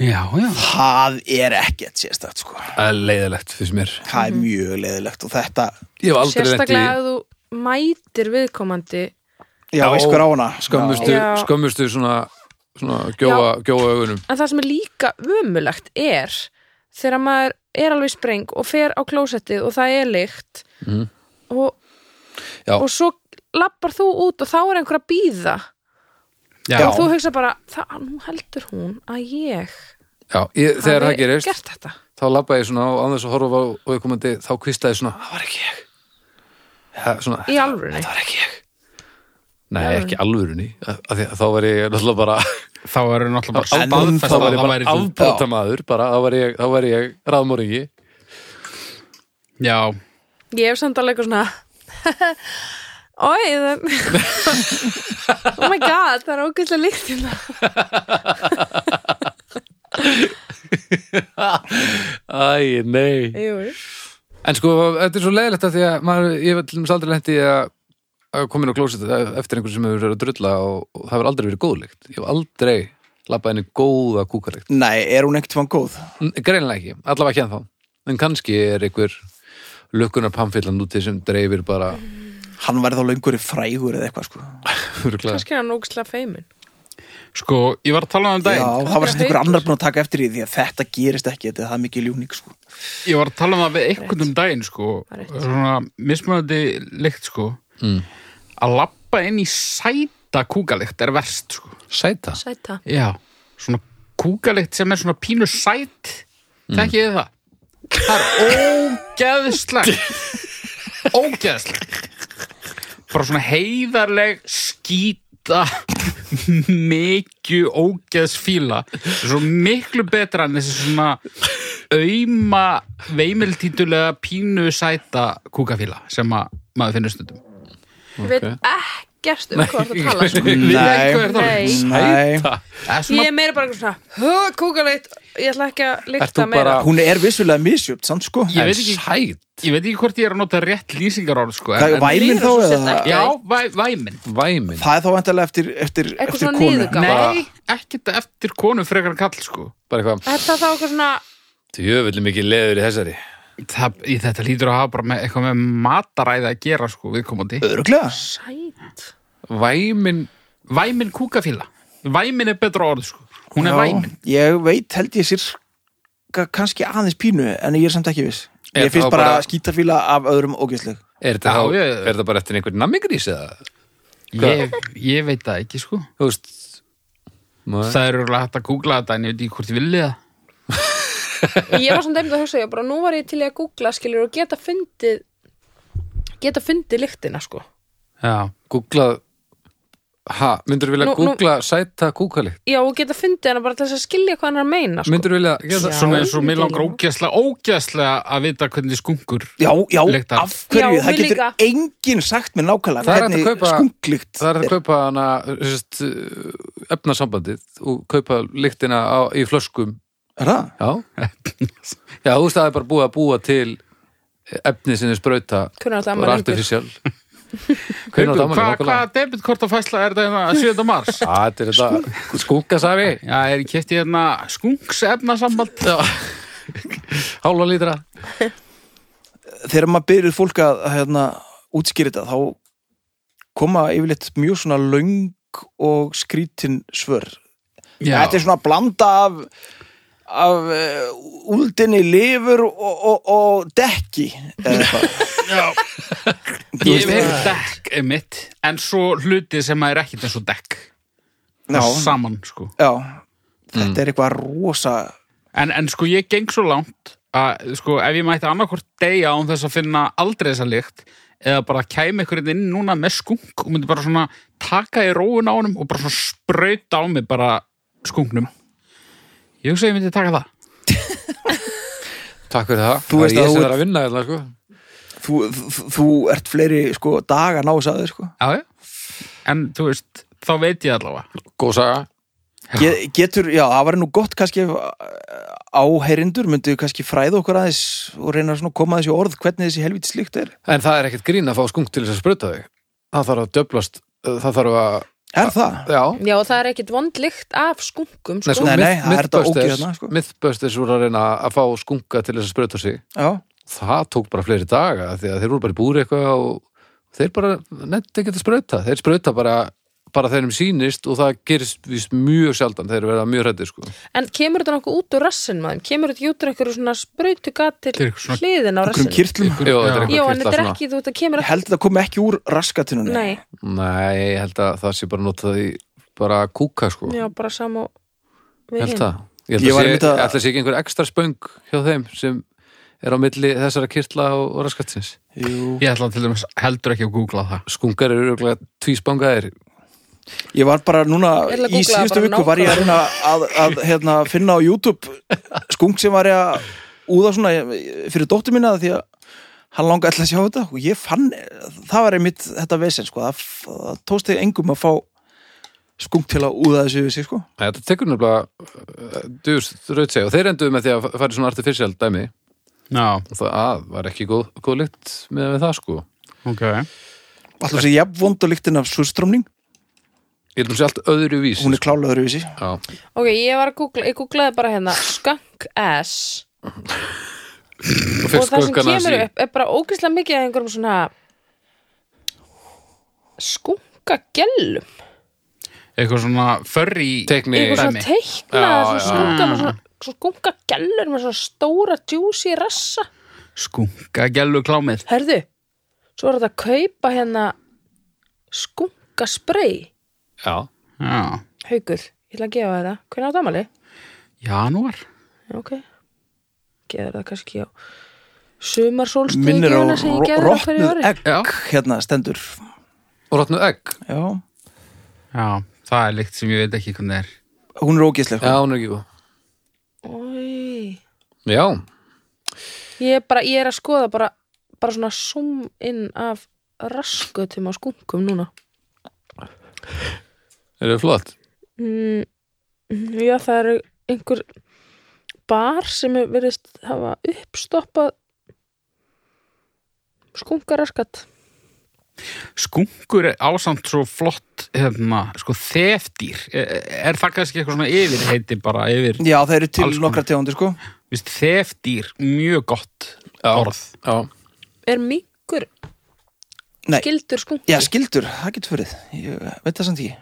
[SPEAKER 4] já, já.
[SPEAKER 3] það er ekkert sérstakt sko
[SPEAKER 2] Það er leiðilegt fyrir mér.
[SPEAKER 3] það er mjög leðilegt og þetta
[SPEAKER 2] Ég hef aldrei lent í
[SPEAKER 1] sérstaklega ef þú mætir viðkomandi
[SPEAKER 3] já,
[SPEAKER 2] Já,
[SPEAKER 3] já skur á hana sko.
[SPEAKER 2] skömmustu,
[SPEAKER 1] Já.
[SPEAKER 2] skömmustu svona, svona gjóa, gjóa augunum.
[SPEAKER 1] en það sem er líka ömulegt er þegar maður er alveg í spreng og fer á klósettið og það er lykt
[SPEAKER 2] Mhm.
[SPEAKER 1] og,
[SPEAKER 2] Já.
[SPEAKER 1] og svo lappar þú út og þá er einhver að býða
[SPEAKER 4] já.
[SPEAKER 1] og þú hugsa bara, það, nú heldur hún að ég
[SPEAKER 2] Já, ég, þegar það
[SPEAKER 1] hafi
[SPEAKER 2] gerist,
[SPEAKER 1] gert þetta
[SPEAKER 2] þá labba ég svona á þess að horfa á auðkomandi, þá kvistaði svona, það var ekki ég. Það, svona,
[SPEAKER 1] í alvörunni
[SPEAKER 2] það var ekki ég. Nei, ekki alvörunni. Af því að Þá var ég náttúrulega bara,
[SPEAKER 4] Þá eru náttúrulega bara
[SPEAKER 3] En
[SPEAKER 4] staðfest
[SPEAKER 2] þá
[SPEAKER 4] að
[SPEAKER 2] var ég
[SPEAKER 4] það
[SPEAKER 2] bara
[SPEAKER 4] væri þú.
[SPEAKER 2] afbrotamaður, bara, þá var ég, þá var ég ráðmóringi.
[SPEAKER 4] Já,
[SPEAKER 1] Ég hef samt alveg eitthvað svona Ói, það Oh my god, það er ógæslega líkt hérna
[SPEAKER 2] Æ, nei.
[SPEAKER 1] Jú, jú.
[SPEAKER 2] En sko, þetta er svo leiðilegt að því að maður, ég hef allir aldrei lent í að að koma inn á klósið eftir einhvern sem hefur verið að drulla og, og það hefur aldrei verið góðlegt. Ég hef aldrei labbað inn í góða kúkarlegt.
[SPEAKER 3] nei, er hún einhvern fann góð
[SPEAKER 2] N- Greinilega ekki, allavega ekki ennþá. En kannski er einhver lökkunar pamfyllan úti sem dreifir bara
[SPEAKER 3] hann væri þá löngur í frægur eða eitthvað sko
[SPEAKER 2] örugglega.
[SPEAKER 1] kannski er hann ógæslega feimin
[SPEAKER 4] sko, ég var að tala um
[SPEAKER 3] já,
[SPEAKER 4] það
[SPEAKER 3] það var sem einhver annar búinn að taka eftir í því að þetta gerist ekki, þetta er það mikið ljúning sko
[SPEAKER 4] Ég var að tala um það við einhvern um daginn sko,
[SPEAKER 1] Rétt.
[SPEAKER 4] svona mismunandi lykt sko.
[SPEAKER 2] Mm.
[SPEAKER 4] að labba inn í sæta kúkalykt er verst sko.
[SPEAKER 2] sæta.
[SPEAKER 1] Sæta
[SPEAKER 4] Já, svona kúkalykt sem er svona pínu sæt þekkið þið það Það er ógeðslegt ógeðslegt bara svona heiðarleg skýta mikju ógeðsfíla svo miklu betra en þessi svona auðma veimiltítulega pínu sæta kúkafíla sem að maður finnur stundum
[SPEAKER 1] Ég veit ekkert um hvað það tala sko.
[SPEAKER 4] Við ekki hvað er það?
[SPEAKER 1] Nei,
[SPEAKER 3] nei,
[SPEAKER 4] Það er
[SPEAKER 1] ég
[SPEAKER 4] svona
[SPEAKER 1] er meira bara eitthvað svona Kúkaleitt, ég ætla ekki að
[SPEAKER 2] Ert þú
[SPEAKER 1] líkta meira
[SPEAKER 2] bara-
[SPEAKER 3] hún er vissulega misjöpt, samt sko
[SPEAKER 4] Ég
[SPEAKER 2] En
[SPEAKER 4] veit ekki-
[SPEAKER 2] sæt.
[SPEAKER 4] Ég veit ekki hvort ég er að nota rétt lýsingaróð sko, en-
[SPEAKER 3] það er væminn
[SPEAKER 1] Líður
[SPEAKER 3] þá
[SPEAKER 1] svo
[SPEAKER 3] eða
[SPEAKER 1] sérstakt.
[SPEAKER 4] Já, væ, væmin
[SPEAKER 2] Væmin.
[SPEAKER 3] Það er þá vantilega eftir, eftir,
[SPEAKER 1] Eitthvað
[SPEAKER 3] eftir
[SPEAKER 1] svona
[SPEAKER 3] konu.
[SPEAKER 1] niðurgang.
[SPEAKER 4] Nei, ekkert eftir konu frekar en kall sko.
[SPEAKER 2] Bara eitthvað,
[SPEAKER 1] Er það þá eitthvað svona
[SPEAKER 2] djöfulli mikið leður í þessari.
[SPEAKER 4] Það, í þetta lítur að hafa bara með, eitthvað með mataræði að gera sko, viðkomandi
[SPEAKER 3] Öruglega.
[SPEAKER 1] sæt
[SPEAKER 2] Væmin,
[SPEAKER 4] Væmin kúkafíla Væmin er betra orð sko. Hún er væmin
[SPEAKER 3] Ég veit, held ég sér kannski aðeins pínu, en ég er samt ekki viss.
[SPEAKER 2] Er
[SPEAKER 3] Ég finnst
[SPEAKER 2] þá
[SPEAKER 3] bara,
[SPEAKER 2] bara-
[SPEAKER 3] skítafíla af öðrum ógeðsleg.
[SPEAKER 2] er þetta,
[SPEAKER 4] Já,
[SPEAKER 2] þá,
[SPEAKER 4] ég-
[SPEAKER 2] er þetta bara eftir einhvern nammigrís eða?
[SPEAKER 4] ég, ég veit það ekki sko.
[SPEAKER 2] Þú veist, maður-
[SPEAKER 4] Það eru hægt að googla þetta en ég veit ekki hvort ég vilja það
[SPEAKER 1] Ég var svona dæmd að hugsa, ég bara nú var ég til í að googla skilur og geta fundið geta fundið lyktina sko
[SPEAKER 4] Já,
[SPEAKER 2] Googlað ha, myndur vilja
[SPEAKER 1] Nú- Sko- nú-
[SPEAKER 2] googla sæta kúkalikt
[SPEAKER 1] Já, og geta fundið hana bara til þess að skilja hvað hann er að meina sko.
[SPEAKER 2] myndur vilja gera það
[SPEAKER 1] Já.
[SPEAKER 4] svona eins og mér
[SPEAKER 1] ég
[SPEAKER 4] langar
[SPEAKER 1] skil.
[SPEAKER 4] ógæslega ógæslega að vita hvernig skunkur
[SPEAKER 3] Já, já,
[SPEAKER 4] Lyktar.
[SPEAKER 3] af hverju?
[SPEAKER 1] Já,
[SPEAKER 3] það
[SPEAKER 1] mér
[SPEAKER 3] getur
[SPEAKER 1] líka.
[SPEAKER 3] enginn sagt mér nákvæmlega
[SPEAKER 2] Það er hægt að
[SPEAKER 3] hvernig
[SPEAKER 2] kaupa-
[SPEAKER 3] skunglikt.
[SPEAKER 2] það er að kaupa hana eh, sérst, eh, efnasambandið og kaupa lyktina á, í flöskum
[SPEAKER 3] Er það?
[SPEAKER 2] já já, þú veist það er bara búið að búa til eh, efni sinni sprauta
[SPEAKER 1] Hvernig átti
[SPEAKER 2] og er
[SPEAKER 1] afmæli einhver?
[SPEAKER 2] artificial hvernig
[SPEAKER 4] Hva,
[SPEAKER 2] átt amman
[SPEAKER 4] Hvaða debitkort að fæsla er þetta hérna 7. mars?
[SPEAKER 2] þetta er þetta skunkasafi
[SPEAKER 4] Já, er ég kefti hérna skunks efnasamband
[SPEAKER 2] hálfa lítra
[SPEAKER 3] þegar maður byrjuð fólk að að, hérna, útskýri þetta þá koma yfirleitt mjög svona löng og skrítin svör
[SPEAKER 4] Já.
[SPEAKER 3] þetta er svona blanda af af uh, úldinni lifur og, og, og dekki eða eitthvað. Þú
[SPEAKER 4] Ég
[SPEAKER 3] veist,
[SPEAKER 4] veit dekk er mitt En svo hluti sem er ekkit eins og dekk
[SPEAKER 3] já,
[SPEAKER 4] Saman sko
[SPEAKER 3] já,
[SPEAKER 2] Mm.
[SPEAKER 3] þetta er eitthvað rosa
[SPEAKER 4] en, en sko ég geng svo langt að sko ef ég mætti annarkvort deyja án þess að finna aldrei þessa lykt eða bara kæmi ykkur inn núna með skunk og myndi bara svona taka í róun á honum og bara svona sprauta á mig bara skunknum ég hugsa að ég myndi taka það
[SPEAKER 2] Takk fyrir það,
[SPEAKER 3] Þú
[SPEAKER 2] það
[SPEAKER 3] veist
[SPEAKER 2] er
[SPEAKER 3] að
[SPEAKER 2] ég
[SPEAKER 3] þú
[SPEAKER 2] sem
[SPEAKER 3] ert-
[SPEAKER 2] er að vinna hérna, sko.
[SPEAKER 3] þú, þú, þú ert fleiri sko, daga násaður sko.
[SPEAKER 4] Já, já. en þú veist, þá veit ég allavega
[SPEAKER 2] Góð saga
[SPEAKER 3] Get, getur, já, það var nú gott kannski ef, eh, áheyrendur myndu kannski fræða okkur aðeins og reyna svona að koma þessi orð hvernig þessi helvítið slíkt er
[SPEAKER 2] En það er ekkert grín að fá skunk til þess að spruta þig Það þarf að döblast eh, Það þarf að,
[SPEAKER 3] Er það?
[SPEAKER 2] já
[SPEAKER 1] Já, það er ekkit vondlikt af skunkum
[SPEAKER 2] Nei,
[SPEAKER 1] sko.
[SPEAKER 2] sko,
[SPEAKER 3] Nei, nei,
[SPEAKER 2] myth-
[SPEAKER 3] það er þetta
[SPEAKER 2] Mythbusters-
[SPEAKER 3] ógeð hérna, sko.
[SPEAKER 2] Mythbusters voru að reyna að fá skunka til þess að spruta sig
[SPEAKER 3] Já,
[SPEAKER 2] það tók bara fleiri daga því að þeir voru bara í búri eitthvað og þeir bara nefndi ekki að sprauta þeir sprauta bara, bara þeirnum sýnist og það gerist víst mjög sjaldan þeir verða mjög hrættir sko
[SPEAKER 1] En kemur þetta nokkuð út úr rassin maður? Kemur þetta ekki út úr einhverju svona sprautugat til
[SPEAKER 4] Til svona-
[SPEAKER 1] hliðin á
[SPEAKER 3] okkur um
[SPEAKER 1] rassin?
[SPEAKER 3] kýrtlum
[SPEAKER 2] Jó, þetta er
[SPEAKER 4] Já.
[SPEAKER 2] eitthvað
[SPEAKER 1] Jó, en
[SPEAKER 2] kvilla
[SPEAKER 1] þetta er
[SPEAKER 2] svona.
[SPEAKER 1] ekki, þú veit, það kemur
[SPEAKER 3] Ég held að það komi ekki úr raskatunum
[SPEAKER 1] Nei,
[SPEAKER 2] Nei, ég held að það sé bara notað í bara kúka sko
[SPEAKER 1] já, bara sama og við
[SPEAKER 2] Ég held það Ég held
[SPEAKER 3] Ég var
[SPEAKER 2] að,
[SPEAKER 3] einmitt
[SPEAKER 2] sé,
[SPEAKER 3] að-
[SPEAKER 2] að... sé ekki einhver ekstra spöng hjá þeim sem er á milli þessara kirtla og, og raskatsins
[SPEAKER 3] Jú.
[SPEAKER 4] ég ætla til dæmis heldur ekki að googla það
[SPEAKER 2] Skungar eru örgulega tvíspangaðir
[SPEAKER 3] Ég var bara núna,
[SPEAKER 1] Ég ætla að
[SPEAKER 3] í
[SPEAKER 1] googla það
[SPEAKER 3] síðustu
[SPEAKER 1] bara
[SPEAKER 3] viku var ég að reyna að, að hérna, finna á YouTube skunk sem var ég að úða svona fyrir dóttur mína því að hann langaði alltaf að sjá þetta og ég fann, það var einmitt þetta vesen sko, það, það tókst þig engum að fá skunk til að úða þessu við sig sko.
[SPEAKER 2] Nei, Þetta tekur nefnilega duðust raut segja og þeir enduðu með því að fara í svona artificial dæmi
[SPEAKER 4] Já,
[SPEAKER 2] og það að, var ekki góð, góð lykt með það sko
[SPEAKER 4] ok
[SPEAKER 3] Alltaf þessi jafnvond og lyktin af súrströmmning,
[SPEAKER 2] ég held að sé allt öðru vís
[SPEAKER 3] hún er klála öðru við sig.
[SPEAKER 2] já,
[SPEAKER 1] Ok, ég var að googla, ég googlaði bara hérna skunk ass
[SPEAKER 2] og
[SPEAKER 1] og
[SPEAKER 2] fyrst
[SPEAKER 1] það sem
[SPEAKER 2] skunkana
[SPEAKER 1] kemur
[SPEAKER 2] þessi
[SPEAKER 1] upp er bara ógeðslega mikið af einhverjum svona skunkagellum
[SPEAKER 4] eitthvað svona förri
[SPEAKER 2] teikni
[SPEAKER 1] einhver svona
[SPEAKER 4] dæmi.
[SPEAKER 1] teikna
[SPEAKER 2] Já, Mm. já.
[SPEAKER 1] skunka með svona, svona skunkagellur með svona stóra juicy rassa
[SPEAKER 2] Sko.
[SPEAKER 4] skunka gælu klámið
[SPEAKER 1] herðu, svo er þetta að kaupa hérna skunkasprey
[SPEAKER 2] já,
[SPEAKER 4] Já,
[SPEAKER 1] haukur, ég ætla að gefa þér það hvernig á damali?
[SPEAKER 4] janúar
[SPEAKER 1] Já, ok gefa þér það kannski á sumarsólstíði
[SPEAKER 3] Minnir á
[SPEAKER 1] gefuna sem ég
[SPEAKER 3] ro-
[SPEAKER 1] gefa þér á hverju
[SPEAKER 3] rotnuð
[SPEAKER 1] ári.
[SPEAKER 3] egg,
[SPEAKER 4] Já.
[SPEAKER 3] hérna stendur.
[SPEAKER 2] og rotnu egg
[SPEAKER 3] Já,
[SPEAKER 4] Já, það er líkt sem ég veit ekki hvernig er
[SPEAKER 3] hún er ógeðslega.
[SPEAKER 2] já, hún er ekki góð
[SPEAKER 1] Oj.
[SPEAKER 2] já,
[SPEAKER 1] Ég er bara, ég er að skoða bara, bara svona zoom inn af raskutum á skunkum núna.
[SPEAKER 2] er það flott
[SPEAKER 1] Mm, já, það eru einhver bar sem er verið hafa uppstoppað skunkaraskat.
[SPEAKER 4] skunkur er ásamt svo flott hérna, sko þefdýr er, er það kannski eitthvað svona yfir heiti bara yfir,
[SPEAKER 3] Já, það eru til
[SPEAKER 4] Alls konar.
[SPEAKER 3] nokkra tegundir sko.
[SPEAKER 4] viðst, þefdýr mjög gott
[SPEAKER 2] Já.
[SPEAKER 4] orð
[SPEAKER 2] já,
[SPEAKER 1] Er minkur
[SPEAKER 3] Nei.
[SPEAKER 1] skildur skunki?
[SPEAKER 3] Já, skildur, það getur verið Ég veit það samt ekki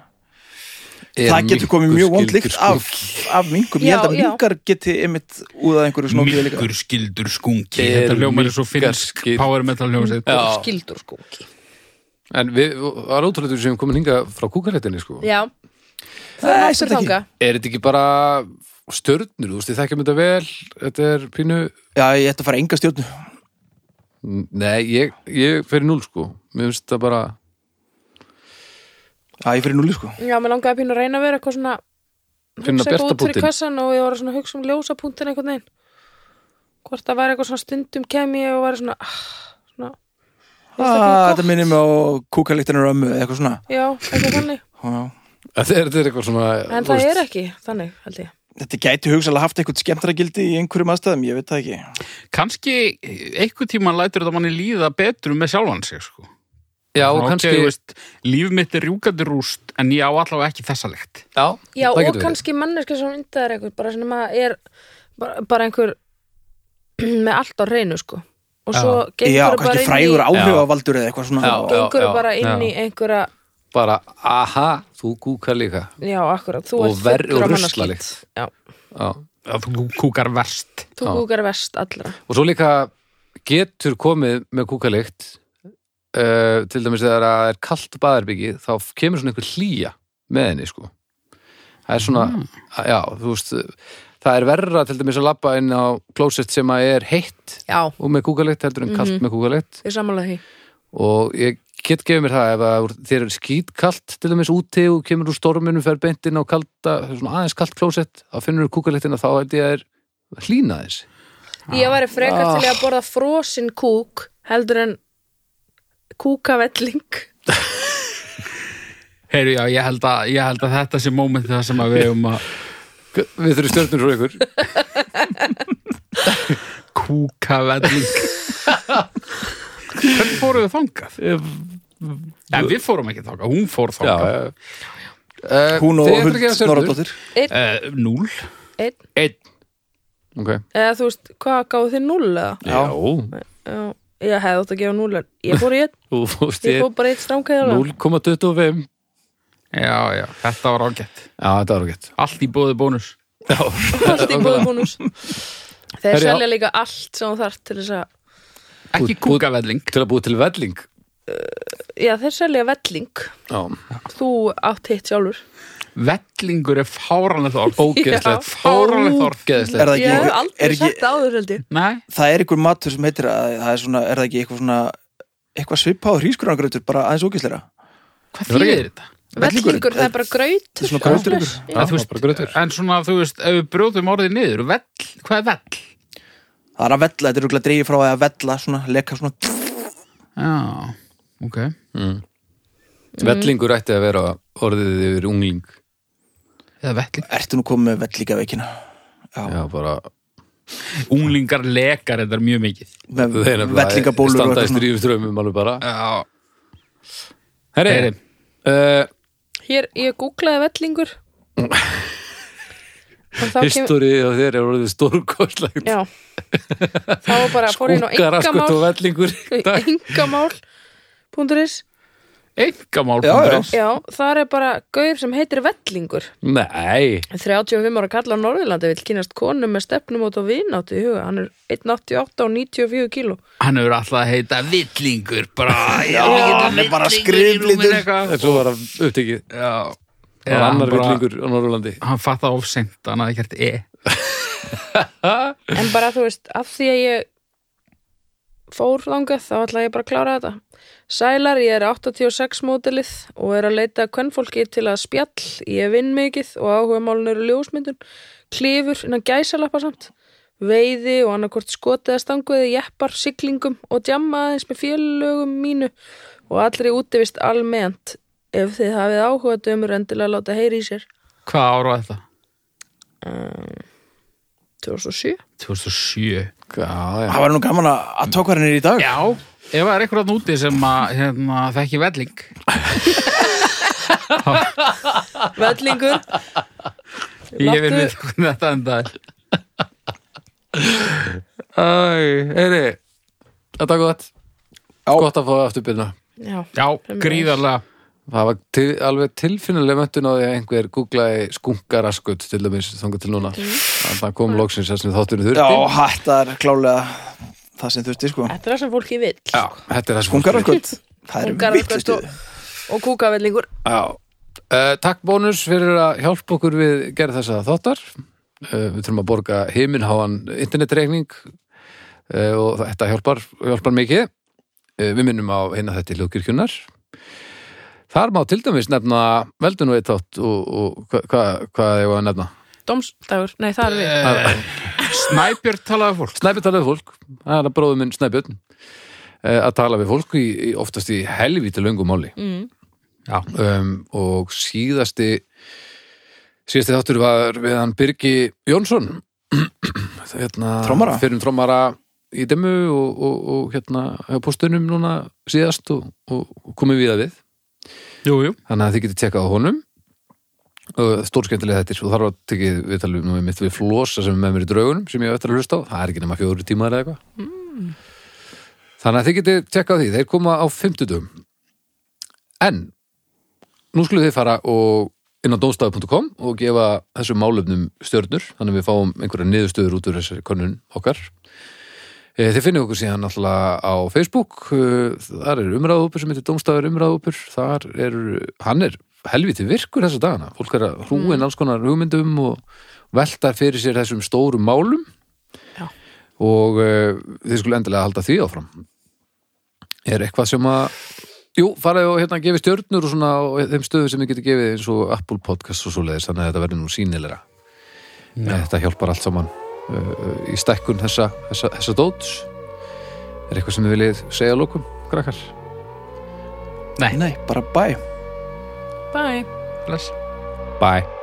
[SPEAKER 2] Er
[SPEAKER 3] Það getur komið
[SPEAKER 2] minkur
[SPEAKER 3] mjög vond
[SPEAKER 2] skyldur
[SPEAKER 3] lykt af,
[SPEAKER 4] sko.
[SPEAKER 3] af mingum Ég
[SPEAKER 1] Já,
[SPEAKER 3] held að
[SPEAKER 1] já.
[SPEAKER 3] mingar geti einmitt úðað einhverju snókið líka
[SPEAKER 4] mingur skildur skunki
[SPEAKER 2] Er
[SPEAKER 4] þetta hljómar er svo
[SPEAKER 2] minkar
[SPEAKER 4] finnsk
[SPEAKER 2] skil-
[SPEAKER 4] power metal hljómsið
[SPEAKER 2] Já.
[SPEAKER 1] Skildur skunki.
[SPEAKER 2] en við, það er ótrúlega við séum komin hinga frá kúkaréttinni sko
[SPEAKER 1] Já,
[SPEAKER 3] Það
[SPEAKER 1] það er aftur þanga.
[SPEAKER 2] er þetta ekki bara stjörnur, þú veist, ég þekkjum þetta vel þetta er pínu,
[SPEAKER 3] Já, ég ætti að fara enga stjórnu
[SPEAKER 2] nei, ég, ég fer í núl sko, mér finnst það bara
[SPEAKER 3] Já, ég fyrir núli sko
[SPEAKER 1] Já, mér langaði að pínu að reyna að vera eitthvað svona
[SPEAKER 2] Finna
[SPEAKER 1] hugsa eitthvað
[SPEAKER 2] bjarta
[SPEAKER 1] út fyrir
[SPEAKER 2] punktinn.
[SPEAKER 1] kassan og ég var svona að hugsa um ljósa punktin einhvern veginn hvort það væri eitthvað svona stundum kem ég og væri svona, ah, svona finnst það bara
[SPEAKER 3] ah,
[SPEAKER 1] gott.
[SPEAKER 3] Þetta minnir mig á kúkaliktinur ömmu eða eitthvað svona
[SPEAKER 1] Já, eitthvað þannig
[SPEAKER 3] Já.
[SPEAKER 2] þetta er, þetta er eitthvað svona
[SPEAKER 1] En
[SPEAKER 2] þú
[SPEAKER 1] það
[SPEAKER 2] veist,
[SPEAKER 1] er ekki, þannig held ég
[SPEAKER 3] Þetta gæti hugsalega haft eitthvað skemmtara gildi í einhverjum aðstæðum, ég veit það ekki
[SPEAKER 4] kannski einhver tíma lætur þetta manni líða betur með sjálfan sig sko.
[SPEAKER 2] já,
[SPEAKER 4] Svona, ok,
[SPEAKER 2] kannski,
[SPEAKER 4] þú veist, líf mitt er rjúkandi rúst en ég á allavega ekki þessa lykt
[SPEAKER 2] já,
[SPEAKER 1] Já,
[SPEAKER 2] það
[SPEAKER 1] og
[SPEAKER 2] getur verið.
[SPEAKER 1] kannski manneska sem yndaðar eitthvað bara sem að er bara, bara einhver með allt á reynu sko og
[SPEAKER 4] Já.
[SPEAKER 1] svo
[SPEAKER 3] já,
[SPEAKER 1] gengur
[SPEAKER 3] kannski
[SPEAKER 1] bara inn
[SPEAKER 3] frægur
[SPEAKER 1] í
[SPEAKER 3] áhrifavaldur eða eitthvað svona
[SPEAKER 2] Já.
[SPEAKER 1] gengur
[SPEAKER 2] já,
[SPEAKER 1] bara inn í einhverja
[SPEAKER 2] bara aha, þú kúkar líka
[SPEAKER 1] já, akkurat, þú
[SPEAKER 2] Og
[SPEAKER 1] ert
[SPEAKER 2] verri-
[SPEAKER 1] fullur
[SPEAKER 2] og
[SPEAKER 1] af mannaskít.
[SPEAKER 2] ruslalykt.
[SPEAKER 1] já,
[SPEAKER 2] Já.
[SPEAKER 4] að þú kúkar verst
[SPEAKER 1] þú
[SPEAKER 2] Já.
[SPEAKER 1] kúkar vest allra
[SPEAKER 2] og svo líka getur komið með kúkalikt uh, til dæmis þegar það er kalt baðarbyggi þá kemur svona einhver hlýja með henni sko það er svona, já, þú veist það er verra til dæmis að labba inn á klósett sem að er heitt
[SPEAKER 1] já,
[SPEAKER 2] og með kúkalikt heldur en kalt með kúkalikt
[SPEAKER 1] ég samanlega því
[SPEAKER 2] og ég get gefið mér það ef að úr- þér er skítkalt til dæmis úti og kemur úr storminum fer beint inn á kalda, svona aðeins kalt klósett þá finnur þú kúkaliktina þá held ég að er hlýna þess
[SPEAKER 1] ég væri frekar til í
[SPEAKER 2] Ah.
[SPEAKER 1] að borða frosin kúk heldur en kúkavelling
[SPEAKER 4] Heyru, já, ég held, að, ég held að þetta sé moment það sem að við um að
[SPEAKER 2] við þurfum stjörnur frá ykkur
[SPEAKER 4] kúka velling Hvernig fóruð þið þangað? Ja, við fórum ekki þangað, hún fór þangað
[SPEAKER 2] já. Uh,
[SPEAKER 3] hún og
[SPEAKER 2] þið ætlið
[SPEAKER 3] Huld
[SPEAKER 2] að gefa stjörnur?
[SPEAKER 3] Norðardóttir
[SPEAKER 4] uh, Núl
[SPEAKER 1] einn,
[SPEAKER 2] Ok.
[SPEAKER 1] eða þú veist, hvað gáðu þið null eða?
[SPEAKER 3] Já.
[SPEAKER 1] já, ég hefði átt að gefa null en ég fór í einn,
[SPEAKER 2] Þú fórst
[SPEAKER 1] ég
[SPEAKER 2] ég
[SPEAKER 1] fór bara í einn stránkæðar
[SPEAKER 2] 0,25
[SPEAKER 4] Já, já, þetta var ágætt
[SPEAKER 2] Já, þetta var gett
[SPEAKER 4] Allt í bóði bónus
[SPEAKER 1] allt í bóði bónus þeir
[SPEAKER 2] Herri, já.
[SPEAKER 1] selja líka allt sem þú þarft til þess að
[SPEAKER 4] Ekki
[SPEAKER 2] Út- út-
[SPEAKER 4] kúka velling
[SPEAKER 2] Til að búi til velling
[SPEAKER 1] já, þeir selja velling
[SPEAKER 2] Já,
[SPEAKER 1] þú átt hitt sjálfur
[SPEAKER 4] Vellingur er fáranlegt orð
[SPEAKER 1] Já.
[SPEAKER 2] ógeðslegt
[SPEAKER 4] Fáránlegt orð.
[SPEAKER 2] Ógeðslegt
[SPEAKER 3] er það
[SPEAKER 1] ég hef
[SPEAKER 3] ekki, er
[SPEAKER 1] aldrei
[SPEAKER 3] ekki
[SPEAKER 1] sagt það áður held ég
[SPEAKER 4] Nei,
[SPEAKER 3] það er einhver matur sem heitir að það er svona, er það ekki eitthvað svona eitthvað svipað hrískurangrautur, bara aðeins ógæsleira
[SPEAKER 4] hvað
[SPEAKER 2] Það er
[SPEAKER 4] þýðir
[SPEAKER 2] ekki-
[SPEAKER 4] þetta?
[SPEAKER 3] Vellingur,
[SPEAKER 1] vellingur, það er bara graut
[SPEAKER 3] svona grautur ykkur
[SPEAKER 2] Já,
[SPEAKER 4] þú veist,
[SPEAKER 2] bara grautur.
[SPEAKER 4] En svona, þú veist, ef við brjóðum orðið niður vell, Hvað er vell?
[SPEAKER 3] það er að vella, þetta er rúglega dreigið frá að vella svona, leka svona,
[SPEAKER 4] Já, ok
[SPEAKER 2] Mm. Vellingur ætti að vera orðið yfir ungling
[SPEAKER 4] Eða velling
[SPEAKER 3] ertu nú komið með vellíka veikina
[SPEAKER 2] Já, bara
[SPEAKER 4] Unglingar lekar þetta er mjög mikið
[SPEAKER 3] með
[SPEAKER 2] þeir nefnilega
[SPEAKER 3] vellingabólur og
[SPEAKER 2] Standa í
[SPEAKER 3] eitthvað svona
[SPEAKER 2] strífum strömmum alveg bara
[SPEAKER 4] Já,
[SPEAKER 2] Herri,
[SPEAKER 4] Heyri.
[SPEAKER 2] uh,
[SPEAKER 1] hér, ég googlaði vellingur og þá kem
[SPEAKER 2] Históriðið á þér er orðið stórkostlegt
[SPEAKER 1] já þá var bara fór ég inn á
[SPEAKER 3] sko,
[SPEAKER 2] Skúkaraskut og
[SPEAKER 1] engamál
[SPEAKER 2] vellingur Takk.
[SPEAKER 1] engamál.is
[SPEAKER 4] engamál
[SPEAKER 3] Já, já.
[SPEAKER 1] já, þar er bara gaur sem heitir vellingur
[SPEAKER 2] Nei
[SPEAKER 1] 35 ára kalla á Norðurlandi vill kynast konum með stefnumót og vináttu í huga, hann er 1,88 og 94 kíló
[SPEAKER 4] Hann hefur alltaf að heita villingur bara, já,
[SPEAKER 3] hann er bara skriflítur.
[SPEAKER 2] En svo var það upptekið
[SPEAKER 4] Já,
[SPEAKER 2] Það
[SPEAKER 4] Já,
[SPEAKER 2] var annar
[SPEAKER 4] bara-
[SPEAKER 2] vellingur á Norrlandi
[SPEAKER 4] Hann fatta ofsend, hann hafði kert e
[SPEAKER 1] en bara þú veist, af því að ég fór þangað þá ætla ég bara að klára þetta Sælar, ég er 86 mótilið og er að leita kvennfólki til að spjall ég vinn mikið og áhuga málun eru ljósmyndun, klifur innan gæsalappa samt, veiði og annarkvort skotið að stanguði jeppar, siglingum og djamma aðeins með félögum mínu og allri útivist almennt ef þið hafið áhuga dömur endilega láta heyri í sér
[SPEAKER 4] Hvað ára var þetta?
[SPEAKER 1] 2007
[SPEAKER 4] 2007
[SPEAKER 2] Já, já
[SPEAKER 3] það var nú gaman að að tóka hann er í dag
[SPEAKER 4] Já, ef það er einhver að núti sem að hérna, þekki velling
[SPEAKER 1] Vellingur
[SPEAKER 4] Ég vil
[SPEAKER 1] Láttu-
[SPEAKER 4] við hvernig þetta endaði
[SPEAKER 2] Æ, heyri Þetta er gott Gott að fá afturbyrna
[SPEAKER 1] Já,
[SPEAKER 4] Já, gríðarlega
[SPEAKER 2] Það var til, alveg tilfinnileg möntun á því að einhver googlaði skunkaraskut til dæmis þangað til núna Það kom loksins þar sem þátturinn
[SPEAKER 3] já,
[SPEAKER 2] þurfti
[SPEAKER 3] þetta er klálega það sem þurfti sko
[SPEAKER 1] þetta er það sem fólki vill
[SPEAKER 2] Já, þetta er það sem
[SPEAKER 3] hungararkvöld, það er
[SPEAKER 1] Ungararkvöld
[SPEAKER 3] vittlustu
[SPEAKER 1] og- og kúkavellingur
[SPEAKER 2] Já Uh, takk bónus fyrir að hjálpa okkur við gerð þessa þáttar uh, við þurfum að borga heiminháan internetreikning uh, og þetta hjálpar, hjálpar mikið uh, við minnum á eina þetta í hljókirkjunar þar má til dæmis nefna veldun og eitt þátt og, og hva- hvað hva, hva ég var að nefna
[SPEAKER 1] Dómsdagur, nei það er við
[SPEAKER 4] Eh, Snæbjörn talaði fólk
[SPEAKER 2] Snæbjörn talaði við fólk, það er að bróðum minn Snæbjörn eh, að tala við fólk í, í oftast í helvíti löngu máli
[SPEAKER 1] mm.
[SPEAKER 4] Já,
[SPEAKER 2] um, og síðasti síðasti þáttur var við hann Birgi Jónsson hérna,
[SPEAKER 3] Trommara.
[SPEAKER 2] fyrir trommara í demu og, og, og hérna á póstunum núna síðast og, og komið við að við
[SPEAKER 4] jú, jú
[SPEAKER 2] þannig að þið getið tjekkað á honum stórskemmtilega þetta þú þarf að tekið við talum um mitt við flosa sem er með mér í draugunum sem ég hef eftir að hlusta á það er ekki nema fjóru tíma eða eitthvað þannig að þið getið tjekkað á því þeir koma á fimmtudum en nú skulum þið fara og inn á domstafi.com og gefa þessum málefnum stjörnur þannig að við fáum einhverja niðurstöður út úr þessari konun okkar Eh, Þið finnum okkur síðan alltaf á Facebook, eh, þar er umræðupur sem heitir Dómstafur umræðupur, þar er, hann er helviti virkur þessa dagana, fólk er að hrúin alls konar hugmyndum og veltar fyrir sér þessum stórum málum
[SPEAKER 1] Já.
[SPEAKER 2] og uh, þið skulle endilega halda því áfram. Er eitthvað sem að, jú, faraði og hérna gefi stjörnur og svona á þeim stöðu sem þið getur gefið eins og Apple Podcast og svo leiðis, þannig að þetta verður nú sínilegra. Þetta hjálpar allt saman uh, í stækkun þessa, þessa, þessa dóts er eitthvað sem við viljið segja að lókum, krakkar
[SPEAKER 3] Nei, bara bæ
[SPEAKER 1] Bye
[SPEAKER 4] Bless.
[SPEAKER 2] Bye